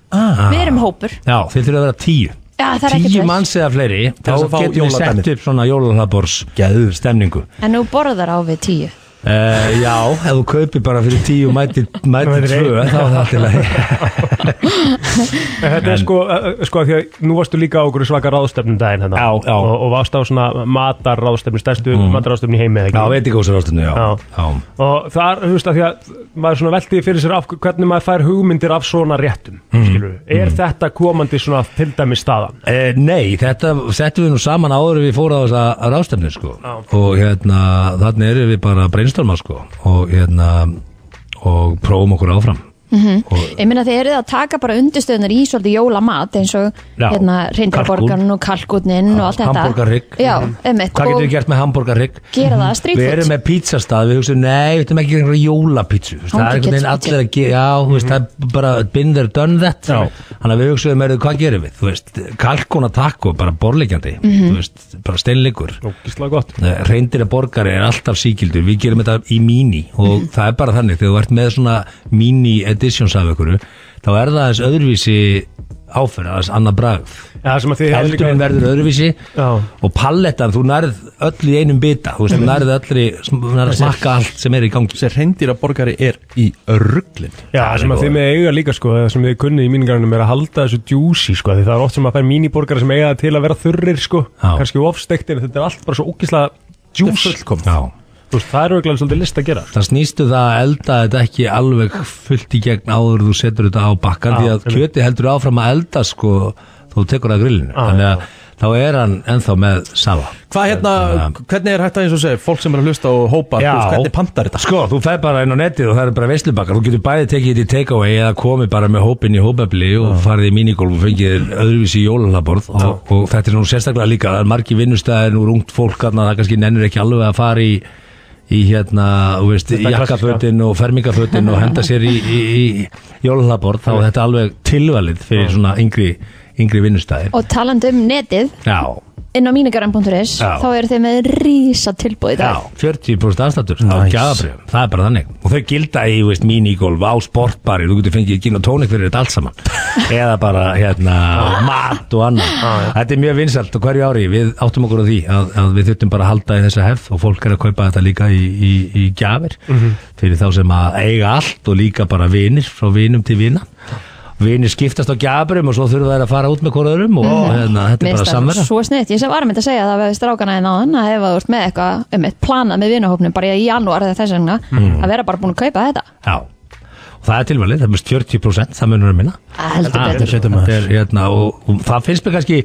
Speaker 13: Ah.
Speaker 4: Við erum hópur
Speaker 13: Já, þið þurfum að vera tíu
Speaker 4: Já, það er ekkert
Speaker 13: Tíu
Speaker 4: vel.
Speaker 13: manns eða fleiri Þá
Speaker 2: þess að fá
Speaker 13: getum við sett
Speaker 2: jóladæmið.
Speaker 13: upp svona jólalabors stemningu
Speaker 4: En nú borðar á við tíu
Speaker 13: Uh, já, ef þú kaupir bara fyrir tíu og mætir, mætir
Speaker 3: Mætir
Speaker 13: tvö,
Speaker 3: einn.
Speaker 13: þá er það allt í lagi
Speaker 3: En Þetta er sko, eh, eh, sko af því að nú varstu líka á okkur svaka ráðstefnum daginn hérna já, já. Og, og varst á svona matarráðstefnu, stærstu mm. matarráðstefnu í heimi eða ekki?
Speaker 13: Mhm. Já, veitingahúsráðstefnu, já. Já.
Speaker 3: Og þar, þú veist, af því að maður svona veldi fyrir sér af hvernig maður fær hugmyndir af svona réttum, mm. skilur
Speaker 13: Mhm.
Speaker 3: Er þetta komandi svona til dæmis staðan?
Speaker 13: Eh, nei, þetta settum við nú saman áður en við fórum á þessa ráðstefnu sko. og hérna, þannig erum við bara að brainstorma sko. og hérna og prófum okkur áfram
Speaker 4: Mhm. Ég meina þið eruð að taka bara undirstöðunar í svolítið jólamat eins og
Speaker 13: Já.
Speaker 4: hérna reyndarborgarn og kalkutnin og allt þetta
Speaker 13: Hamborgarhrygg. Mm.
Speaker 4: Já, emmitt
Speaker 13: Hvað getum við gert með hambúrgarrygg?
Speaker 4: Gera það street
Speaker 13: Við
Speaker 4: food.
Speaker 13: erum með pizzastað, við hugsaum, nei, við ætlum ekki að gera jólapítsu Þú veist,
Speaker 4: Hún
Speaker 13: Það er
Speaker 4: getur Mhm.
Speaker 13: einhvern veginn
Speaker 4: ekki
Speaker 13: allir að gera, já, þú veist, það er bara been there, done that Þannig að við hugsaum, erðu, hvað gerum við? Þú veist, kalkuna taco, bara borleikjandi
Speaker 3: Mhm.
Speaker 13: Þú veist, bara steinleikur Eh,
Speaker 3: Gísla gott
Speaker 13: reyndir að borgari er alltaf síkildur við gerum þetta í mini
Speaker 4: Mhm.
Speaker 13: og það er bara þannig þegar þú ert með svona mini editions af ykkur þá er það aðeins öðruvísi áferð aðeins annað bragð
Speaker 3: Já, sem að þið hafið
Speaker 13: Eldurinn
Speaker 3: líka-
Speaker 13: verður öðruvísi
Speaker 3: Já.
Speaker 13: og pallettan, þú nærð öll í einum bita þú veist, þú nærð öll í, þú nærð að smakka allt sem er í gangi
Speaker 2: Þessi reyndir að borgari er í rugglin
Speaker 3: Já, sem að þið með eiga líka sko, eða sem þið kunni í míningarunum er að halda þessu djúsi sko, því það er oft sem að fær míniborgara sem eiga það til að vera þurrir sko,
Speaker 13: Já.
Speaker 3: kannski ofstektir, þetta er allt bara svo ógislega djús.
Speaker 2: fullkom.
Speaker 13: Já.
Speaker 3: Þú veist, það er auðvitað svolítið list að gera.
Speaker 13: það snýstu það að elda þetta ekki alveg fullt í gegn áður þú setur þetta á bakkan
Speaker 3: Já,
Speaker 13: því að
Speaker 3: einmitt.
Speaker 13: kjöti heldur áfram að elda sko þú tekur það á grillinu þannig að þá er hann ennþá með safa
Speaker 2: Hvað hérna, hvernig er hægt að eins og segja Fólk sem er að hlusta og hópa, þú veist, hvernig pantar þetta?
Speaker 13: Sko, þú fer bara inn á netið og það er bara veislubakkar Þú getur bæði tekið þetta í takeaway eða komið bara með hópinn í hópefli og farið í minigolf og fengið þér öðruvísi jólalaborð og, og þetta er nú sérstaklega líka það er margi vinnustæðir nú ungt fólk þarna, það kannski nennir ekki alveg að fara í í hérna, þú veist,
Speaker 3: Þetta
Speaker 2: sko.
Speaker 13: jakkafötin og fermingafötin og henda sér í, í, í jólalaborð þá er þetta alveg tilvalið fyrir svona yngri, yngri vinnustæðir
Speaker 4: Og talandi um netið
Speaker 13: Já,
Speaker 4: inn á mínugarann.is
Speaker 13: Já.
Speaker 4: þá eru þeir með rísa tilbúið í dag
Speaker 13: 40% afslættur á gjafabrjöfum, það er bara þannig og þau gilda í, þú veist, minigolf á sportbari þú getur fengið gin og tónik fyrir þetta allt saman eða bara, hérna, mat og annað, þetta er mjög vinsalt og hverju ári, við áttum okkur á því að, að við þurftum bara að halda í þessa hefð og fólk er að kaupa þetta líka í, í, í gjafir
Speaker 3: Mhm.
Speaker 13: fyrir þá sem að eiga allt og líka bara vinir, frá vinum til vina vinir skiptast á gjafabrjöfum og svo þurfa þær að fara út með korðurum og
Speaker 4: Mhm.
Speaker 13: hérna, þetta er bara samverða
Speaker 4: Mm. Svo snitt, ég sem var með að segja það við strákana en áðan að ef þú ert með eitthvað um eitt planað með vinahópnum bara í janúar eða þess vegna
Speaker 13: Mm.
Speaker 4: að vera bara búin að kaupa þetta
Speaker 13: Já, og það er tilvalið, það er mest 40% það munur að minna Ah,
Speaker 4: Að Ah, heldur betur.
Speaker 13: þetta er, hérna, og, og það finnst mér kannski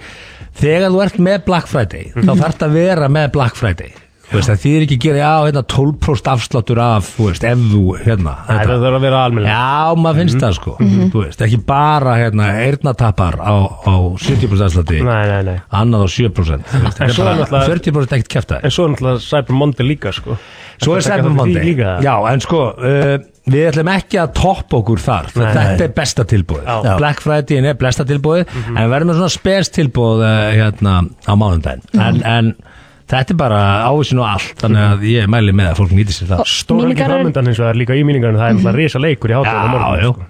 Speaker 13: þegar þú ert með Black Friday þá þarf það að vera með Black Friday Þú veist, það þýðir ekki að gera, Mhm. já, hérna 12% afsláttur af, þú veist, ef þú, hérna
Speaker 3: það
Speaker 13: þarf að vera almenna Já, maður finnst það, sko, þú veist, ekki bara, hérna, eyrnatappar á, á 70% afslátti Nei, nei, nei Annað á 7%, þú veist,
Speaker 3: En
Speaker 13: þetta
Speaker 3: svo er
Speaker 13: er bara
Speaker 3: náttúrulega
Speaker 13: 40% ekkert kæfta
Speaker 3: En svo er náttúrulega Cyber Monday líka sko
Speaker 13: Svo
Speaker 3: Ertu
Speaker 13: er
Speaker 3: að taka þátt í
Speaker 13: Cyber
Speaker 3: því
Speaker 13: Monday
Speaker 3: líka?
Speaker 13: Já, en sko, uh, við ætlum ekki að toppa okkur þar
Speaker 3: Nei.
Speaker 13: Þetta er besta tilbúið
Speaker 3: Já. Mhm.
Speaker 13: Black Friday er besta tilbúið En við verðum með svona spes tilbúið uh, hérna á mánundaginn
Speaker 3: Mhm.
Speaker 13: en, en þetta er bara ávísin og allt Þannig að ég mæli með að fólk nýti sér það
Speaker 3: Stóra ekki framöndan eins og það er líka í míningarinn Það er náttúrulega risa leikur í hátíðan á morgun sko.
Speaker 13: Já, já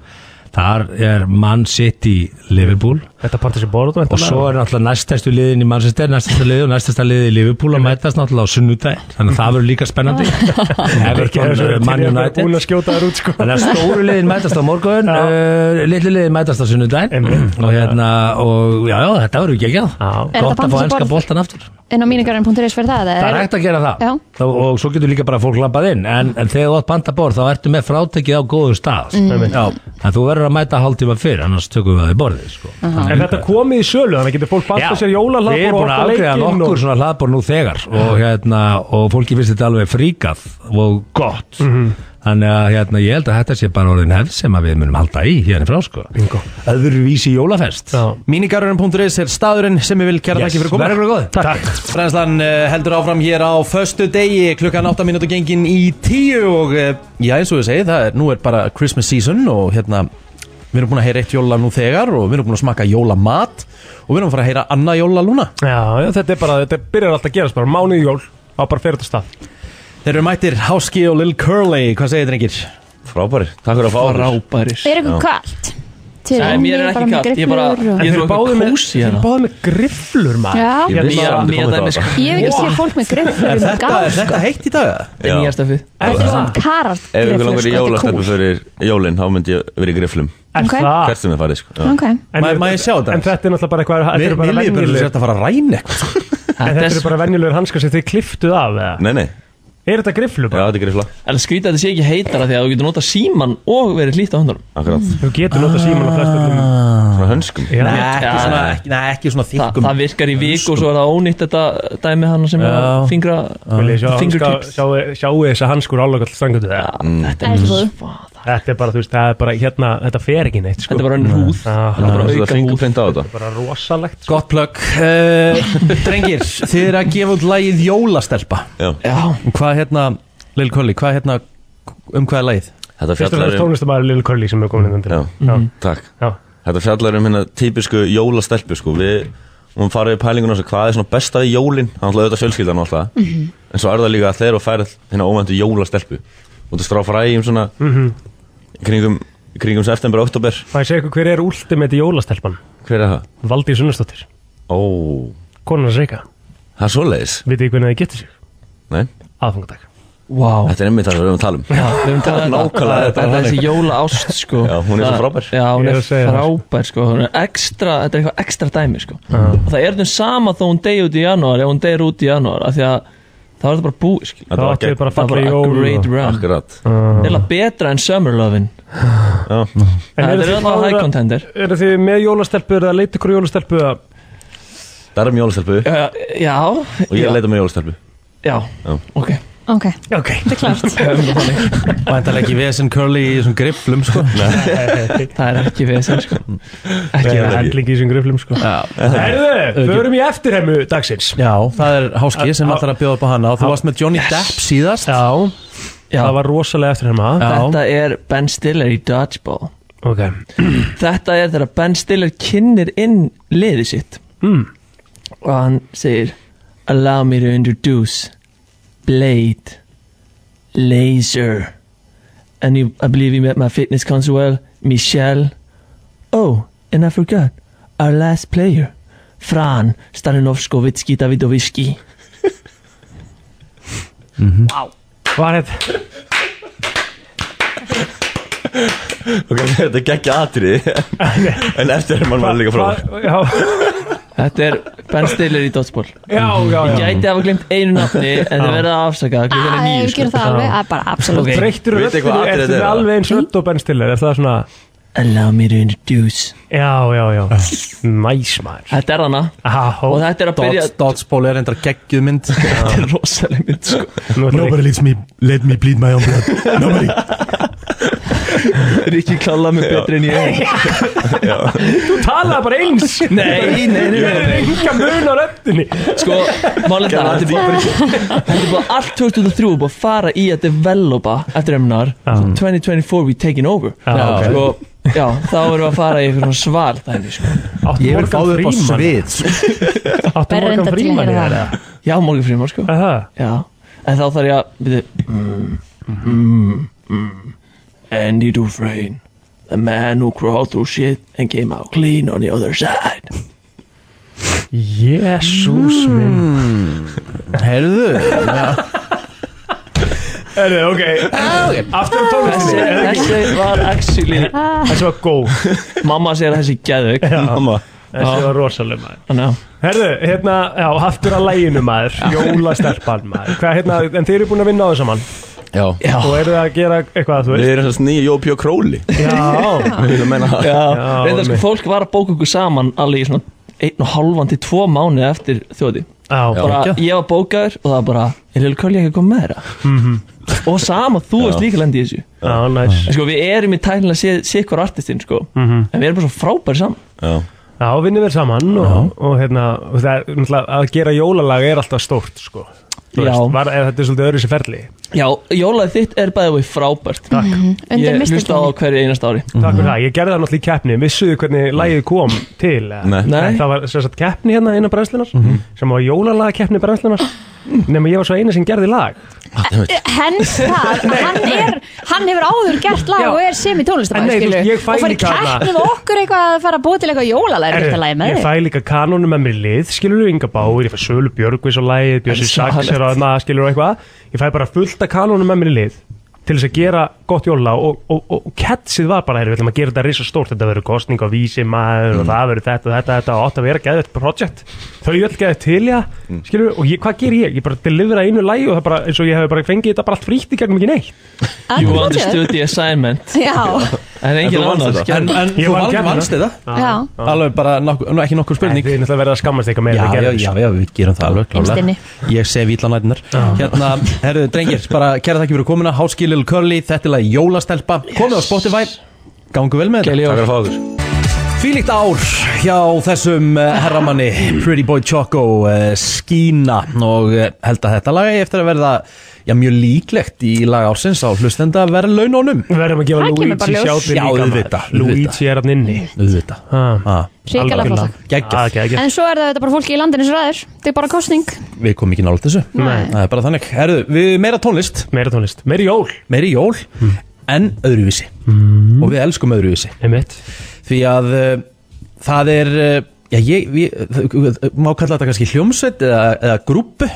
Speaker 13: Þar er Man City Liverpool
Speaker 3: Þetta partast í borðu
Speaker 13: Og svo er náttúrulega næstæstu liðin í Manchester Næstæsta liðin og næstæsta liðin í Liverpool að mætast náttúrulega á sunnudaginn Þannig að það verður líka spennandi Everton, uh, Man United
Speaker 3: Búin að skjóta þær út sko
Speaker 13: Þannig að stóru liðin mætast á morgun uh, Lillu liðin mætast á sunnudaginn Og hérna, og já, já, þetta verður ekki ekki að
Speaker 4: Er þetta
Speaker 13: Gott að
Speaker 4: panta
Speaker 13: fá
Speaker 4: sér
Speaker 13: enska
Speaker 4: borð?
Speaker 13: boltan aftur
Speaker 4: En á míningarinn.is fyrir það
Speaker 13: Það er hægt að gera það
Speaker 4: Já.
Speaker 13: Þá- Og svo getur líka bara fólk lampað inn En, en þegar þú átt bandaborð þá ertu með frátekið á góðu stað sko.
Speaker 3: Mm.
Speaker 13: Já, En þú verður að mæta hálftíma fyrr Annars tökum við það í borðið sko.
Speaker 3: En þetta komið í sölu Þannig að getur fólk banta sér
Speaker 13: við
Speaker 3: jólahlaðbor
Speaker 13: erum
Speaker 3: og
Speaker 13: búin að
Speaker 3: opna
Speaker 13: afgreða
Speaker 3: leikinn
Speaker 13: nokkur
Speaker 3: og-
Speaker 13: svona hlaðbor nú þegar og, hérna, og fólki finnst þetta alveg fríkað og gott
Speaker 3: Mhm.
Speaker 13: þannig að hérna, ég held að þetta sé bara orðin hefð sem að við munum halda í hérna frá sko öðruvísi jólafest
Speaker 2: Mínigarurinn.is er staðurinn sem ég vil kæra
Speaker 13: Yes,
Speaker 2: yes. þakki fyrir koma
Speaker 13: verður góð.
Speaker 2: Takk Brennslan eh, heldur áfram hér á föstu degi klukkan 8 minútu gengin í 10 og eh, já eins og ég segi það er nú er bara Christmas season og hérna við erum búin að heyra eitt jóla nú þegar og við erum búin að smakka jólamat og við erum að fara að heyra annað jóla núna
Speaker 3: Já, já, þetta er bara, þetta byrjar alltaf að gerast bara Mánuð í jól, á bara fyrir þetta stað
Speaker 2: Þeir eru mættir Háski og Lil Curly, hvað segir drengir?
Speaker 14: Frábæri, takk fyrir að fá okkur.
Speaker 2: Frábærir
Speaker 4: Er ykkur kalt? Til
Speaker 14: Nei,
Speaker 4: og
Speaker 14: mér er
Speaker 4: með
Speaker 14: ekki
Speaker 4: bara með
Speaker 14: kalt, ég bara-
Speaker 4: grifflur og-
Speaker 14: Ég þurfa
Speaker 3: Þeir eru báðið með grifflur maður
Speaker 4: Já. Ég
Speaker 14: eitthvað kósí hérna. vissi að myndi koma þetta á þetta.
Speaker 4: Ég hef ekki séð fólk með grifflur um gáð sko.
Speaker 2: heitt í dag?
Speaker 14: Það er nýjasta fyrir
Speaker 4: Þetta er svona karar
Speaker 14: Ef ykkur langar í
Speaker 4: grifflur, sko,
Speaker 14: jólastelpu fyrir jólinn, þá myndi ég verið í griflum
Speaker 4: Er Ok. það?
Speaker 14: Hvert sem ég farið, sko
Speaker 4: þetta er cool. Ok.
Speaker 3: En er- En þetta er náttúrulega bara eitthvað þetta eru bara venjulegir-
Speaker 2: að fara að ræna eitthvað
Speaker 3: En þetta eru bara venjulegur hanskar sem þið kliftuð af eða?
Speaker 14: Nei, nei
Speaker 3: Er þetta griflu
Speaker 14: bara? Já, þetta er grifla
Speaker 6: En skrítið að þetta sé ekki heitara því að þú getur notað síman og verið hlýtt á höndunum
Speaker 14: Akkurat
Speaker 3: Þú getur notað síman á flestum
Speaker 14: Svona hönskum
Speaker 3: Já.
Speaker 2: Ah. Nei, ekki svona, ekki, nei, ekki svona þykkum
Speaker 6: Þa, Það virkar í vik og svo er það ónýtt þetta dæmi hann sem er að fingra
Speaker 3: Viljið sjá hanska-
Speaker 6: fingertips
Speaker 3: Sjáu sjáu þessi hanskur álag alltaf strangutu
Speaker 6: Mm.
Speaker 3: Þetta
Speaker 6: er svo-
Speaker 3: Þetta er bara, þú veist, það er bara hérna Þetta fer ekki neitt, sko
Speaker 6: Þetta er bara önnur húð.
Speaker 14: Það er bara að setja fingerprint á þetta
Speaker 3: Bara rosalegt
Speaker 2: Gott plögg uh, Drengir, þið eru að gefa út lagið Jólastelpa
Speaker 14: Já.
Speaker 2: Hvað hérna, Lil Kulli, hvað hérna um hvað er lagið?
Speaker 14: Þetta um-
Speaker 3: Fyrst og fremst tónlistamæður Lil Curly sem er komin inn
Speaker 14: Já, Mm.
Speaker 6: Mhm.
Speaker 14: takk Þetta fjallar um hérna típisku jólastelpu sko Við hún farið í pælingun á þessu hvað er svona besta við jólin Það er alltaf auðvitað fjölskyldan og
Speaker 3: Mm.
Speaker 14: alltaf
Speaker 6: Mhm.
Speaker 14: En svo er það líka að þeir og færið hérna óvæntu jólastelpu Og það stráf fræjum um svona
Speaker 3: Mhm.
Speaker 14: kringum, kringum september og oktober
Speaker 3: Má ég segja ykkur hver er ultimate jólastelpan?
Speaker 14: Hver er það?
Speaker 3: Valdís Unnarsdóttir
Speaker 14: Ó,
Speaker 3: Konan að reyka
Speaker 14: það er svoleiðis
Speaker 3: Vitið þið hvernig þið getur sig?
Speaker 14: Nei
Speaker 3: Aðfangadag
Speaker 6: Wow
Speaker 14: Þetta er einmitt það sem við erum að tala um
Speaker 6: Já, við höfum talað um
Speaker 14: Nákvæmlega,
Speaker 6: þetta,
Speaker 14: þetta er
Speaker 6: þetta er
Speaker 14: þannig.
Speaker 6: þessi jóla ást sko
Speaker 14: Já, hún er svo
Speaker 6: Það-
Speaker 14: frábær.
Speaker 6: Já, hún
Speaker 14: Ég
Speaker 6: er
Speaker 14: er að segja það.
Speaker 6: frábær sko Hún er ekstra, þetta er eitthvað ekstra dæmi sko Og það er þetta sama þó hún deyja út í janúar ef hún deyr út í janúar af því að þá er þetta bara búið sko
Speaker 14: Þetta var Þá áttu gegn- bara
Speaker 6: Það var
Speaker 14: falleg
Speaker 6: bara
Speaker 14: jól
Speaker 6: a great
Speaker 14: og-
Speaker 6: run
Speaker 14: Akkurat.
Speaker 6: Það er betra en Summer Lovin'
Speaker 3: En
Speaker 6: Það
Speaker 3: eru
Speaker 6: er
Speaker 3: þið
Speaker 6: alltaf high
Speaker 3: klárar-
Speaker 6: contender
Speaker 3: Eru þið með jólastelpu, eru það að leita ykkur jólastelpu eða-
Speaker 14: Það er um jólastelpu
Speaker 6: Já, Uh, já
Speaker 14: Og ég leita með jólastelpu
Speaker 6: Já, ok
Speaker 4: Ok,
Speaker 3: ok,
Speaker 4: þetta er klart
Speaker 2: Væntalega ekki vesen Curly í þessum grifflum sko
Speaker 6: Það er ekki vesen sko
Speaker 3: Ekki
Speaker 2: vesen.
Speaker 3: hendling í þessum griflum sko Herðu, förum í eftirheimu dagsins
Speaker 2: Já, það er Háski sem ætlar að bjóða upp á hana og þú varst með Johnny Depp síðast
Speaker 3: Já,
Speaker 6: Já.
Speaker 3: það var rosalega eftirheima
Speaker 6: Þetta er Ben Stiller í Dodgeball
Speaker 3: Ok
Speaker 6: Þetta er þegar Ben Stiller kynir inn liðið sitt
Speaker 3: mm.
Speaker 6: og hann segir Allow me to introduce Blade Laser And you, I believe you met my fitness consul Michelle Oh, and I forgot Our last player Fran Staninovskovitski Davidovski
Speaker 2: Mhm.
Speaker 3: Vá Var þetta
Speaker 14: Ok, þetta er geggja atrið En eftir er mann var líka frá
Speaker 3: Já
Speaker 6: Þetta er Ben Stiller í Dodgeball
Speaker 3: Já, já, já.
Speaker 6: Ég gæti hafa glemt einu nafni En
Speaker 3: Já.
Speaker 6: þið verða að afsaka klukkan er sko.
Speaker 4: Æ,
Speaker 6: nýju
Speaker 4: við gerum það alveg, að bara absolutt
Speaker 3: Breyttur röddinni, ertu með alveg eins rödd og Ben Stiller, er það svona
Speaker 6: Allow me to introduce
Speaker 3: Já, já, já Næs maður
Speaker 6: Þetta er hana
Speaker 3: Aha,
Speaker 6: Og þetta er að byrja
Speaker 2: Dotspól er endar geggjuð mynd Þetta
Speaker 6: er rosaleg mynd sko.
Speaker 2: Nobody lets me, let me bleed my own blood Nobody
Speaker 6: Rikki klála mig betri en ég
Speaker 3: Þú talaði bara eins
Speaker 6: Nei, nei, nei, nei, nei.
Speaker 3: Ég er enga mun á röndinni
Speaker 6: Sko, málið það Þetta er búið Þetta er búið allt 2003 Búið að fara í að developa Eftir emnar 2024 we taking over
Speaker 2: Já, ok.
Speaker 6: Sko, já, þá erum við að fara í eitthvað svona sval dæmi sko.
Speaker 2: Ég vil fá þau upp á svið
Speaker 3: Áttu
Speaker 4: Væri Morgan reyndar til í Freeman í það. þetta?
Speaker 6: Já, Morgan Freeman sko Já, en þá þarf ég að byrja, mm, mm, mm. Andy Dufresne The man who crawled through shit And came out clean on the other side
Speaker 3: Jésús minn
Speaker 2: Herðu
Speaker 3: Erðu, ok Aftur á tónlistinni
Speaker 6: Þessi-
Speaker 3: er það ekki?
Speaker 6: þessi var actually Þessi
Speaker 3: var góð
Speaker 6: Mamma segir að þessi geðug
Speaker 3: Mamma Þessi var rosaleg maður
Speaker 6: Ná.
Speaker 3: Herðu, hérna, já, aftur að læginu maður Jólastelpan maður Hvað, hérna, en þeir eru búin að vinna á þessu mann
Speaker 14: Já
Speaker 3: Og eru það að gera eitthvað að þú
Speaker 14: Við
Speaker 3: veist
Speaker 14: erum þess nýja Jópi og Króli
Speaker 3: Já.
Speaker 14: Við erum að menna það
Speaker 6: Já, reyndar sko fólk var að bóka okkur saman alveg í svona einn og hálfan til tvo mánuði eftir þjóði
Speaker 3: Já,
Speaker 6: bara,
Speaker 3: geggjað.
Speaker 6: ég var bókaður og það var bara er Lil Curly ekki að koma með þeirra og sama, þú
Speaker 3: Já.
Speaker 6: veist líka lendið í þessu
Speaker 3: Mhm. Já, næs
Speaker 6: En sko, við erum í tælinlega sé, sé hver artistinn sko.
Speaker 3: Mhm.
Speaker 6: en við erum bara svo frábæri saman
Speaker 14: Já,
Speaker 3: Já, vinnum við saman og, og hérna, og það er náttúrulega að gera jólalag er alltaf stórt, sko Þú
Speaker 6: Já.
Speaker 3: var, er, Þetta er svolítið öðru sér ferli
Speaker 6: já, jólaðið þitt er bæðið við frábært Takk.
Speaker 4: Mm, Undir
Speaker 6: ég
Speaker 4: mistilteini.
Speaker 6: hlusta á það á hverju einast ári
Speaker 3: Takk fyrir það, ég gerði það náttúrulega í keppni Vissuðu hvernig lagið kom til eða?
Speaker 6: Nei. Nei. Mhm.
Speaker 3: Það var sem sagt keppni hérna innan brennslunar sem var jólalaga keppni brennslunar nema ég var svo eina sem gerði lag
Speaker 4: Hens það, hann, er, hann hefur áður gert lag
Speaker 3: Já.
Speaker 4: og er sem
Speaker 3: En
Speaker 4: í
Speaker 3: nei, þú veist, ég
Speaker 4: tónlistamæð
Speaker 3: fæ
Speaker 4: og farið
Speaker 3: líka þarna-
Speaker 4: keppnið okkur eitthvað að fara að búa til eitthvað jólalæri
Speaker 3: Herru,
Speaker 4: þetta lagi með
Speaker 3: Ég
Speaker 4: þig
Speaker 3: fæ líka kanónu með mér í lið, skilur þú Inga Báir, ég fæ Sölu Björgvís og lagið, Bjössi
Speaker 6: Það er
Speaker 3: Saks er á
Speaker 6: svakalegt.
Speaker 3: það, skilur þú eitthvað Ég fæ bara fullt af kanónu með mér í lið til þess að gera gott jóla og, og, og, og ketsið var bara, herru, við ætlum að gera þetta risa stórt, þetta verður kostning og vísi maður og það verður þetta, þetta, þetta og átt að vera geðið project, þau öll geðið til já skilur og ég, hvað ger ég? Ég bara delivera einu lagi og það bara, eins og ég hef bara fengið þetta bara allt frítt í gegnum ekki neitt
Speaker 4: Ah,
Speaker 6: you understood the assignment
Speaker 4: Já,
Speaker 6: en engin annar
Speaker 2: En, en
Speaker 3: Ég
Speaker 2: þú
Speaker 3: vann
Speaker 2: vannst
Speaker 3: keppnina.
Speaker 2: vannst þetta
Speaker 4: já,
Speaker 2: Alveg bara nokku, nú, ekki nokkur spurning
Speaker 3: Þið er náttúrulega verið að skammast eitthvað meira
Speaker 2: Já,
Speaker 3: en þið
Speaker 2: já,
Speaker 3: gerðuð,
Speaker 2: já,
Speaker 3: sko.
Speaker 2: já, við gerum það alveg
Speaker 4: Innst inni.
Speaker 2: klálega Ég sef illa nætunar Hérna, herru, drengir, bara kæra þakki fyrir komuna Háskil Lil Curly, þetta er lagi Jólastelpa Komið á Spotify, gangu vel með þetta
Speaker 14: Takk fyrir að fá okkur
Speaker 2: Fýlíkt ár hjá þessum eh, herramanni Pretty Boy Choco eh, Skína og eh, held að þetta lag eigi eftir að verða já, mjög líklegt í lag ársins á hlustenda að vera launónum
Speaker 3: Við verðum að gefa
Speaker 4: Það kemur bara
Speaker 3: Luigi
Speaker 4: ljós.
Speaker 3: sjátinn
Speaker 2: Já,
Speaker 3: líka
Speaker 2: auðvitað, Mm.
Speaker 3: maður Luigi er hann inni Ah,
Speaker 2: Auðvitað
Speaker 4: Hrikalega flott
Speaker 2: Gægjað
Speaker 4: en svo er það þetta bara fólki í landinu sem ræður þetta er bara kostning
Speaker 2: Við komum ekki nála þessu
Speaker 4: Nei.
Speaker 2: Það er bara þannig Herðu, við meira tónlist
Speaker 3: Meira tónlist Meiri jól Mm.
Speaker 2: Meiri jól En öðruvísi Og við elskum öðruvísi
Speaker 3: Einmitt
Speaker 2: Því að uh, það er uh, Já, ég, við, uh, má kalla þetta kannski hljómsveit eða, eða grúpu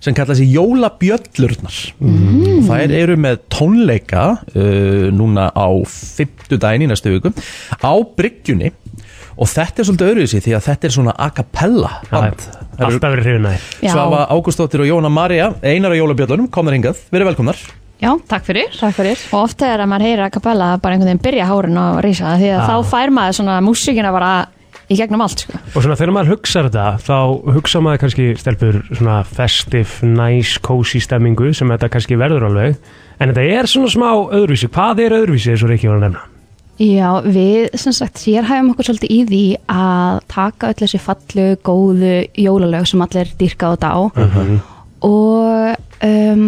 Speaker 2: sem kalla þessi jólabjöllurnar mm. Þær eru með tónleika uh, núna á fimmtudaginn í næstu viku á bryggjunni og þetta er svolítið öðruvísi því að þetta er svona a cappella band Þær eru-
Speaker 3: Alltaf verið hrifunæði
Speaker 4: Já.
Speaker 2: Svava Ágústóttir og Jóna Maria Einar á jólabjöllunum, komnar hingað, verið velkomnar
Speaker 15: Já, takk fyrir.
Speaker 4: Takk fyrir. Og ofta er að maður heyra að kapella bara einhvern veginn byrja hárin og rísa því
Speaker 3: Já.
Speaker 4: að þá fær maður svona músíkina bara í gegnum allt sko.
Speaker 3: Og svona þegar maður hugsar þetta þá hugsa maður kannski stelpur svona festive, nice, cozy stemmingu sem þetta kannski verður alveg en þetta er svona smá öðruvísi Hvað er öðruvísi eins og Rikki var að nefna?
Speaker 15: Já, við sem sagt sérhæfum okkur svolítið í því að taka öll þessi fallu, góðu jólalög sem allir dýrka á dá
Speaker 2: Mhm.
Speaker 15: og um,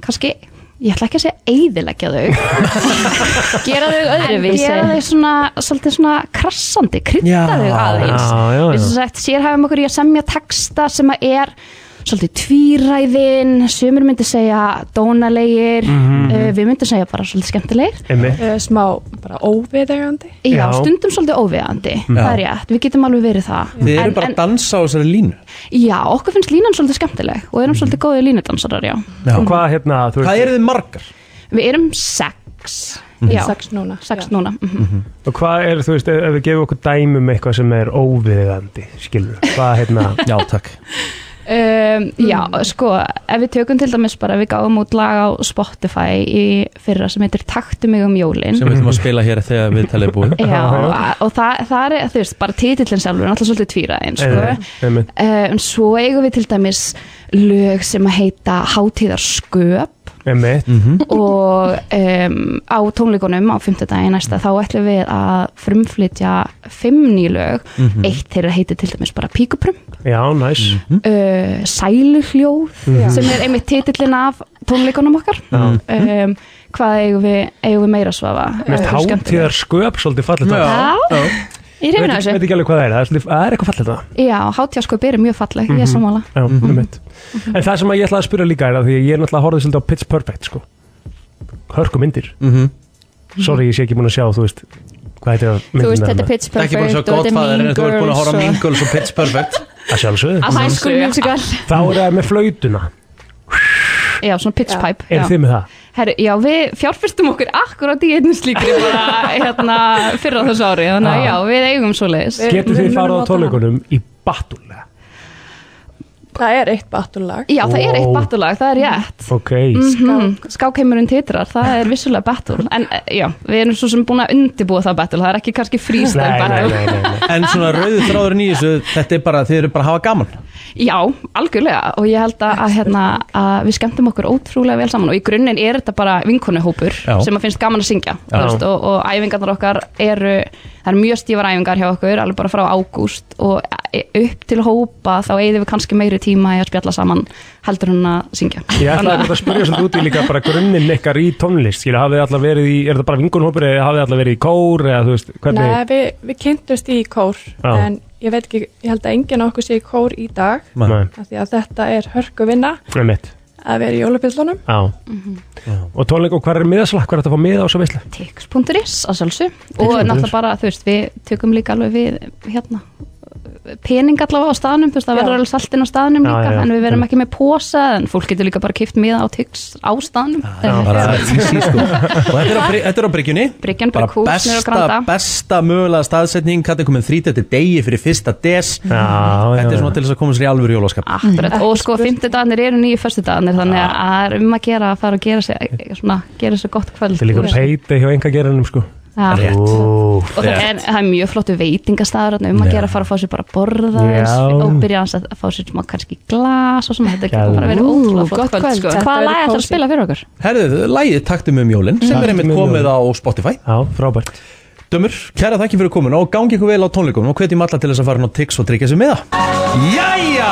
Speaker 15: kannski, ég ætla ekki að segja eigðilegja þau.
Speaker 4: Gera þau öðruvísi.
Speaker 15: En gera þau svona, svolítið svona krassandi, krydda þau aðeins.
Speaker 4: já, já, já.
Speaker 15: Við sem sagt sérhæfum okkur í að semja texta sem að er svolítið tvíræðin, sömur myndi segja dónalegir,
Speaker 16: Mhm.
Speaker 15: uh, við myndum segja bara svolítið skemmtilegir.
Speaker 3: Einmitt.
Speaker 16: Eh, Smá bara óviðegandi
Speaker 15: Já,
Speaker 2: Já.
Speaker 15: stundum svolítið óviðandi,
Speaker 2: Já.
Speaker 15: það er rétt, við getum alveg verið það.
Speaker 2: Þið eru bara
Speaker 15: Mm. en,
Speaker 2: að dansa á þessari línu
Speaker 15: já, okkur finnst línan svolítið skemmtileg og erum svolítið góðið línudansarar, já.
Speaker 2: Já.
Speaker 3: Og hvað hérna þú
Speaker 2: Hvað eru þið margar?
Speaker 15: Við erum sex,
Speaker 3: Mhm.
Speaker 15: já.
Speaker 16: Sex núna.
Speaker 15: Sex núna, mhm.
Speaker 3: Og hvað er þú veist ef ef við gefum okkur dæmi um eitthvað sem er óviðandi skilur Hvað hérna
Speaker 2: Já takk
Speaker 16: Eh,
Speaker 15: Um, já, sko, ef við tökum til dæmis bara, við gáum út lag á Spotify í fyrra sem heitir Taktu mig um jólin
Speaker 2: sem við ætlum að spila hér þegar við talið er búið
Speaker 15: Já, og- og það, það er, þú veist, bara titillin sjálfur er náttúrulega svolítið tvíra eins, sko
Speaker 3: Einmitt.
Speaker 15: Eh, En svo eigum við til dæmis lög sem að heita Hátíðarsköp
Speaker 3: Einmitt.
Speaker 2: Mhm.
Speaker 15: og um, á tónleikunum á fimmtudaginn næsta þá ætlum við að frumflytja fimm nýlög
Speaker 3: Mhm.
Speaker 15: eitt þeirra heitir til dæmis bara píkuprump
Speaker 3: Já, næs
Speaker 2: Mhm.
Speaker 15: uh, sæluhljóð
Speaker 3: Hm? Mhm.
Speaker 15: sem er einmitt titillin af tónleikunum okkar
Speaker 3: Já. Mhm.
Speaker 15: um, hvað eigum við, eigum við meira að svafa
Speaker 3: Mest
Speaker 15: Eh, skemmtilegt.
Speaker 3: hátíðar sköp svolítið fallet
Speaker 15: Já. Já. Ég er hrifin af
Speaker 3: Veit veit
Speaker 15: þessu
Speaker 3: ekki alveg hvað það er, það er svolítið- það er eitthvað fallet það
Speaker 15: Já, hátíðarskaup eru mjög falleg, ég er
Speaker 3: Mhm.
Speaker 15: sammála
Speaker 3: Já, einmitt.
Speaker 4: Mhm.
Speaker 3: En það sem að ég ætlaði að spyrja líka er að því að ég er náttúrulega að horfa svolítið á Pitch Perfect sko. Hörku myndir
Speaker 2: Mhm.
Speaker 3: Sorry, ég sé ekki búin að sjá, þú veist Hvað heitir það
Speaker 4: Þú veist, þetta er Pitch Perfect
Speaker 2: Ekki búin að sjá
Speaker 4: og þetta er
Speaker 2: Godfather
Speaker 4: Mean
Speaker 2: en þú ert búin að horfa
Speaker 4: Girls
Speaker 2: á Mean
Speaker 4: og-
Speaker 2: Girls og Pitch Perfect
Speaker 3: Að sjálfsögðu
Speaker 4: Að High School Musical
Speaker 3: Þá er það með flautuna
Speaker 15: Já, svona pitch pipe
Speaker 3: Er
Speaker 15: já.
Speaker 3: þið með það?
Speaker 15: Herru, já, við fjárfyrstum okkur akkurat í einu slíkri bara hérna, fyrra þessu ári, þannig
Speaker 3: Já.
Speaker 15: að já, við eigum svo leiðis
Speaker 3: Getur þið farið á tónleikunum í battle?
Speaker 15: Það er eitt battulag Já, það er eitt
Speaker 3: Wow.
Speaker 15: battulag, það er rétt
Speaker 3: Ok
Speaker 15: Mhm, Skákheimurinn titrar, það er vissulega battle En eh, já, við erum svo sem búin að undirbúa það battle Það er ekki kannski freestyle battle
Speaker 2: En svona rauðu þráðurinn í þessu Þetta er bara, þið eru bara að hafa gaman
Speaker 15: Já, algjörlega og ég held að, að, hérna, að við skemmtum okkur ótrúlega vel saman og í grunninn er þetta bara vinkonuhópur
Speaker 2: Já.
Speaker 15: sem að finnst gaman að syngja þú
Speaker 2: Já.
Speaker 15: veist, og, og æfingarnar okkar eru það eru mjög stífar æfingar hjá okkur alveg bara frá ágúst og e- upp til hópa þá eigðum við kannski meiri tíma í að spjalla saman heldur hún að syngja
Speaker 3: Ég ætlaði einmitt að spyrja svolítið út í líka bara grunninn ykkar í tónlist Skilja, hafið þið alltaf verið í, er það bara vingunhópur eða hafið þið alltaf verið í kór eða þú veist, hvernig
Speaker 12: Nei, við, við kynntumst í kór
Speaker 3: Já.
Speaker 12: en ég veit ekki, ég held að enginn af okkur sé í kór í dag
Speaker 3: Nei.
Speaker 12: af því að þetta er hörku vinna
Speaker 3: Nei, mitt
Speaker 12: að vera í jólapillunum
Speaker 3: Já Og tónleik og hvað er miðaslag, hvað er þetta að fá miða á svo veislu?
Speaker 15: Tix.is að sjálfsög og
Speaker 3: Tix.is.
Speaker 15: náttúrulega bara, þú veist, við tökum líka alveg við hérna pening allavega á staðnum, þú veist, það verður alveg saltinn á staðnum
Speaker 2: Já,
Speaker 15: líka,
Speaker 2: já, já.
Speaker 15: en við verðum
Speaker 2: Já.
Speaker 15: ekki með posa en fólk getur líka bara kipt miða á Tix á staðnum
Speaker 2: Bara easy sko Og þetta er á, bry- þetta er á bryggjunni
Speaker 15: Bryggjan bara
Speaker 2: Bara
Speaker 15: kús niður á
Speaker 2: besta,
Speaker 15: granda
Speaker 2: besta mögulega staðsetning Hvað er komin þrítið til degi fyrir fyrsta des Þetta er svona til þess að koma sér í alvöru jólaskap
Speaker 15: Akkurat, og sko, fymtudagarnir eru nýju föstudagarnir þannig að það er um að gera að fara og gera sér svona, gera sér gott kvöld
Speaker 3: Þetta er líka
Speaker 15: þú veist.
Speaker 3: peiti hjá enga gerinum sko
Speaker 15: Já. Rétt.
Speaker 3: Ú,
Speaker 15: og það er, það er mjög flottu veitingastæður þarna, um að
Speaker 3: Já.
Speaker 15: gera að fara að fá sér bara að borða
Speaker 3: Já.
Speaker 15: aðeins og byrja aðeins að fá sér smá kannski glas og svona, þetta getur bara að vera
Speaker 4: Ú,
Speaker 15: ótrúlega
Speaker 4: gott
Speaker 15: flott kvöld,
Speaker 4: kvöld.
Speaker 15: sko.
Speaker 4: Þetta
Speaker 15: hvaða
Speaker 4: verður
Speaker 15: lag ætlar að
Speaker 4: kósí.
Speaker 15: spila fyrir okkur?
Speaker 2: Herðu, lægið taktum um jólin sem er
Speaker 3: Taktum
Speaker 2: einmitt
Speaker 3: um
Speaker 2: komið
Speaker 3: jólin.
Speaker 2: á Spotify
Speaker 3: Já, frábært
Speaker 2: Dömur, kæra þakki fyrir komuna og gangi ykkur vel á tónleikum og hvetjum alla til þess að fara inn á Tix og tryggja sér með það Jæja!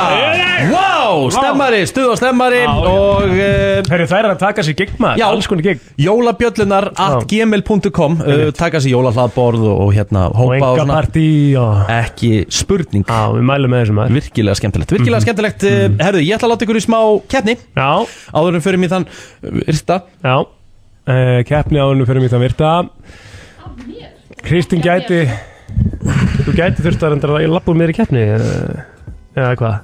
Speaker 2: Vá, stemmari, stuð og stemmari og eh,
Speaker 3: Herri, það er að taka sér gig maður, alls konar gig
Speaker 2: Jólabjöllunar at gmail.com uh, taka sér jólahlaðborð og, og hérna hópa
Speaker 3: enga partí
Speaker 2: ekki spurning
Speaker 3: Já, við mælum með þessum
Speaker 2: Virkilega skemmtilegt, virkilega
Speaker 3: Mhm.
Speaker 2: skemmtilegt uh, Herðu, ég ætla að láta ykkur í smá keppni
Speaker 3: Já
Speaker 2: Áður en fyrir mér þann eh, Yrta
Speaker 3: Já, uh, keppni áðunum fyrir mig það virta Kristín gæti Þú gæti þurft að reyndar að ég lappa úr mér í keppni eh, Eða hvað?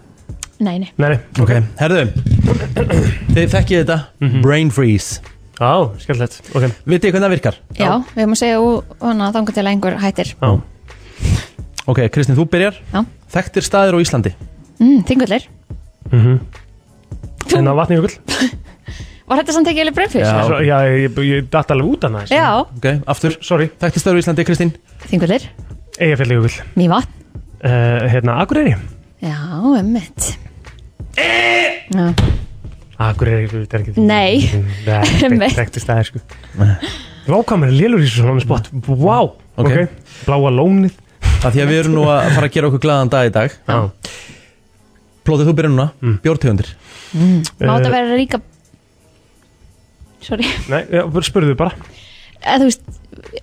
Speaker 4: Nei, nei
Speaker 3: Nei, nei
Speaker 2: Ok, herðu Þið þekkið þetta Brain freeze
Speaker 3: Já, Mhm. skemmtilegt okay.
Speaker 2: Vitið þið hvernig það virkar?
Speaker 4: Já, við höfum að segja hana þangar til að einhver hættir
Speaker 2: Já Ok, Kristín, þú byrjar
Speaker 4: Já.
Speaker 2: Þekktir staðir á Íslandi
Speaker 4: mm, Þingullir,
Speaker 3: mm -hmm. En á vatni jökull
Speaker 4: var þetta samt ekki eða breyfis?
Speaker 3: Svo- Já, ég, ég datt alveg út annað
Speaker 4: Já,
Speaker 2: Ok, aftur
Speaker 3: Sorry
Speaker 2: Þekktir staðir á Íslandi, Kristín
Speaker 4: Þingullir,
Speaker 3: Eyjafjalli jökull
Speaker 4: Mývatn
Speaker 3: uh, Hérna, Akureyri
Speaker 4: Já, emmitt Já,
Speaker 3: Akureyri, þetta er ekki
Speaker 4: Nei.
Speaker 3: Nei,
Speaker 4: Einmitt.
Speaker 3: þekktist það, sko Vákamur, lélur í þessu svona spott
Speaker 2: Mm.
Speaker 3: Vá, ok, Bláa lónið
Speaker 2: Það því að við erum nú að fara að gera okkur glaðan dag í dag
Speaker 3: Já Mhm.
Speaker 2: Plótið, þú byrjar núna mm. Bjórtegundir
Speaker 4: mm. má
Speaker 3: E.
Speaker 2: Eh.
Speaker 4: þetta vera ríka Sorry,
Speaker 3: Nei, já, bara spurðu bara
Speaker 4: eða þú veist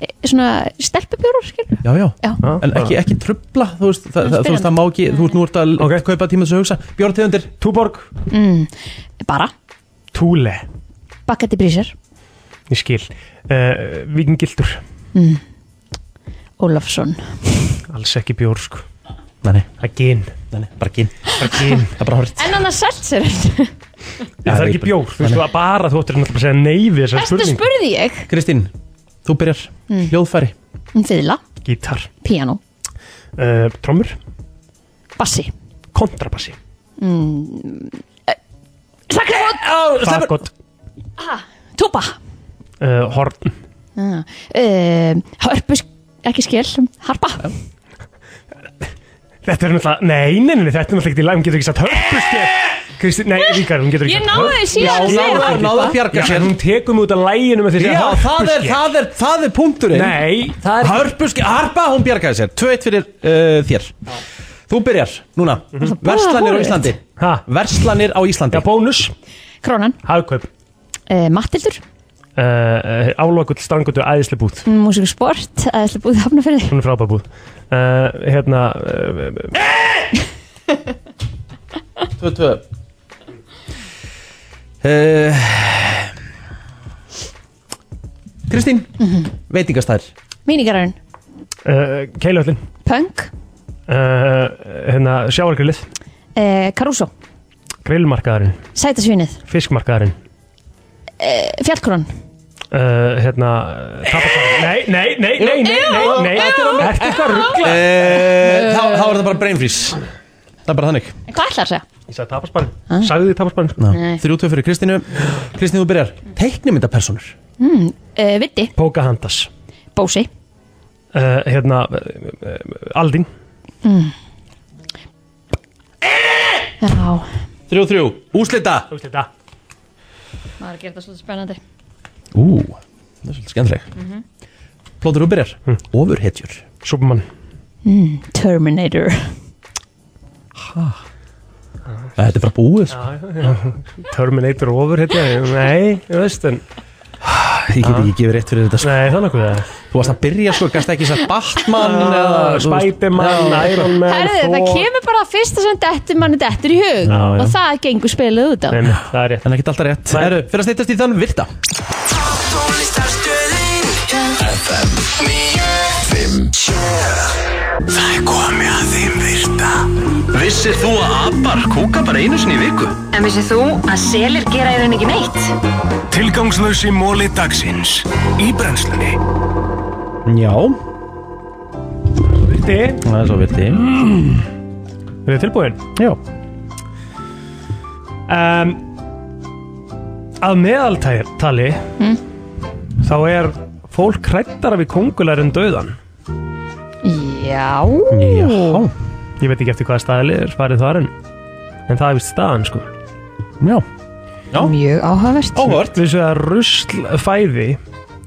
Speaker 4: e, svona stelpubjórar, skilur
Speaker 2: Já, já,
Speaker 4: Já.
Speaker 2: En ekki, ekki trubla Þú veist, það, það, þú veist, það má ekki Þú veist, nú ert að okay. kaupa tíma þess að hugsa Bjórtegundir
Speaker 3: Túborg
Speaker 4: mm. Bara,
Speaker 3: Túle
Speaker 4: bakkati brísir
Speaker 3: Ég skil uh, Víkingildur
Speaker 4: mm. Ólafsson
Speaker 3: Alls ekki bjór sko
Speaker 2: Nei, nei
Speaker 3: Það er gin
Speaker 2: Nei, nei, bara gin
Speaker 3: Bara gin
Speaker 2: Það er bara horfitt
Speaker 4: En hann að seltser
Speaker 3: Það er ekki bjór Þú veist, þú að bara þú ættir náttúrulega að segja nei við þessar
Speaker 4: Þetta
Speaker 3: spurning
Speaker 4: spurði ég
Speaker 2: Kristín, þú byrjar
Speaker 4: Mm.
Speaker 2: Hljóðfæri
Speaker 4: Fyðla,
Speaker 3: Gítar
Speaker 4: piano,
Speaker 3: uh, Trommur
Speaker 4: bassi Mm. E,
Speaker 3: Kontrabassi
Speaker 4: Slakkaði
Speaker 3: Fagott
Speaker 4: Túpa
Speaker 3: uh, Horn
Speaker 4: uh, Hörpu, ekki skil Harpa
Speaker 3: Þetta er náttúrulega Nei, nei, nei, þetta er náttúrulega ekki í lag Hún getur ekki sagt hörpuske Kristi, nei, Ríkar, hún getur ekki
Speaker 4: Ég náði því síðan að
Speaker 3: Já,
Speaker 4: segja
Speaker 3: náði-
Speaker 4: það.
Speaker 3: náði að bjarga sér Hún tekur mig út af læginu með því
Speaker 2: Já, það er, það er, það er punkturinn
Speaker 3: Nei,
Speaker 2: það er Hörpuski, Harpa, hún bjargaði sér 2-1 fyrir uh, þér Þú byrjar, núna Verslanir á
Speaker 4: búið.
Speaker 2: Íslandi
Speaker 3: ha?
Speaker 2: Verslanir á Íslandi Já,
Speaker 3: bónus
Speaker 4: Krónan
Speaker 3: Hagkaup
Speaker 4: uh, Mattildur
Speaker 3: uh, Álokull, stangutu, æðisli búð
Speaker 4: Mm, Músiksport Æðislega búið hafnafyrir
Speaker 3: Hún er frábær búð uh, Hérna uh,
Speaker 2: 2-2 uh, Kristín Veitingastær
Speaker 4: Mínigararinn
Speaker 3: uh, Keilöllin
Speaker 4: Punk
Speaker 3: uh, Hérna, sjáargrillið
Speaker 4: uh, Caruso
Speaker 3: Grillmarkaðarinn
Speaker 4: Sætasvínið
Speaker 3: Fiskmarkaðarinn
Speaker 4: uh, Fjallkrónan
Speaker 3: uh, Hérna, tapasvarinn Nei, nei, nei, nei, nei, nei, nei Ertu eitthvað ruggla?
Speaker 2: Eh, þá, þá er það bara brain freeze Það er bara þannig
Speaker 4: En Hvað ætlar það?
Speaker 3: Ég sagði tapasparinn Sagði þið tapasparinn
Speaker 4: Nei.
Speaker 2: 3-2 fyrir Kristínu Kristín, þú byrjar Teiknumyndapersonur
Speaker 4: mm, uh, Vitti
Speaker 3: Pocahontas
Speaker 4: Bósi
Speaker 3: uh, Hérna, uh, uh, Aldin
Speaker 4: mm. Já
Speaker 2: 3-3 Úslita
Speaker 3: Úslita
Speaker 4: Maður gerir það svolítið spennandi
Speaker 2: Ú, það er svolítið skemmtileg
Speaker 4: Mhm.
Speaker 2: Plóður, þú byrjar Ofurhetjur
Speaker 3: Hm. Superman
Speaker 4: mm, Terminator
Speaker 2: Þetta er bara búið
Speaker 3: Ah.
Speaker 2: sko.
Speaker 3: Terminator over hérna Nei, ég veist en
Speaker 2: Ég get ekki gefið rétt fyrir þetta sko.
Speaker 3: Nei, það er nokkuð það
Speaker 2: Þú varst að byrja sko, gæst ekki sagt Batman
Speaker 3: Ah,
Speaker 2: eða, þú veist-
Speaker 3: Spiderman,
Speaker 2: Já,
Speaker 3: Iron Man,
Speaker 4: Herðu, það kemur bara fyrsta sem dettur manni dettur í hug
Speaker 2: Já, já.
Speaker 4: og það gengur spilið út á
Speaker 3: Nei, það er rétt
Speaker 2: En ekki alltaf rétt Herru, fyrir að steytast í þann virta
Speaker 1: FM 957 Það er komið að þeim virta
Speaker 17: Vissir þú að abar kúka bara einu sinni í viku?
Speaker 1: En vissið þú að selir gera í raun ekki neitt?
Speaker 17: Tilgangslösi móli dagsins Í brennslunni
Speaker 2: Já
Speaker 3: Virti
Speaker 2: Það er svo virti
Speaker 3: Er Mm. þið tilbúin?
Speaker 2: Já
Speaker 3: um, Að meðaltali
Speaker 4: Mm.
Speaker 3: Þá er fólk hrættara við kongular en dauðan
Speaker 4: Já
Speaker 3: Ég veit ekki eftir hvaða staðli er farið þar en En það er vist staðan sko
Speaker 2: Já,
Speaker 4: Já. Mjög áhugavert
Speaker 3: Áhört Vissu að ruslfæði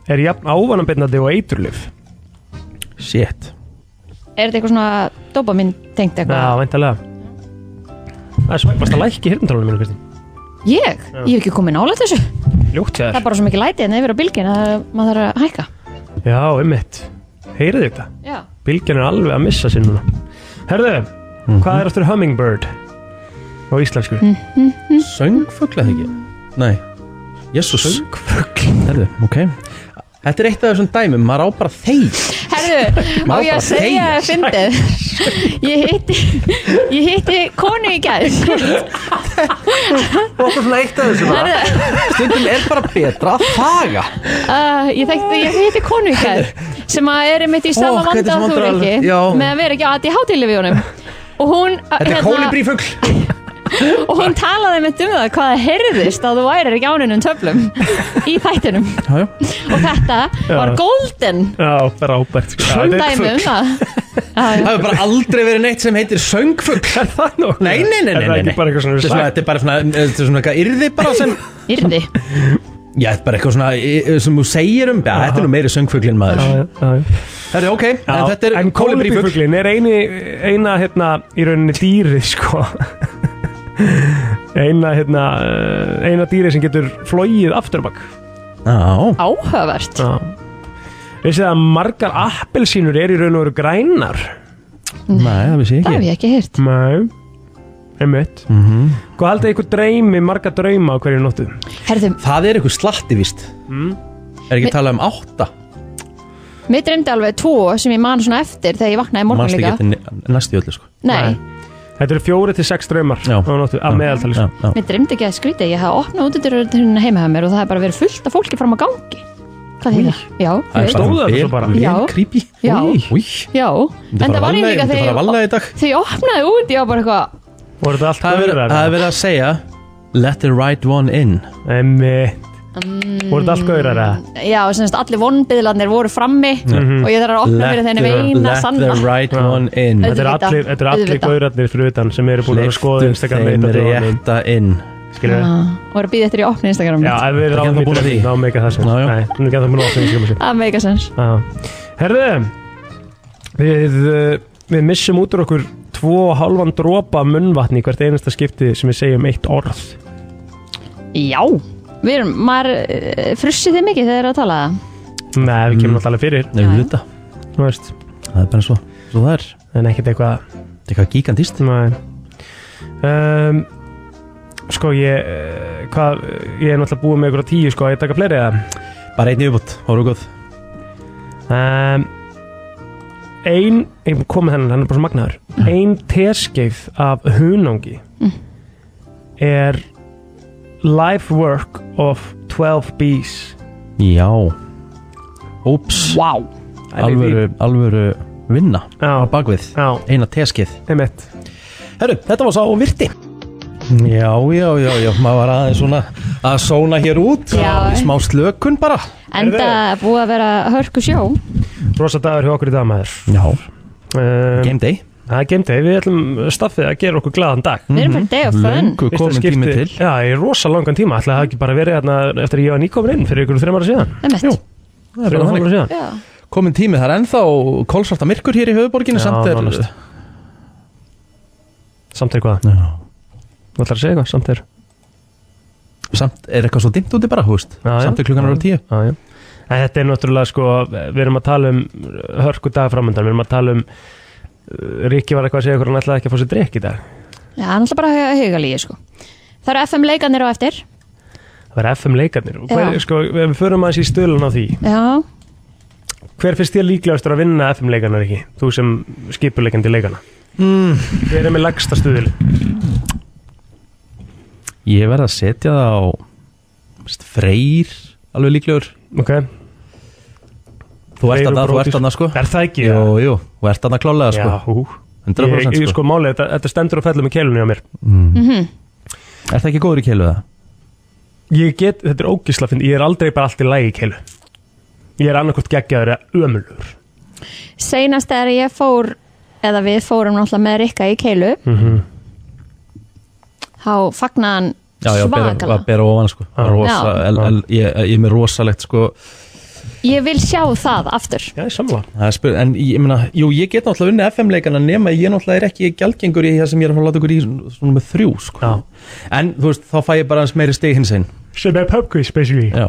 Speaker 3: er jafn ávanabindandi og eiturlif
Speaker 2: Shit
Speaker 4: Er þetta eitthvað svona dopamin tengt eitthvað?
Speaker 3: Já, veintalega Það er svæpast að lækki hirntrólinu mínu, Kristín
Speaker 4: Ég? Ég hef ekki komið nálega þessu
Speaker 3: Ljótt sér
Speaker 4: Það er bara svo mikið lætið en yfir á bylgin að maður þarf að hækka
Speaker 3: Já, ummitt Heyrið þið þetta?
Speaker 4: Já.
Speaker 3: Bylgjan er alveg að missa sér núna Herðu,
Speaker 2: Mhm.
Speaker 3: hvað er aftur hummingbird? Á íslensku
Speaker 4: Mhm.
Speaker 2: Söngfugla þegar ekki Nei Jésús Söngfugl Herðu, ok Þetta er eitt af þessum dæmum Maður á bara þeir
Speaker 4: Herðu, á
Speaker 2: Maður
Speaker 4: ég
Speaker 2: bara
Speaker 4: að segja að
Speaker 2: þegir.
Speaker 4: fyndið Ég hitti Ég hitti konu í gæð
Speaker 2: Og okkur svona eitt af þessu bara Stundum er bara betra að þaga
Speaker 4: uh, Ég þekkti, ég hitti konu í gæð sem að er einmitt í sama
Speaker 2: Ó,
Speaker 4: vanda
Speaker 2: hvernig sem
Speaker 4: að þú
Speaker 2: vandrar-
Speaker 4: ekki
Speaker 2: Já.
Speaker 4: með að vera ekki að aðið hátilefi honum og hún uh, hérna,
Speaker 2: Þetta er kólibrífugl
Speaker 4: og hún talaði með um það hvað það heyrðist að þú værir ekki ánunum töflum í þættinum
Speaker 2: já, já.
Speaker 4: og þetta
Speaker 3: Já.
Speaker 4: var golden
Speaker 3: Já, frábært sko. Já, þetta er
Speaker 4: dæmi um
Speaker 3: fugl.
Speaker 4: það Já,
Speaker 2: Það
Speaker 4: já.
Speaker 2: hefur bara aldrei verið neitt sem heitir söngfugl
Speaker 3: Er það nú?
Speaker 2: Nei, nei, nei,
Speaker 3: Er
Speaker 2: nei,
Speaker 3: það
Speaker 2: nei,
Speaker 3: ekki
Speaker 2: nei.
Speaker 3: bara eitthvað svona
Speaker 2: Þetta er svona-
Speaker 3: sagt?
Speaker 2: Þetta er bara svona, þetta er svona eitthvað yrði bara sem
Speaker 4: Yrði
Speaker 2: Já, þetta er bara eitthvað svona eh, sem þú segir um Já, þetta er nú meiri söngfuglinn maður Það er ok,
Speaker 3: Já,
Speaker 2: en þetta er
Speaker 3: en
Speaker 2: kólibrífugl
Speaker 3: kólibrífuglin er eini, eina hérna, í rauninni dýri sko eina hérna, eh, eina dýri sem getur flogið afturbak
Speaker 2: Já
Speaker 4: Áhugavert
Speaker 3: Vissið að margar appelsínur er í raun og veru grænar
Speaker 2: Nei, það vissi ég
Speaker 4: Mm. Það hef
Speaker 2: ekki
Speaker 4: ég ekki heyrt
Speaker 3: Nei, einmitt
Speaker 2: mm -hmm.
Speaker 3: Hvað haldið ykkur dreymi, marga drauma á hverju nóttu?
Speaker 4: Herðum,
Speaker 2: Það er eitthvað slatti vist
Speaker 3: mm.
Speaker 2: Er ekki
Speaker 4: Mi-
Speaker 2: að tala um átta
Speaker 4: mér dreymdi alveg tvo sem ég man svona eftir þegar ég vaknaði í morgun
Speaker 2: Manstu ekki
Speaker 4: líka
Speaker 2: eftir ne- næstu í öllu sko
Speaker 4: Nei,
Speaker 3: Þetta eru fjóri til sex draumar já. á nóttu, að meðaltali sko.
Speaker 2: já, já.
Speaker 4: mér dreymdi ekki að skrýta ég hafði opnað út undir hérna heima hjá mér og það hef bara verið fullt af fólki fram á gangi Hvað þýðir? Já,
Speaker 2: Það er
Speaker 4: ég-
Speaker 2: stóðu þessu bara
Speaker 4: Já.
Speaker 2: Vel creepy
Speaker 4: Já.
Speaker 2: Új
Speaker 4: Já, en
Speaker 2: Myndi fara
Speaker 4: það
Speaker 2: að
Speaker 4: var ég
Speaker 2: valna-
Speaker 4: líka
Speaker 2: myndi fara að valna í dag.
Speaker 4: þegar ég opnaði út, ég var bara eitthvað
Speaker 3: Voru þetta allt
Speaker 2: Það er verið-
Speaker 3: gaurar?
Speaker 2: það er verið að segja Let the right one in
Speaker 3: Emmitt
Speaker 4: Mm.
Speaker 3: Voru þetta allt gaurar eða?
Speaker 4: Já, sem sagt, allir vonbiðlarnir voru frammi
Speaker 3: Mhm.
Speaker 4: og ég þarf að opna fyrir þenni veina sanna
Speaker 2: right one in
Speaker 3: Þetta er
Speaker 4: Auðvitað,
Speaker 3: allir, þetta er allir
Speaker 4: auðvitað.
Speaker 3: gaurarnir fyrir utan sem eru búin að vera að skoða Instagram
Speaker 2: þeim
Speaker 3: leit að djóðanum
Speaker 2: rétta inn
Speaker 3: Skilur við?
Speaker 4: Ah, og voru að býða eftir í opni Instagram
Speaker 3: Já, ef við
Speaker 2: Þetta er
Speaker 3: erum
Speaker 2: ekki
Speaker 3: alveg
Speaker 2: ennþá búin að því.
Speaker 3: Ná, meika það sem Nei, hún er ekki að það búin að opna Instagram
Speaker 4: Það make a sense
Speaker 3: sér Herðu Við uh, Við missum út úr okkur Tvo og halvan dropa munnvatni í hvert einasta skipti sem við segjum eitt orð
Speaker 4: Já, við erum, maður eh, frussið þið mikið þegar þið eru að tala það
Speaker 3: Nei, við kemum alltaf alveg fyrir
Speaker 2: Mm. Nei, við vita
Speaker 3: Þú veist
Speaker 2: Það er bara svo Svo það er
Speaker 3: En ekkert eitthvað
Speaker 2: Eitthvað gigantist
Speaker 3: Nei um, Sko, ég uh, Hvað Ég er náttúrulega búið með ykkur á tíu sko Ég taka fleiri eða
Speaker 2: Bara einn yfirbútt Hóru góð
Speaker 3: um, Ein Ég kom með hennan Hann er bara svo magnaður
Speaker 2: Mm.
Speaker 3: Ein teskeið af hunangi Er Life work of 12 bees
Speaker 2: Já Úps
Speaker 4: Vá
Speaker 2: Alvöru, alvöru vinna
Speaker 3: Já
Speaker 2: Á bakvið
Speaker 3: Já
Speaker 2: Eina teskið
Speaker 3: Einmitt
Speaker 2: Herru, þetta var sá virti Já, já, já, já Maður var aðeins svona Að sóna hér út
Speaker 4: Já.
Speaker 2: Í Smá slökun bara
Speaker 4: Enda búið að vera hörku sjó
Speaker 3: Rosa dagur hjá okkur í dag maður
Speaker 2: Já
Speaker 3: Game
Speaker 2: day
Speaker 3: Það er game day, við ætlum staffið að gera okkur glaðan dag
Speaker 4: Við erum bara day of fun. Löngu
Speaker 3: Fyrsta
Speaker 2: Mhm. kominn tími
Speaker 3: skipti- Já, í rosa langan tíma, ætlaði það ekki bara verið hérna eftir að ég var nýkomin inn fyrir ykkur þreim ára síðan
Speaker 4: Emmett
Speaker 2: Það er bara
Speaker 3: Þreim ára
Speaker 2: þannig.
Speaker 3: síðan
Speaker 2: Komin tími Það er ennþá Kolsvarta myrkur hér í höfuborginni
Speaker 3: Já,
Speaker 2: Samt er
Speaker 3: nánast. Samt er hvað?
Speaker 2: Já
Speaker 3: Þú ætlar að segja eitthvað, samt er
Speaker 2: Samt er eitthvað svo dimmt úti bara, húst Samt er klukkan ára
Speaker 3: já,
Speaker 2: tíu
Speaker 3: já. En þetta er náttúrulega sko, við erum að tala um hörku dag framöndan, við erum að tala um uh, Rikki var eitthvað að segja okkur, hann ætlaði ekki að fá sér drikk í dag
Speaker 4: Já, hann ætla bara að huga lígi sko Það eru FM leikanir á eftir
Speaker 3: Það var FM leikarnir og hver,
Speaker 4: Já.
Speaker 3: sko, við förum aðeins í stölun á því
Speaker 4: Já,
Speaker 3: Hver finnst þér líklegastur að vinna FM leikarnar ekki? Þú sem skipurleikandi leikana
Speaker 2: mm.
Speaker 3: Hver er með lagsta stuðil?
Speaker 2: Ég verð að setja það á veist, Freyr Alveg líklegur
Speaker 3: Ok
Speaker 2: Þú ert
Speaker 3: Freyr og
Speaker 2: þarna, þú
Speaker 3: Brodís.
Speaker 2: ert þarna sko
Speaker 3: Er það ekki?
Speaker 2: Jú, jú, þú ert þarna klálega
Speaker 3: Já,
Speaker 2: sko
Speaker 3: hú.
Speaker 2: 100%
Speaker 3: Ég, ég
Speaker 2: sko,
Speaker 3: sko málið, þetta, þetta stendur og fellur með keilunni á mér
Speaker 2: Mm.
Speaker 4: Mhm.
Speaker 2: Er það ekki góður í keilu það?
Speaker 3: Ég get, þetta er ógisla finn, ég er aldrei bara allt í lagi í keilu Ég er annarkvort geggjaður eða ömulur
Speaker 4: seinast þegar ég fór eða við fórum náttúrulega með Rikka í keilu
Speaker 3: mm -hmm.
Speaker 4: þá fagnaði hann
Speaker 2: Já, já, bera,
Speaker 4: svakala
Speaker 2: að bera ofan sko
Speaker 3: Ah.
Speaker 2: rosa,
Speaker 4: Já.
Speaker 2: el, el, ég, ég er með rosalegt sko
Speaker 4: Ég vil sjá það aftur
Speaker 3: Já, samla
Speaker 2: Það er spyr, En ég meina, jú, ég get náttúrulega unni FM-leikana nema ég náttúrulega er ekki gjaldgengur í það sem ég er að fara að láta ykkur í svona svona með þrjú sko. En þú veist, þá fæ ég bara hans meiri stig hins einn
Speaker 3: Sem er pubquiz, basically
Speaker 2: Já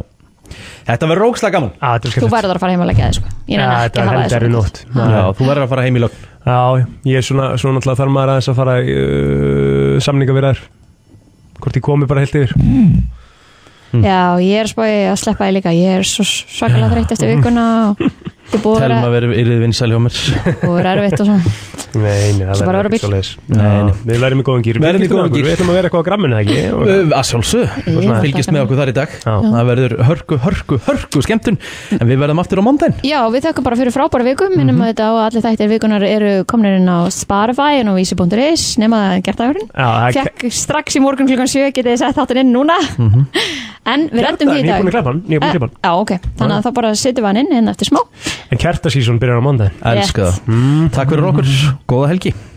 Speaker 2: Þetta verður rókslega gaman
Speaker 3: ah, Þú
Speaker 4: Þú verður að fara heim að leggja þig sko Ég nenni ekki að hafa þig sko.
Speaker 3: heldur í
Speaker 4: svona.
Speaker 3: nótt
Speaker 2: Já, þú verður að fara heim í lögn
Speaker 3: Já, ég er svona, svona alltaf þarf maður aðeins að fara í, uh, samninga við þær Hvort ég komi bara heilt yfir
Speaker 4: Já, ég er spóið að sleppa þig líka Ég er svo svakalega þreytt eftir vikuna og Þið búið að
Speaker 2: Telma
Speaker 4: vera-
Speaker 2: verður yfir vinsæl hjá mér
Speaker 4: búið að vera erfitt og svona
Speaker 3: Nei, nei,
Speaker 4: Svo
Speaker 3: það verður
Speaker 4: bara vera
Speaker 3: ekki
Speaker 4: bíll.
Speaker 3: svo leis Við verðum í góðum gýr
Speaker 2: Verðum í góðum gír.
Speaker 3: Við ætlum að vera eitthvað á gramminu, ekki?
Speaker 2: Ö, Að sjálfsög,
Speaker 3: Ég
Speaker 2: fylgist
Speaker 3: hlakka
Speaker 2: með
Speaker 3: til.
Speaker 2: okkur þar í dag Það verður hörku, hörku, hörku skemmtun En við verðum aftur á mándaginn
Speaker 4: Já, við þökkum bara fyrir frábæra vikum minnum mm
Speaker 3: Mhm.
Speaker 4: -hmm. þetta á að allir þættir vikunar eru komnir inn á Spotify en á vísi.is nema gertagurinn
Speaker 3: Já, það er-
Speaker 4: Fekk strax í morgun klukkan 7 getið þið sett þáttinn inn núna
Speaker 3: Mhm.
Speaker 4: En við reddum því
Speaker 3: Ég er
Speaker 4: í dag Ah. Eh,
Speaker 3: búin að klappa hann, ég er búin að klappa hann
Speaker 4: Já, ok, þannig að þá bara setjum við hann inn hérna eftir smá
Speaker 3: En kjartasísun byrjar á mándaginn
Speaker 4: Elska
Speaker 2: það Takk fyrir okkur, góða helgi